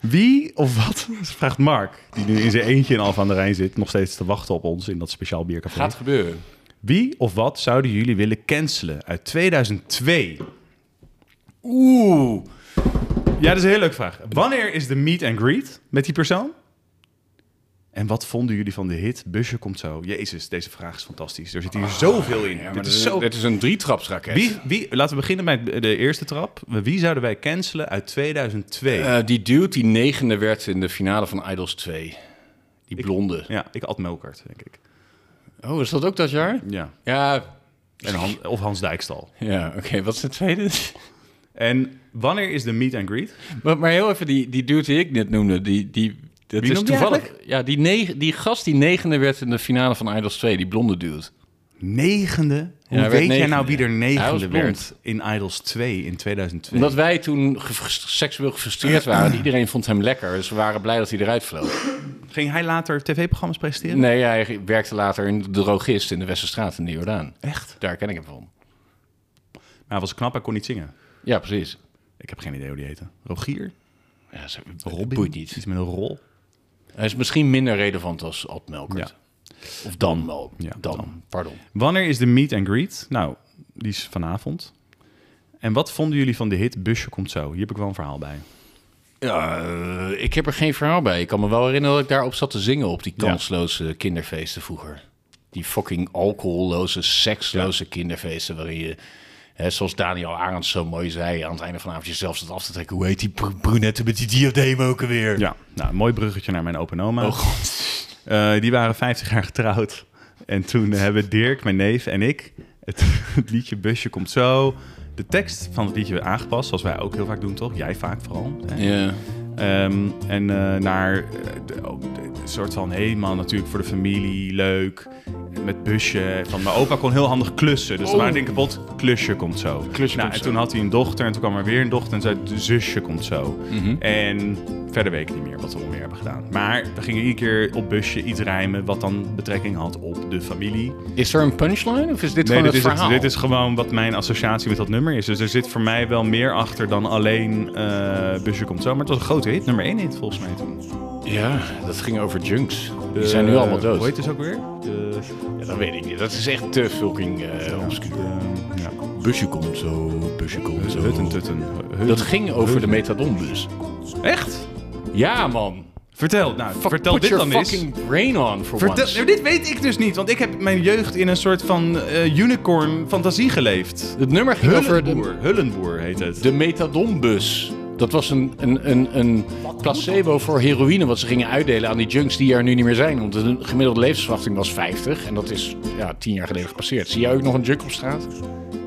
[SPEAKER 2] Wie of wat, vraagt Mark, die nu in zijn eentje in Alphen aan de Rijn zit, nog steeds te wachten op ons in dat speciaal biercafé.
[SPEAKER 1] Gaat gebeuren.
[SPEAKER 2] Wie of wat zouden jullie willen cancelen uit 2002?
[SPEAKER 1] Oeh.
[SPEAKER 2] Ja, dat is een heel leuke vraag. Wanneer is de meet and greet met die persoon? En wat vonden jullie van de hit Busje komt zo? Jezus, deze vraag is fantastisch. Er zit hier zoveel in.
[SPEAKER 1] Ah, Ja, maar
[SPEAKER 2] dit
[SPEAKER 1] dit,
[SPEAKER 2] is zo...
[SPEAKER 1] dit is een drietrapsraket.
[SPEAKER 2] wie, wie, laten we beginnen met de eerste trap. Wie zouden wij cancelen uit 2002?
[SPEAKER 1] Eh, die dude die negende werd in de finale van Idols 2. Die blonde.
[SPEAKER 2] ja, ik Ad Melkert, denk ik.
[SPEAKER 1] Oh, is dat ook dat jaar?
[SPEAKER 2] Ja.
[SPEAKER 1] Ja.
[SPEAKER 2] En Han- of Hans Dijkstal.
[SPEAKER 1] Ja, oké. Wat is de tweede?
[SPEAKER 2] En wanneer is de meet and greet?
[SPEAKER 1] Maar, maar heel even, die, die dude die ik net noemde, die... die dat
[SPEAKER 2] Wie
[SPEAKER 1] is
[SPEAKER 2] noemde je
[SPEAKER 1] toevallig. Ja, die, negen, die gast die negende werd in de finale van Idols 2, die blonde dude.
[SPEAKER 2] Negende? Hoe
[SPEAKER 1] hij werd
[SPEAKER 2] weet jij
[SPEAKER 1] negende.
[SPEAKER 2] nou wie er
[SPEAKER 1] Hij was
[SPEAKER 2] negende
[SPEAKER 1] blond.
[SPEAKER 2] werd in Idols 2 in 2002?
[SPEAKER 1] Omdat wij toen gefrust- seksueel gefrustreerd waren, iedereen vond hem lekker. Dus we waren blij dat hij eruit vloog.
[SPEAKER 2] Ging hij later tv-programma's presenteren?
[SPEAKER 1] Nee, hij werkte later in de drogist in de Westerstraat in de Jordaan.
[SPEAKER 2] Echt?
[SPEAKER 1] Daar ken ik hem van.
[SPEAKER 2] Maar hij was knap, hij kon niet zingen.
[SPEAKER 1] Ja, precies.
[SPEAKER 2] Ik heb geen idee hoe die heette. Rogier?
[SPEAKER 1] Ja, ze,
[SPEAKER 2] Robin?
[SPEAKER 1] boeit niet.
[SPEAKER 2] Iets met een rol?
[SPEAKER 1] Hij is misschien minder relevant als Ad Melkert.
[SPEAKER 2] Ja.
[SPEAKER 1] Of Dan Mel.
[SPEAKER 2] Ja,
[SPEAKER 1] dan.
[SPEAKER 2] Dan.
[SPEAKER 1] pardon.
[SPEAKER 2] Wanneer is de meet and greet? Nou, die is vanavond. En wat vonden jullie van de hit Busje komt zo? Hier heb ik wel een verhaal bij.
[SPEAKER 1] Ja, eh, ik heb er geen verhaal bij. Ik kan me wel herinneren dat ik daarop zat te zingen op die kansloze kinderfeesten vroeger. Die fucking alcoholloze, seksloze kinderfeesten waarin je, hè, zoals Daniel Arends zo mooi zei, aan het einde van de avond jezelf zat af te trekken. Hoe heet die br- brunette met die diadeem ook alweer?
[SPEAKER 2] Ja, nou, een mooi bruggetje naar mijn open oma.
[SPEAKER 1] Oh god.
[SPEAKER 2] Eh, die waren 50 jaar getrouwd. En toen hebben Dirk, mijn neef en ik het, het liedje Busje komt zo. De tekst van het liedje aangepast, zoals wij ook heel vaak doen, toch? Jij vaak vooral. hè?
[SPEAKER 1] Ja.
[SPEAKER 2] Ehm, en eh, naar eh, de- oh, de- de soort van helemaal natuurlijk voor de familie, leuk. Met busje. Van mijn opa kon heel handig klussen. Dus dan
[SPEAKER 1] Oh.
[SPEAKER 2] waren dingen kapot. Klusje komt zo.
[SPEAKER 1] Klusje
[SPEAKER 2] nou,
[SPEAKER 1] komt
[SPEAKER 2] en
[SPEAKER 1] zo.
[SPEAKER 2] toen had hij een dochter en toen kwam er weer een dochter en zei de zusje komt zo.
[SPEAKER 1] Mhm.
[SPEAKER 2] En verder weet ik niet meer wat we nog meer hebben gedaan. Maar we gingen iedere keer op busje iets rijmen wat dan betrekking had op de familie.
[SPEAKER 1] Is er een punchline of is dit
[SPEAKER 2] Nee,
[SPEAKER 1] gewoon
[SPEAKER 2] dit
[SPEAKER 1] het
[SPEAKER 2] is, het-
[SPEAKER 1] verhaal?
[SPEAKER 2] dit is gewoon wat mijn associatie met dat nummer is. Dus er zit voor mij wel meer achter dan alleen eh Busje komt zo. Maar het was een grote hit, nummer 1 hit volgens mij toen.
[SPEAKER 1] Ja, dat ging over junks. Die zijn nu allemaal dood.
[SPEAKER 2] Eh, Hoe heet het ook weer? De,
[SPEAKER 1] Ja, dat weet ik niet. Dat is echt te fucking eh obscuur.
[SPEAKER 2] eh, ja.
[SPEAKER 1] Busje komt zo, busje komt zo.
[SPEAKER 2] Hutten, tutten. Hut-
[SPEAKER 1] Dat ging over de dus.
[SPEAKER 2] Hutten.
[SPEAKER 1] methadonbus.
[SPEAKER 2] Echt?
[SPEAKER 1] Ja, man.
[SPEAKER 2] Vertel, nou,
[SPEAKER 1] Fuck,
[SPEAKER 2] vertel
[SPEAKER 1] put
[SPEAKER 2] dit
[SPEAKER 1] your
[SPEAKER 2] dan eens.
[SPEAKER 1] fucking brain on for
[SPEAKER 2] Vertel,
[SPEAKER 1] once.
[SPEAKER 2] Nou, dit weet ik dus niet, want ik heb mijn jeugd in een soort van eh, unicorn fantasie geleefd.
[SPEAKER 1] Het nummer ging over de,
[SPEAKER 2] Hullenboer, Hullenboer heet het.
[SPEAKER 1] de methadonbus. Dat was een, een, een, een placebo voor heroïne wat ze gingen uitdelen aan die junks die er nu niet meer zijn. Want de gemiddelde levensverwachting was 50 en dat is ja, 10 jaar geleden gepasseerd. Zie jij ook nog een junk op straat?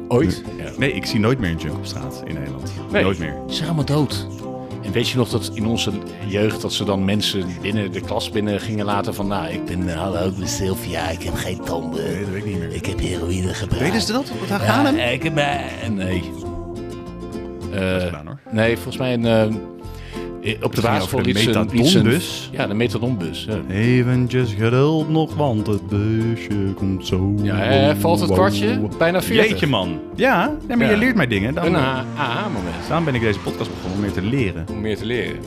[SPEAKER 1] Ooit? Ja.
[SPEAKER 2] Nee, ik zie nooit meer een junk op straat in Nederland.
[SPEAKER 1] Nee.
[SPEAKER 2] Nooit meer.
[SPEAKER 1] Ze zijn allemaal dood. En weet je nog dat in onze jeugd dat ze dan mensen binnen de klas binnen gingen laten van nou, ik ben hallo, ik ben Sylvia, ik heb geen tanden.
[SPEAKER 2] Nee, dat weet ik niet meer. dus
[SPEAKER 1] Ik heb heroïne gebruikt.
[SPEAKER 2] Deden ze dat? Wat daar
[SPEAKER 1] Ja,
[SPEAKER 2] gaan hem?
[SPEAKER 1] ik heb eh, nee. Eh,
[SPEAKER 2] gedaan, hoor.
[SPEAKER 1] nee, volgens mij een, eh, op de basisschool
[SPEAKER 2] over de
[SPEAKER 1] iets een, iets een-
[SPEAKER 2] methadonbus.
[SPEAKER 1] Ja, de methadonbus. Ja,
[SPEAKER 2] Eventjes geduld nog, want het busje komt zo.
[SPEAKER 1] ja eh, valt het kwartje? Bijna 40.
[SPEAKER 2] Jeetje man. Ja, nee, maar
[SPEAKER 1] Ja.
[SPEAKER 2] je leert mij dingen.
[SPEAKER 1] Een
[SPEAKER 2] Daarom,
[SPEAKER 1] A- aha-moment
[SPEAKER 2] daarom ben ik deze podcast begonnen om meer te leren.
[SPEAKER 1] om meer te leren.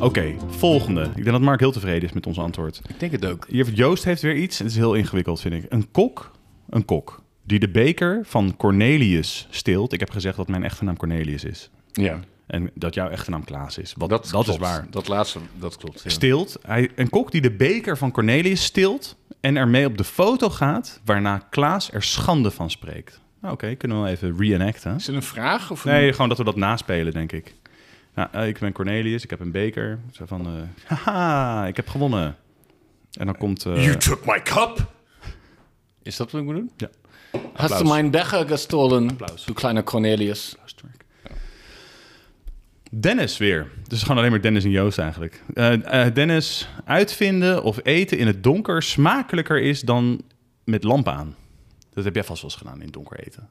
[SPEAKER 2] Oké, volgende. Ik denk dat Mark heel tevreden is met ons antwoord.
[SPEAKER 1] Ik denk het ook.
[SPEAKER 2] Hier heeft Joost heeft weer iets. Het is heel ingewikkeld, vind ik. Een kok, een kok, die de beker van Cornelius steelt. Ik heb gezegd dat mijn echte naam Cornelius is.
[SPEAKER 1] Ja,
[SPEAKER 2] En dat jouw echte naam Klaas is. Wat, dat
[SPEAKER 1] dat,
[SPEAKER 2] is
[SPEAKER 1] klopt.
[SPEAKER 2] waar.
[SPEAKER 1] Dat laatste, dat klopt. ja.
[SPEAKER 2] Steelt. Hij, een kok die de beker van Cornelius steelt en ermee op de foto gaat, waarna Klaas er schande van spreekt. Nou, Oké, kunnen we wel even reenacten.
[SPEAKER 1] Is het een vraag? Of een-
[SPEAKER 2] Nee, gewoon dat we dat naspelen, denk ik. Nou, eh, ik ben Cornelius, ik heb een beker. Zo van, eh, haha, ik heb gewonnen. En dan komt... eh,
[SPEAKER 1] took my cup. Is dat wat ik moet doen?
[SPEAKER 2] Ja.
[SPEAKER 1] Hast du mijn Becher gestolen,
[SPEAKER 2] Applaus.
[SPEAKER 1] du kleine Cornelius?
[SPEAKER 2] Luisterwerk. Dennis weer. Dus gewoon alleen maar Dennis en Joost eigenlijk. Eh, eh, Dennis, uitvinden of eten in het donker smakelijker is dan met lamp aan. Dat heb jij vast wel eens gedaan in het donker eten.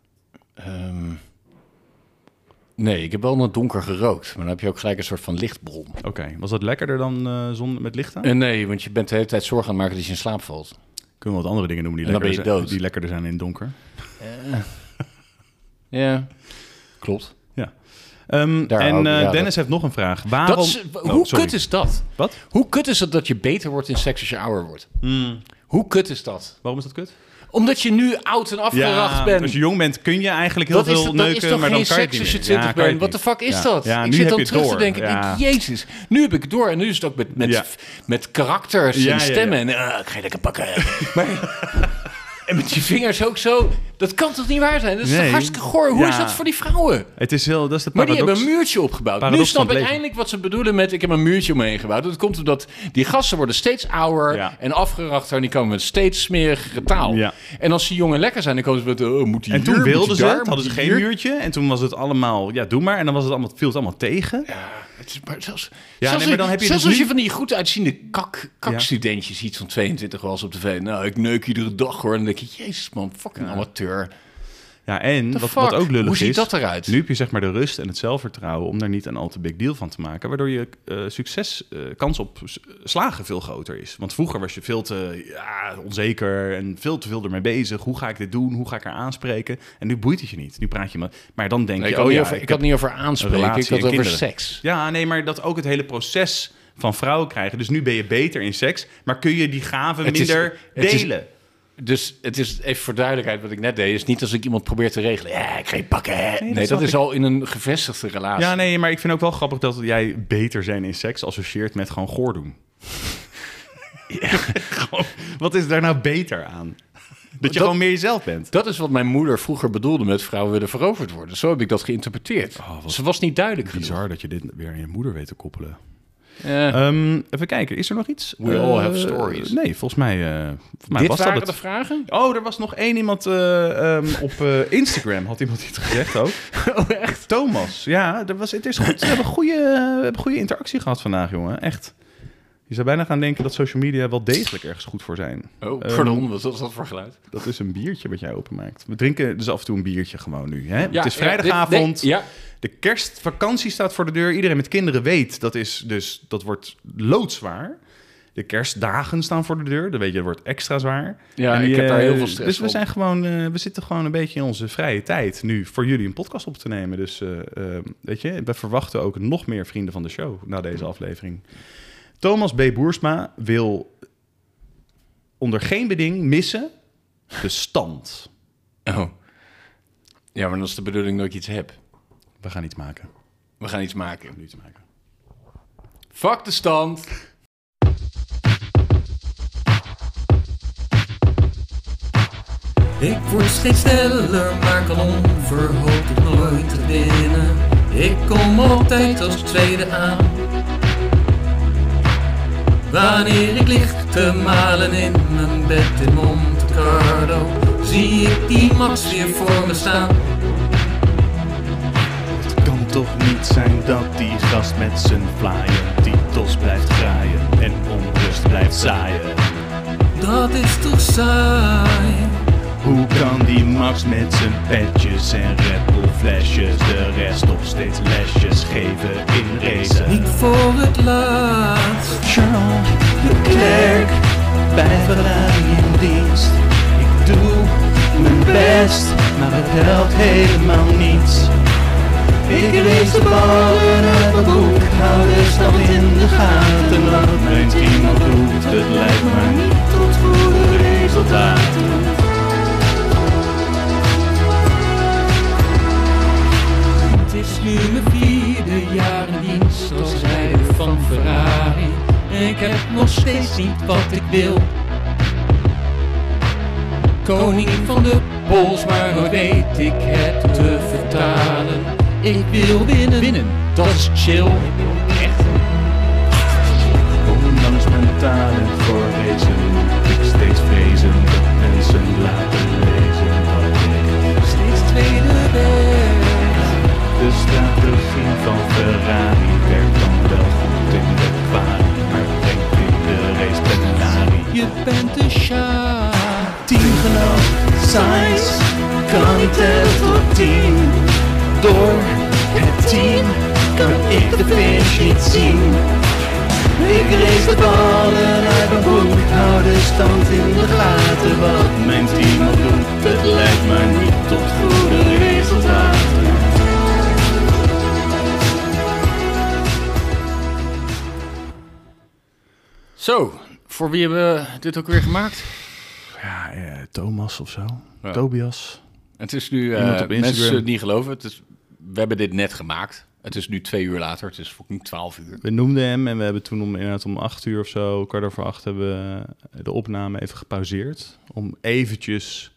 [SPEAKER 1] Ehm, nee, ik heb wel in het donker gerookt. Maar dan heb je ook gelijk een soort van lichtbron.
[SPEAKER 2] Oké, was dat lekkerder dan eh, zon met licht aan?
[SPEAKER 1] Eh, nee, want je bent de hele tijd zorgen aan het maken dat je in slaap valt.
[SPEAKER 2] Kunnen we wat andere dingen noemen die,
[SPEAKER 1] En dan ben
[SPEAKER 2] lekkerder
[SPEAKER 1] je dood.
[SPEAKER 2] zijn, die lekkerder zijn in het donker?
[SPEAKER 1] Ja, klopt.
[SPEAKER 2] Ja. Ehm,
[SPEAKER 1] Daar
[SPEAKER 2] en
[SPEAKER 1] ook,
[SPEAKER 2] eh,
[SPEAKER 1] ja, dat-
[SPEAKER 2] Dennis heeft nog een vraag. Waarom...
[SPEAKER 1] Dat is,
[SPEAKER 2] Oh,
[SPEAKER 1] hoe
[SPEAKER 2] sorry.
[SPEAKER 1] kut is dat?
[SPEAKER 2] Wat?
[SPEAKER 1] Hoe kut is het dat je beter wordt in seks als je ouder wordt? Hoe kut is dat?
[SPEAKER 2] Waarom is dat kut?
[SPEAKER 1] Omdat je nu oud en afgeracht bent.
[SPEAKER 2] als je jong bent kun je eigenlijk heel
[SPEAKER 1] Dat
[SPEAKER 2] veel
[SPEAKER 1] is, dat,
[SPEAKER 2] neuken,
[SPEAKER 1] is toch
[SPEAKER 2] maar dan
[SPEAKER 1] geen
[SPEAKER 2] kan je
[SPEAKER 1] seks
[SPEAKER 2] het niet
[SPEAKER 1] als je
[SPEAKER 2] meer.
[SPEAKER 1] 20
[SPEAKER 2] Ja, kan je
[SPEAKER 1] bent? What
[SPEAKER 2] het
[SPEAKER 1] the
[SPEAKER 2] niet.
[SPEAKER 1] fuck is
[SPEAKER 2] Ja.
[SPEAKER 1] dat?
[SPEAKER 2] Ja,
[SPEAKER 1] ik
[SPEAKER 2] nu
[SPEAKER 1] zit
[SPEAKER 2] heb
[SPEAKER 1] dan
[SPEAKER 2] je het
[SPEAKER 1] terug
[SPEAKER 2] door.
[SPEAKER 1] te denken, ik
[SPEAKER 2] Ja.
[SPEAKER 1] denk, jezus, nu heb ik het door. En nu is het ook met, met,
[SPEAKER 2] Ja.
[SPEAKER 1] met karakters
[SPEAKER 2] Ja, ja,
[SPEAKER 1] en
[SPEAKER 2] ja.
[SPEAKER 1] stemmen. En eh, ik ga je lekker pakken. maar, en met je vingers ook zo. Dat kan toch niet waar zijn? Dat is
[SPEAKER 2] Nee.
[SPEAKER 1] toch hartstikke goor? Hoe
[SPEAKER 2] Ja.
[SPEAKER 1] is dat voor die vrouwen?
[SPEAKER 2] Het is heel, dat is de
[SPEAKER 1] Maar
[SPEAKER 2] paradox.
[SPEAKER 1] die hebben een muurtje opgebouwd.
[SPEAKER 2] Paradox
[SPEAKER 1] nu
[SPEAKER 2] van
[SPEAKER 1] snap
[SPEAKER 2] het
[SPEAKER 1] ik
[SPEAKER 2] leven.
[SPEAKER 1] eindelijk wat ze bedoelen met ik heb een muurtje omheen gebouwd. Dat komt omdat die gasten worden steeds ouder
[SPEAKER 2] Ja.
[SPEAKER 1] en afgerachter en die komen met steeds smerigere taal.
[SPEAKER 2] Ja.
[SPEAKER 1] En als die jongen lekker zijn, dan komen ze met oh, moet die
[SPEAKER 2] En toen
[SPEAKER 1] hier, moet
[SPEAKER 2] wilden
[SPEAKER 1] die
[SPEAKER 2] ze
[SPEAKER 1] daar,
[SPEAKER 2] het, hadden ze
[SPEAKER 1] moet
[SPEAKER 2] geen
[SPEAKER 1] die hier.
[SPEAKER 2] muurtje. En toen was het allemaal, ja, doe maar. En dan was het allemaal, viel het allemaal tegen.
[SPEAKER 1] Het is maar zelfs,
[SPEAKER 2] nee,
[SPEAKER 1] zelfs,
[SPEAKER 2] maar dan heb je
[SPEAKER 1] zelfs
[SPEAKER 2] dus
[SPEAKER 1] als
[SPEAKER 2] nu-
[SPEAKER 1] je van die goed uitziende kak, kakstudentjes ziet van 22 was op tv. Nou, ik neuk iedere dag hoor. En dan denk je, jezus man, fucking amateur.
[SPEAKER 2] Ja, en wat,
[SPEAKER 1] fuck?
[SPEAKER 2] wat ook lullig
[SPEAKER 1] Hoe ziet
[SPEAKER 2] is,
[SPEAKER 1] dat eruit?
[SPEAKER 2] Nu heb je zeg maar de rust en het zelfvertrouwen om daar niet een al te big deal van te maken. Waardoor je eh, succes, eh, kans op s- slagen veel groter is. Want vroeger was je veel te ja, onzeker en veel te veel ermee bezig. Hoe ga ik dit doen? Hoe ga ik haar aanspreken? En nu boeit het je niet. Nu praat je maar. Maar dan denk
[SPEAKER 1] Nee, ik,
[SPEAKER 2] je,
[SPEAKER 1] had
[SPEAKER 2] oh
[SPEAKER 1] niet
[SPEAKER 2] ja,
[SPEAKER 1] over, ik,
[SPEAKER 2] ik
[SPEAKER 1] had
[SPEAKER 2] heb
[SPEAKER 1] niet over
[SPEAKER 2] een
[SPEAKER 1] aanspreken,
[SPEAKER 2] relatie
[SPEAKER 1] ik had
[SPEAKER 2] en
[SPEAKER 1] over
[SPEAKER 2] kinderen.
[SPEAKER 1] seks.
[SPEAKER 2] Ja, nee, maar dat ook het hele proces van vrouwen krijgen. Dus nu ben je beter in seks, maar kun je die gaven
[SPEAKER 1] Het is-
[SPEAKER 2] minder
[SPEAKER 1] het is-
[SPEAKER 2] delen.
[SPEAKER 1] Dus het is even voor duidelijkheid wat ik net deed. is niet als ik iemand probeer te regelen. Ja, ik ga je pakken. hè. Nee, dat,
[SPEAKER 2] snap
[SPEAKER 1] is
[SPEAKER 2] ik.
[SPEAKER 1] al in een gevestigde relatie.
[SPEAKER 2] Ja, nee, maar ik vind ook wel grappig dat jij beter zijn in seks associeert met gewoon goor doen. Gewoon, Wat is daar nou beter aan? Dat je gewoon meer jezelf bent.
[SPEAKER 1] Dat is wat mijn moeder vroeger bedoelde met vrouwen willen veroverd worden. Zo heb ik dat geïnterpreteerd.
[SPEAKER 2] wat
[SPEAKER 1] Ze was niet duidelijk Eh, genoeg.
[SPEAKER 2] Bizar dat je dit weer aan je moeder weet te koppelen.
[SPEAKER 1] Ja.
[SPEAKER 2] Ehm, even kijken, is er nog iets?
[SPEAKER 1] We
[SPEAKER 2] Eh,
[SPEAKER 1] all have stories.
[SPEAKER 2] Nee, volgens mij, eh, volgens mij
[SPEAKER 1] Dit
[SPEAKER 2] was dat
[SPEAKER 1] waren
[SPEAKER 2] het.
[SPEAKER 1] de vragen?
[SPEAKER 2] Oh, er was nog één iemand eh, ehm, op eh, Instagram, had iemand iets gezegd ook.
[SPEAKER 1] Oh, echt?
[SPEAKER 2] Thomas, ja, dat was, het is goed. We hebben goede, we hebben goede interactie gehad vandaag, jongen. Echt. Je zou bijna gaan denken dat social media wel degelijk ergens goed voor zijn.
[SPEAKER 1] Oh,
[SPEAKER 2] Ehm,
[SPEAKER 1] pardon. Wat was dat voor geluid?
[SPEAKER 2] Dat is een biertje wat jij openmaakt. We drinken dus af en toe een biertje gewoon nu. Hè?
[SPEAKER 1] Ja,
[SPEAKER 2] het is
[SPEAKER 1] ja, dit-
[SPEAKER 2] vrijdagavond.
[SPEAKER 1] nee, ja.
[SPEAKER 2] De kerstvakantie staat voor de deur. Iedereen met kinderen weet dat is dus dat wordt loodzwaar. De kerstdagen staan voor de deur. Dat weet je, dat wordt extra zwaar.
[SPEAKER 1] Ja,
[SPEAKER 2] En
[SPEAKER 1] ik heb
[SPEAKER 2] eh,
[SPEAKER 1] daar heel veel stress
[SPEAKER 2] Dus we
[SPEAKER 1] van.
[SPEAKER 2] zijn gewoon, eh, we zitten gewoon een beetje in onze vrije tijd nu voor jullie een podcast op te nemen. ehm, Dus eh, eh, weet je, we verwachten ook nog meer vrienden van de show na deze aflevering. Thomas B. Boersma wil onder geen beding missen de stand.
[SPEAKER 1] Oh. Ja, maar dat is de bedoeling dat ik iets heb.
[SPEAKER 2] We gaan iets maken.
[SPEAKER 1] We gaan iets maken.
[SPEAKER 2] Iets maken.
[SPEAKER 1] Fuck de stand.
[SPEAKER 3] Ik word steeds sneller, maar kan onverhoopt het nooit te binnen. Ik kom altijd als tweede aan. Wanneer ik lig te malen in mijn bed in Monte Carlo, zie ik die Max weer voor me staan.
[SPEAKER 2] Het kan toch niet zijn dat die gast met zijn vlaaien titels blijft graaien en onrust blijft zaaien.
[SPEAKER 3] Dat is toch saai?
[SPEAKER 2] Hoe kan die Max met zijn petjes en Red Bull flesjes de rest nog steeds lesjes geven in racen?
[SPEAKER 3] Niet voor het laatst.
[SPEAKER 2] Charles Leclerc bij Ferrari in dienst. Ik doe mijn best, maar het helpt helemaal niets. Ik lees de ballen uit mijn boek, hou de stand in de gaten. Wat mijn team ook doet, het lijkt maar niet tot goede resultaten.
[SPEAKER 3] Het is nu mijn vierde jaar in dienst als rijder van Ferrari. Ik heb nog steeds niet wat ik wil. Koning van de pols, maar hoe weet ik het te vertalen? Ik wil winnen, winnen. dat is chill.
[SPEAKER 2] Ondanks mijn talent voor racen moet ik steeds vrezen dat mensen laten lezen dat ik
[SPEAKER 3] Steeds tweede weg.
[SPEAKER 2] de strategie van Ferrari werkt dan wel goed in de kwali, maar brengt in de race ten nari.
[SPEAKER 3] Je bent de sjaak.
[SPEAKER 2] teamgenoot Sainz kan niet tellen tot tien. Door het team kan ik de finish niet zien. Ik race de ballen uit mijn broek, hou de stand in de gaten. Wat mijn team ook doet, het leidt maar niet tot goede resultaten.
[SPEAKER 1] Zo, voor wie hebben we dit ook weer gemaakt?
[SPEAKER 2] Ja,
[SPEAKER 1] eh,
[SPEAKER 2] Thomas of zo.
[SPEAKER 1] Ja.
[SPEAKER 2] Tobias.
[SPEAKER 1] Het is nu, eh,
[SPEAKER 2] Iemand op Instagram.
[SPEAKER 1] mensen zullen het niet geloven, het is, we hebben dit net gemaakt. Het is nu twee uur later, het is fucking twaalf uur.
[SPEAKER 2] We noemden hem en we hebben toen om, inderdaad om acht uur of zo, kwart over acht, hebben we de opname even gepauzeerd. Om eventjes,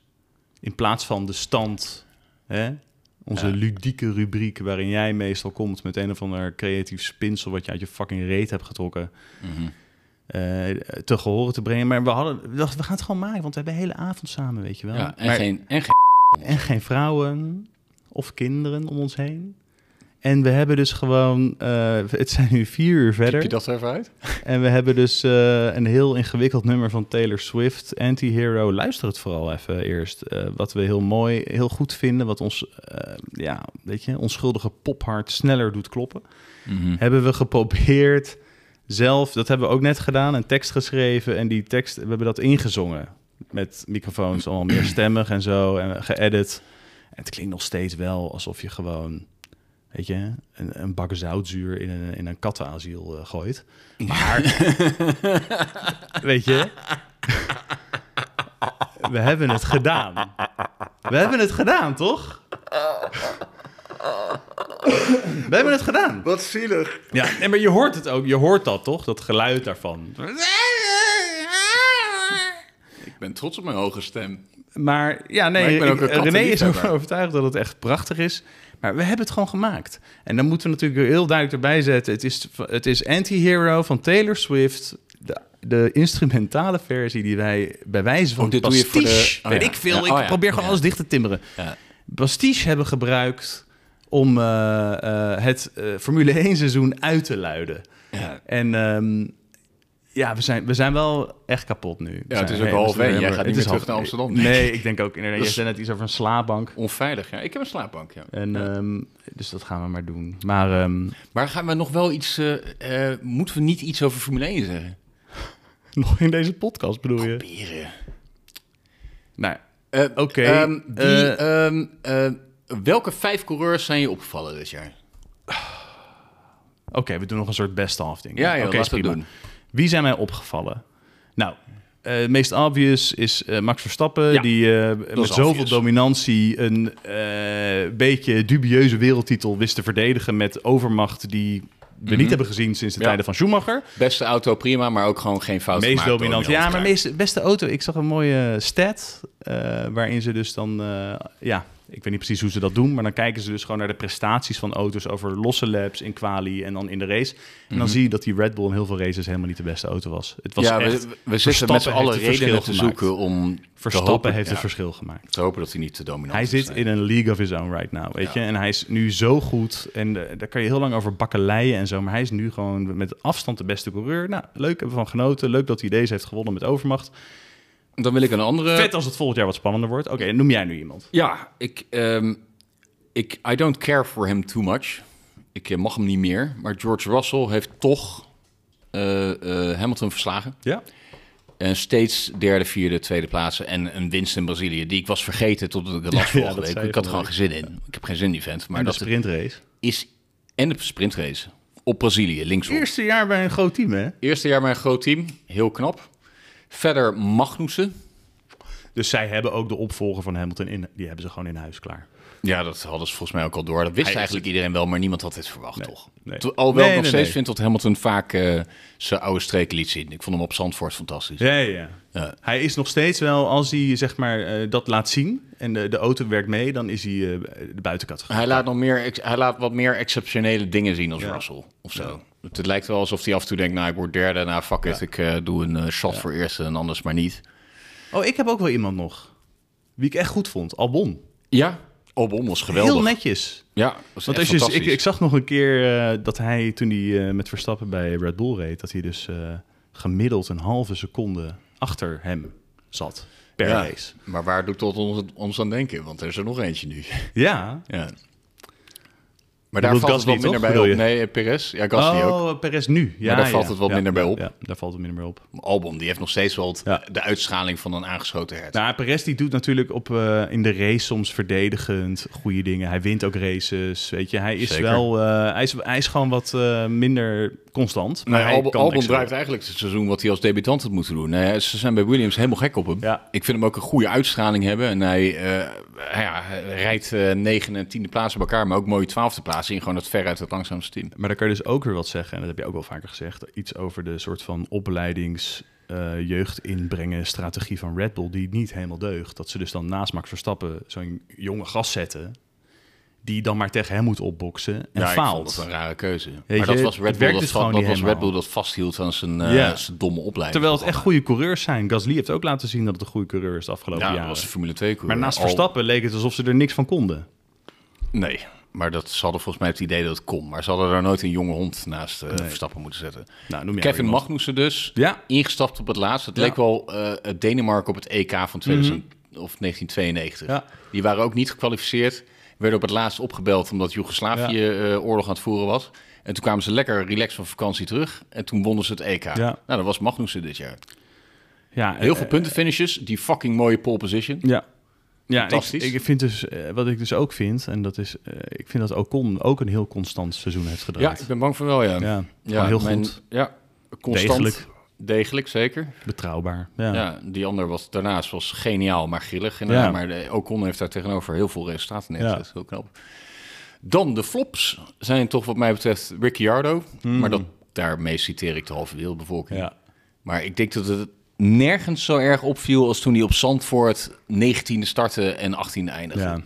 [SPEAKER 2] in plaats van de stand, hè, onze
[SPEAKER 1] Ja.
[SPEAKER 2] ludieke rubriek waarin jij meestal komt met een of ander creatief spinsel wat je uit je fucking reet hebt getrokken,
[SPEAKER 1] Mhm.
[SPEAKER 2] eh, te gehoren te brengen. Maar we hadden, we dachten, we gaan het gewoon maken, want we hebben de hele avond samen, weet je wel.
[SPEAKER 1] Ja, en,
[SPEAKER 2] Maar-
[SPEAKER 1] geen, en geen
[SPEAKER 2] en geen vrouwen of kinderen om ons heen. En we hebben dus gewoon, eh, het zijn nu vier uur verder.
[SPEAKER 1] Piep je dat er even uit?
[SPEAKER 2] En we hebben dus eh, een heel ingewikkeld nummer van Taylor Swift, Anti-Hero. Luister het vooral even eerst. eh, wat we heel mooi, heel goed vinden. Wat ons eh, ja, weet je, onschuldige pophart sneller doet kloppen. Hebben we geprobeerd zelf, dat hebben we ook net gedaan, een tekst geschreven. En die tekst, we hebben dat ingezongen. Met microfoons, allemaal meer stemmig en zo. En geëdit. En het klinkt nog steeds wel alsof je gewoon... Weet je, een, een bak zoutzuur in een, in een kattenasiel eh, gooit. Weet je? We hebben het gedaan. We hebben het gedaan, toch? We hebben het gedaan.
[SPEAKER 1] Wat zielig.
[SPEAKER 2] Ja, nee, maar je hoort het ook. Je hoort dat, toch? Dat geluid daarvan.
[SPEAKER 1] Ik ben trots op mijn hoge stem.
[SPEAKER 2] Maar ja, nee,
[SPEAKER 1] Maar ik ben
[SPEAKER 2] ik-
[SPEAKER 1] ook een
[SPEAKER 2] René is
[SPEAKER 1] kattenliefhebber.
[SPEAKER 2] ervan overtuigd dat het echt prachtig is. Maar we hebben het gewoon gemaakt. En dan moeten we natuurlijk heel duidelijk erbij zetten. Het is, het is Anti-Hero van Taylor Swift. De, de instrumentale versie die wij bij wijze van
[SPEAKER 1] Oh, dit doe je voor de-
[SPEAKER 2] pastiche,
[SPEAKER 1] oh,
[SPEAKER 2] weet
[SPEAKER 1] ja.
[SPEAKER 2] ik veel.
[SPEAKER 1] Ja,
[SPEAKER 2] ik
[SPEAKER 1] oh, ja.
[SPEAKER 2] probeer gewoon
[SPEAKER 1] Ja.
[SPEAKER 2] alles dicht te timmeren.
[SPEAKER 1] Ja.
[SPEAKER 2] Pastiche hebben gebruikt om eh, eh, het eh, Formule 1 seizoen uit te luiden.
[SPEAKER 1] Ja.
[SPEAKER 2] En ehm, ja, we zijn, we zijn wel echt kapot nu. We
[SPEAKER 1] Ja, het
[SPEAKER 2] zijn-
[SPEAKER 1] is ook half
[SPEAKER 2] we zijn
[SPEAKER 1] één. Jij
[SPEAKER 2] er-
[SPEAKER 1] gaat niet
[SPEAKER 2] het
[SPEAKER 1] meer
[SPEAKER 2] is
[SPEAKER 1] terug
[SPEAKER 2] half-
[SPEAKER 1] naar Amsterdam, denk Dus-
[SPEAKER 2] Nee, ik denk ook inderdaad.
[SPEAKER 1] Dat
[SPEAKER 2] Je
[SPEAKER 1] is-
[SPEAKER 2] zei net iets over een slaapbank.
[SPEAKER 1] Onveilig, ja. Ik heb een slaapbank, ja.
[SPEAKER 2] En,
[SPEAKER 1] Ja.
[SPEAKER 2] ehm, dus dat gaan we maar doen. Maar ehm,
[SPEAKER 1] Maar gaan we nog wel iets... eh, eh, moeten we niet iets over Formule 1 zeggen?
[SPEAKER 2] nog in deze podcast bedoel je?
[SPEAKER 1] Proberen.
[SPEAKER 2] Nou,
[SPEAKER 1] Eh,
[SPEAKER 2] Oké,
[SPEAKER 1] ehm, wie,
[SPEAKER 2] eh,
[SPEAKER 1] ehm, eh, welke vijf coureurs zijn je opgevallen dit jaar?
[SPEAKER 2] Oké, we doen nog een soort best-of ding.
[SPEAKER 1] Ja,
[SPEAKER 2] Oké,
[SPEAKER 1] joh,
[SPEAKER 2] is
[SPEAKER 1] laten we het doen.
[SPEAKER 2] Wie zijn mij opgevallen? Nou, eh, het meest obvious is eh, Max Verstappen,
[SPEAKER 1] Ja,
[SPEAKER 2] die eh, met zoveel
[SPEAKER 1] obvious.
[SPEAKER 2] dominantie een eh, beetje dubieuze wereldtitel wist te verdedigen met overmacht die we niet hebben gezien sinds
[SPEAKER 1] Mhm.
[SPEAKER 2] de
[SPEAKER 1] Ja.
[SPEAKER 2] tijden van Schumacher.
[SPEAKER 1] Beste auto, prima, maar ook gewoon geen fout
[SPEAKER 2] meest
[SPEAKER 1] gemaakt door
[SPEAKER 2] dominant.
[SPEAKER 1] Jan
[SPEAKER 2] Ja, maar
[SPEAKER 1] Kraak.
[SPEAKER 2] meest, beste auto. Ik zag een mooie stat eh, waarin ze dus dan, eh, ja, ik weet niet precies hoe ze dat doen, maar dan kijken ze dus gewoon naar de prestaties van auto's over losse laps in quali en dan in de race. En
[SPEAKER 1] Mhm.
[SPEAKER 2] dan zie je dat die Red Bull in heel veel races helemaal niet de beste auto was. Het was
[SPEAKER 1] ja, we,
[SPEAKER 2] echt,
[SPEAKER 1] we zitten
[SPEAKER 2] Verstappen
[SPEAKER 1] met z'n
[SPEAKER 2] heeft
[SPEAKER 1] allen
[SPEAKER 2] het verschil
[SPEAKER 1] redenen te
[SPEAKER 2] gemaakt.
[SPEAKER 1] zoeken om
[SPEAKER 2] Verstappen
[SPEAKER 1] te hopen,
[SPEAKER 2] heeft
[SPEAKER 1] ja,
[SPEAKER 2] het verschil gemaakt.
[SPEAKER 1] te hopen dat hij niet te dominant
[SPEAKER 2] Hij
[SPEAKER 1] is.
[SPEAKER 2] zit in een league of his own right now, weet je. En hij is nu zo goed. En eh, daar kan je heel lang over bakkeleien en zo. Maar hij is nu gewoon met afstand de beste coureur. Nou, leuk hebben we van genoten. Leuk dat hij deze heeft gewonnen met overmacht.
[SPEAKER 1] Dan wil ik een andere...
[SPEAKER 2] Vet als het volgend jaar wat spannender wordt. Oké, noem jij nu iemand.
[SPEAKER 1] Ja, ik, ehm, ik... I don't care for him too much. Ik eh, mag hem niet meer. Maar George Russell heeft toch eh, eh, Hamilton verslagen.
[SPEAKER 2] Ja.
[SPEAKER 1] En Eh, steeds derde, vierde, tweede plaatsen. En een winst in Brazilië, die ik was vergeten totdat ik het las
[SPEAKER 2] Ja,
[SPEAKER 1] vorige
[SPEAKER 2] dat
[SPEAKER 1] week.
[SPEAKER 2] zei je
[SPEAKER 1] Ik had er gewoon
[SPEAKER 2] vorige
[SPEAKER 1] geen zin in. Ik heb geen zin in die vent. Maar
[SPEAKER 2] En dus- de
[SPEAKER 1] dat
[SPEAKER 2] sprintrace.
[SPEAKER 1] is... En de sprintrace op Brazilië, linksom.
[SPEAKER 2] Eerste jaar bij een groot team, hè?
[SPEAKER 1] Eerste jaar bij een groot team, heel knap. Verder Magnussen.
[SPEAKER 2] Dus zij hebben ook de opvolger van Hamilton in. Die hebben ze gewoon in huis klaar.
[SPEAKER 1] Ja, dat hadden ze volgens mij ook al door. Dat wist
[SPEAKER 2] Hij-
[SPEAKER 1] eigenlijk iedereen wel, maar niemand had dit verwacht, toch?
[SPEAKER 2] nee.
[SPEAKER 1] Terwijl- Alhoewel
[SPEAKER 2] Nee,
[SPEAKER 1] ik nog
[SPEAKER 2] nee,
[SPEAKER 1] steeds
[SPEAKER 2] nee.
[SPEAKER 1] vind dat Hamilton vaak eh, zijn oude streken liet zien. Ik vond hem op Zandvoort fantastisch.
[SPEAKER 2] Ja, ja.
[SPEAKER 1] Ja.
[SPEAKER 2] Hij is nog steeds wel, als hij zeg maar eh, dat laat zien en de, de auto werkt mee, dan is hij eh, de buitencategorie.
[SPEAKER 1] Hij, laat nog meer, ex- hij laat wat meer exceptionele dingen zien als
[SPEAKER 2] Ja.
[SPEAKER 1] Russell of zo. Het, het lijkt wel alsof hij af en toe denkt, nou, ik word derde. Nou, fuck it, ik eh, doe een eh, shot voor eerst en anders maar niet.
[SPEAKER 2] Oh, ik heb ook wel iemand nog. Wie ik echt goed vond. Albon.
[SPEAKER 1] Ja, Albon was geweldig.
[SPEAKER 2] Heel netjes.
[SPEAKER 1] Ja, was echt
[SPEAKER 2] Want als je, ik,
[SPEAKER 1] fantastisch.
[SPEAKER 2] ik zag nog een keer eh, dat hij toen hij eh, met Verstappen bij Red Bull reed, dat hij dus eh, gemiddeld een halve seconde achter hem zat per
[SPEAKER 1] Ja,
[SPEAKER 2] race.
[SPEAKER 1] Maar waar doet dat ons, ons aan denken? Want er is er nog eentje nu.
[SPEAKER 2] Ja.
[SPEAKER 1] Ja. Maar
[SPEAKER 2] bedoelt
[SPEAKER 1] daar valt het
[SPEAKER 2] Gasly
[SPEAKER 1] wat minder
[SPEAKER 2] toch,
[SPEAKER 1] bij
[SPEAKER 2] bedoel
[SPEAKER 1] op.
[SPEAKER 2] je?
[SPEAKER 1] Nee, eh, Perez. Ja, Gasly ook.
[SPEAKER 2] oh, Perez nu. Ja,
[SPEAKER 1] daar
[SPEAKER 2] ja,
[SPEAKER 1] valt het wat
[SPEAKER 2] ja,
[SPEAKER 1] minder bij op.
[SPEAKER 2] Ja, daar valt het minder bij op.
[SPEAKER 1] Albon, die heeft nog steeds wel het-
[SPEAKER 2] Ja.
[SPEAKER 1] de uitschaling van een aangeschoten hert.
[SPEAKER 2] Nou, Perez die doet natuurlijk op, eh, in de race soms verdedigend goede dingen. Hij wint ook races, weet je. Hij is
[SPEAKER 1] Zeker.
[SPEAKER 2] wel, eh, hij, is, hij is gewoon wat eh, minder constant. Maar
[SPEAKER 1] Nee,
[SPEAKER 2] hij
[SPEAKER 1] Albon,
[SPEAKER 2] kan
[SPEAKER 1] Albon
[SPEAKER 2] niks
[SPEAKER 1] draait
[SPEAKER 2] doen.
[SPEAKER 1] eigenlijk het seizoen wat hij als debutant had moeten doen. Nee, ze zijn bij Williams helemaal gek op hem.
[SPEAKER 2] Ja.
[SPEAKER 1] Ik vind hem ook een goede uitstraling hebben. En hij, eh, ja, hij rijdt eh, negen en tiende plaatsen bij elkaar, maar ook mooie twaalfde plaatsen in gewoon het veruit het langzaamste team.
[SPEAKER 2] Maar daar kan je dus ook weer wat zeggen, en dat heb je ook wel vaker gezegd, iets over de soort van opleidings... eh, jeugd inbrengen, strategie van Red Bull, die niet helemaal deugt. Dat ze dus dan naast Max Verstappen zo'n jonge gast zetten, die dan maar tegen hem moet opboksen en
[SPEAKER 1] ja, ik vond
[SPEAKER 2] faalt.
[SPEAKER 1] dat een rare keuze.
[SPEAKER 2] Weet
[SPEAKER 1] maar dat
[SPEAKER 2] je,
[SPEAKER 1] was
[SPEAKER 2] het
[SPEAKER 1] Red Bull
[SPEAKER 2] werkt
[SPEAKER 1] dat,
[SPEAKER 2] dus
[SPEAKER 1] va-
[SPEAKER 2] gewoon
[SPEAKER 1] dat
[SPEAKER 2] niet
[SPEAKER 1] was Red
[SPEAKER 2] helemaal.
[SPEAKER 1] Bull dat vasthield aan zijn, eh,
[SPEAKER 2] Ja.
[SPEAKER 1] zijn domme opleiding.
[SPEAKER 2] Terwijl het echt goede coureurs zijn. Gasly heeft ook laten zien dat het een goede coureur is de afgelopen
[SPEAKER 1] ja, dat
[SPEAKER 2] jaren.
[SPEAKER 1] was de Formule 2 coureur.
[SPEAKER 2] Maar naast
[SPEAKER 1] Al-
[SPEAKER 2] Verstappen leek het alsof ze er niks van konden.
[SPEAKER 1] Nee, maar dat, ze hadden volgens mij het idee dat het kon. Maar ze hadden daar nooit een jonge hond naast eh, Verstappen moeten zetten.
[SPEAKER 2] Nou, noem jij
[SPEAKER 1] Kevin
[SPEAKER 2] iemand.
[SPEAKER 1] Magnussen dus,
[SPEAKER 2] Ja.
[SPEAKER 1] ingestapt op het laatst. Het
[SPEAKER 2] Ja. Mhm.
[SPEAKER 1] leek wel eh, het Denemarken op het EK van 2000, of 1992.
[SPEAKER 2] Ja.
[SPEAKER 1] Die waren ook niet gekwalificeerd. Werden op het laatst opgebeld omdat Joegoslavië eh, oorlog aan het voeren was. En toen kwamen ze lekker relaxed van vakantie terug. En toen wonnen ze het EK. Nou, dat was Magnussen dit jaar.
[SPEAKER 2] Ja,
[SPEAKER 1] Heel
[SPEAKER 2] eh,
[SPEAKER 1] veel puntenfinishes. Die fucking mooie pole position.
[SPEAKER 2] Ja. Ja, ik,
[SPEAKER 1] Fantastisch.
[SPEAKER 2] ik vind dus, eh, wat ik dus ook vind, en dat is, eh, ik vind dat Ocon ook een heel constant seizoen heeft
[SPEAKER 1] Ja,
[SPEAKER 2] gedraaid.
[SPEAKER 1] ik ben bang voor wel, ja.
[SPEAKER 2] Ja, gewoon heel
[SPEAKER 1] mijn-
[SPEAKER 2] goed.
[SPEAKER 1] Ja, constant.
[SPEAKER 2] Degelijk.
[SPEAKER 1] Degelijk, zeker.
[SPEAKER 2] Betrouwbaar. Ja.
[SPEAKER 1] Ja, die ander was daarnaast was geniaal, maar grillig. inderdaad.
[SPEAKER 2] Ja.
[SPEAKER 1] Maar de Ocon heeft daar tegenover heel veel resultaten neergezet.
[SPEAKER 2] Ja.
[SPEAKER 1] Heel knap. Dan de flops zijn toch wat mij betreft Ricciardo. Maar dat, daarmee citeer ik de halve wereldbevolking.
[SPEAKER 2] Hmm. Ja.
[SPEAKER 1] Maar ik denk dat het nergens zo erg opviel als toen hij op Zandvoort 19e startte en 18e eindigde.
[SPEAKER 2] Ja.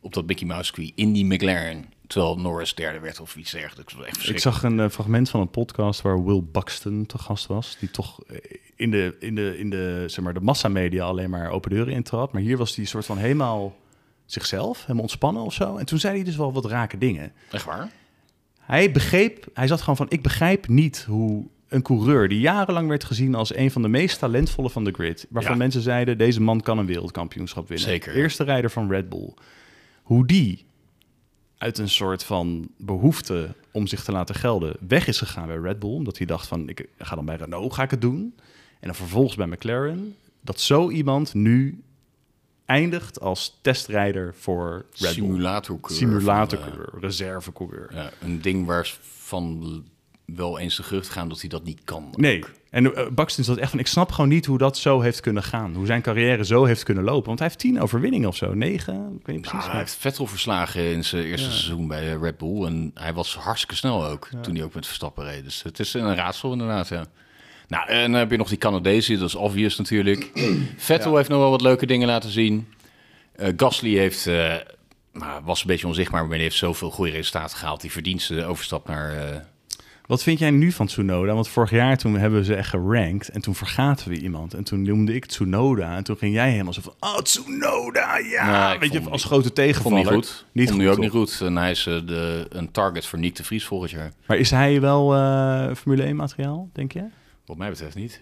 [SPEAKER 1] Op dat Mickey Mouse circuit in die McLaren. Terwijl Norris derde werd of iets dergelijks. Dat was echt
[SPEAKER 2] Ik
[SPEAKER 1] verschrikkelijk.
[SPEAKER 2] zag een eh, fragment van een podcast waar Will Buxton te gast was, die toch eh, in de, in de, in de, zeg maar, de massamedia alleen maar open deuren intrad. Maar hier was hij soort van helemaal zichzelf, helemaal ontspannen of zo. En toen zei hij dus wel wat rake dingen.
[SPEAKER 1] Echt waar?
[SPEAKER 2] Hij begreep, hij zat gewoon van, ik begrijp niet hoe een coureur die jarenlang werd gezien als een van de meest talentvolle van de grid, waarvan
[SPEAKER 1] Ja.
[SPEAKER 2] mensen zeiden, deze man kan een wereldkampioenschap winnen.
[SPEAKER 1] Zeker.
[SPEAKER 2] Eerste rijder van Red Bull. Hoe die uit een soort van behoefte om zich te laten gelden weg is gegaan bij Red Bull, omdat hij dacht van, ik ga dan bij Renault, ga ik het doen. En dan vervolgens bij McLaren, dat zo iemand nu eindigt als testrijder voor Red Bull.
[SPEAKER 1] Simulatorcoureur. van, eh,
[SPEAKER 2] Simulatorcoureur, reservecoureur.
[SPEAKER 1] ja, een ding waarvan wel eens de gerucht gaan dat hij dat niet kan.
[SPEAKER 2] Nee. En eh, Buxton zat echt van, ik snap gewoon niet hoe dat zo heeft kunnen gaan. Hoe zijn carrière zo heeft kunnen lopen. Want hij heeft tien overwinningen of zo. Negen, ik weet niet precies.
[SPEAKER 1] Ah, hij heeft Vettel verslagen in zijn eerste seizoen bij eh, Red Bull. En hij was hartstikke snel ook, toen hij ook met Verstappen reed. Dus het is een raadsel inderdaad, ja. Nou, en dan heb je nog die Canadezen, dat is obvious natuurlijk. Vettel heeft nog wel wat leuke dingen laten zien. Eh, Gasly heeft, eh, nou, was een beetje onzichtbaar, maar hij heeft zoveel goede resultaten gehaald. Die verdient de overstap naar... eh,
[SPEAKER 2] Wat vind jij nu van Tsunoda? Want vorig jaar toen hebben we ze echt gerankt en toen vergaten we iemand. En toen noemde ik Tsunoda en toen ging jij helemaal zo van, oh Tsunoda, ja.
[SPEAKER 1] Nee, Nou, ik
[SPEAKER 2] weet
[SPEAKER 1] vond
[SPEAKER 2] je,
[SPEAKER 1] hem
[SPEAKER 2] als
[SPEAKER 1] niet-
[SPEAKER 2] grote
[SPEAKER 1] vond
[SPEAKER 2] tegenvaller.
[SPEAKER 1] niet goed.
[SPEAKER 2] Niet
[SPEAKER 1] vond
[SPEAKER 2] goed,
[SPEAKER 1] nu ook
[SPEAKER 2] toch?
[SPEAKER 1] niet goed. En hij is eh, de, een target voor Nick de Vries volgend jaar.
[SPEAKER 2] Maar is hij wel eh, Formule 1 materiaal, denk je?
[SPEAKER 1] Wat mij betreft niet.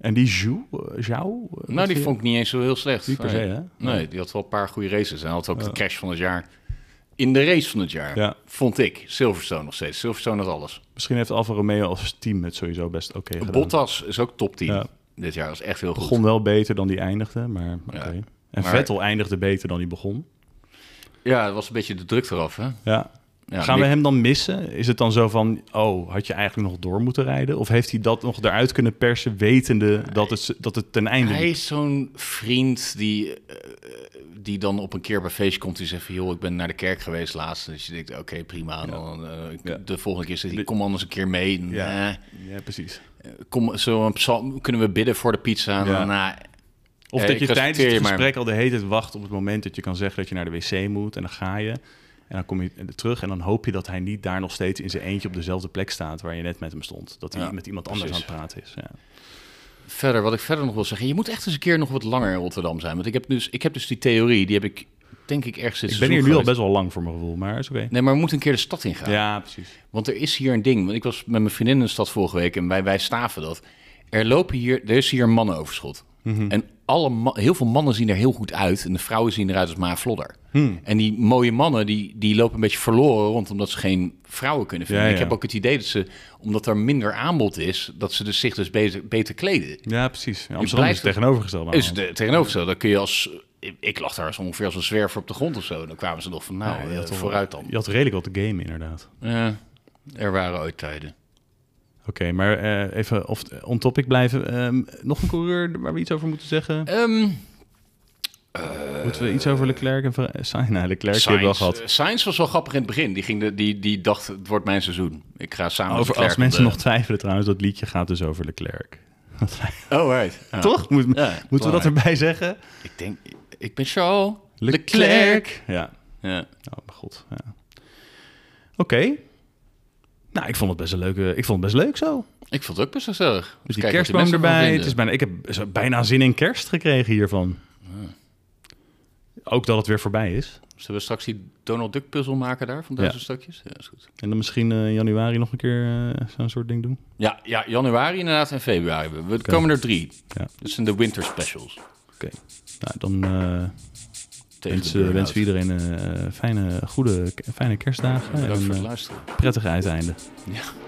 [SPEAKER 2] En die Zhou? eh, Zhou? eh, wat
[SPEAKER 1] Nou, die
[SPEAKER 2] je-
[SPEAKER 1] vond ik niet eens zo heel slecht.
[SPEAKER 2] Niet per se,
[SPEAKER 1] nee.
[SPEAKER 2] hè?
[SPEAKER 1] Nee, die had wel een paar goede races. En hij had ook de crash van het jaar. In de race van het jaar,
[SPEAKER 2] Ja.
[SPEAKER 1] vond ik. Silverstone nog steeds. Silverstone had alles.
[SPEAKER 2] Misschien heeft Alfa Romeo als team het sowieso best oké gedaan.
[SPEAKER 1] Bottas is ook top 10
[SPEAKER 2] Ja.
[SPEAKER 1] dit jaar. Dat is echt heel goed.
[SPEAKER 2] begon wel beter dan die eindigde, maar oké.
[SPEAKER 1] Ja.
[SPEAKER 2] En
[SPEAKER 1] Maar-
[SPEAKER 2] Vettel eindigde beter dan die begon.
[SPEAKER 1] Ja, het was een beetje de druk eraf. Hè?
[SPEAKER 2] Ja.
[SPEAKER 1] Ja,
[SPEAKER 2] Gaan we
[SPEAKER 1] Mick-
[SPEAKER 2] hem dan missen? Is het dan zo van, oh, had je eigenlijk nog door moeten rijden? Of heeft hij dat nog eruit kunnen persen, wetende dat het, dat het ten einde
[SPEAKER 1] Hij
[SPEAKER 2] liep?
[SPEAKER 1] is zo'n vriend die, eh, die dan op een keer bij een feestje komt. Die zegt van, joh, ik ben naar de kerk geweest laatst. Dus je denkt, oké, prima. En Dan, eh, ik-
[SPEAKER 2] Ja.
[SPEAKER 1] De volgende keer zit hij, kom anders een keer mee.
[SPEAKER 2] Ja.
[SPEAKER 1] Nee.
[SPEAKER 2] Ja, precies.
[SPEAKER 1] kom, zo een psalm, kunnen we bidden voor de pizza?
[SPEAKER 2] Ja.
[SPEAKER 1] En daarna-
[SPEAKER 2] Of
[SPEAKER 1] Eh,
[SPEAKER 2] dat
[SPEAKER 1] ik
[SPEAKER 2] je tijdens
[SPEAKER 1] respecteer
[SPEAKER 2] het
[SPEAKER 1] je, maar-
[SPEAKER 2] gesprek al de hele tijd wacht op het moment dat je kan zeggen dat je naar de wc moet. En dan ga je. En dan kom je terug en dan hoop je dat hij niet daar nog steeds in zijn eentje op dezelfde plek staat waar je net met hem stond. Dat hij
[SPEAKER 1] Ja,
[SPEAKER 2] met iemand anders
[SPEAKER 1] precies.
[SPEAKER 2] aan het praten is. Ja.
[SPEAKER 1] verder, wat ik verder nog wil zeggen, je moet echt eens een keer nog wat langer in Rotterdam zijn. Want ik heb dus, ik heb dus die theorie, die heb ik denk ik ergens dit
[SPEAKER 2] Ik ben
[SPEAKER 1] seizoen
[SPEAKER 2] hier nu al
[SPEAKER 1] geweest.
[SPEAKER 2] best wel lang voor mijn gevoel, maar is oké.
[SPEAKER 1] Nee, maar we moeten een keer de stad ingaan.
[SPEAKER 2] Ja, precies.
[SPEAKER 1] Want er is hier een ding. Want ik was met mijn vriendin in de stad vorige week en wij, wij staven dat. Er, lopen hier, er is hier een mannenoverschot.
[SPEAKER 2] Mhm.
[SPEAKER 1] En alle ma- heel veel mannen zien er heel goed uit. En de vrouwen zien eruit als maar vlodder.
[SPEAKER 2] Hmm.
[SPEAKER 1] En die mooie mannen die, die lopen een beetje verloren rond omdat ze geen vrouwen kunnen vinden.
[SPEAKER 2] Ja,
[SPEAKER 1] Ik
[SPEAKER 2] ja.
[SPEAKER 1] heb ook het idee dat ze, omdat er minder aanbod is, dat ze dus zich dus beter, beter kleden.
[SPEAKER 2] Ja, precies. Ja, Amsterdam
[SPEAKER 1] blijft-
[SPEAKER 2] is het tegenovergesteld.
[SPEAKER 1] Is het eh, tegenovergesteld. Dan kun je als. ik- Ik lag daar als ongeveer als een zwerver op de grond of zo. Dan kwamen ze nog van, nou, eh, vooruit dan.
[SPEAKER 2] Je had redelijk wat te game inderdaad.
[SPEAKER 1] Ja, er waren ooit tijden.
[SPEAKER 2] Oké, maar eh, even of on topic blijven. Ehm, nog een coureur waar we iets over moeten zeggen? Eh,
[SPEAKER 1] Ehm
[SPEAKER 2] moeten we iets over Leclerc en Ver- Sainz? Nou, Leclerc die hebben we al
[SPEAKER 1] Sainz,
[SPEAKER 2] gehad.
[SPEAKER 1] Eh, Sainz was wel grappig in het begin. Die, ging de, die, die dacht, het wordt mijn seizoen. Ik ga samen
[SPEAKER 2] Over,
[SPEAKER 1] met Leclerc
[SPEAKER 2] als mensen
[SPEAKER 1] op
[SPEAKER 2] nog twijfelen trouwens, dat liedje gaat dus over Leclerc.
[SPEAKER 1] de- Oh, right. Ja.
[SPEAKER 2] Toch? Moet-
[SPEAKER 1] Ja,
[SPEAKER 2] moeten we dat erbij zeggen?
[SPEAKER 1] Ik denk, ik ben Charles Leclerc.
[SPEAKER 2] Ja.
[SPEAKER 1] Ja.
[SPEAKER 2] Oh mijn god. Ja. Oké. Nou, ik vond het best een leuke. Ik vond het best leuk zo.
[SPEAKER 1] Ik vond het ook best gezellig. Dus
[SPEAKER 2] Dus die kerstboom erbij. Het is bijna, ik heb zo bijna zin in kerst gekregen hiervan. Ook dat het weer voorbij is.
[SPEAKER 1] Zullen we straks die Donald Duck puzzel maken daar van duizend
[SPEAKER 2] Ja.
[SPEAKER 1] stukjes? Ja, is goed.
[SPEAKER 2] En dan misschien eh, in januari nog een keer eh, zo'n soort ding doen.
[SPEAKER 1] Ja, ja, januari inderdaad en februari. We we komen er drie.
[SPEAKER 2] Ja.
[SPEAKER 1] Dat zijn de winter specials.
[SPEAKER 2] Oké. Nou, dan eh
[SPEAKER 1] Tegen de
[SPEAKER 2] wensen,
[SPEAKER 1] burn-out.
[SPEAKER 2] wensen we iedereen eh, fijne, goede, fijne kerstdagen.
[SPEAKER 1] Bedankt
[SPEAKER 2] en
[SPEAKER 1] voor
[SPEAKER 2] een
[SPEAKER 1] het
[SPEAKER 2] eh,
[SPEAKER 1] luisteren.
[SPEAKER 2] prettig uiteinde.
[SPEAKER 1] Ja.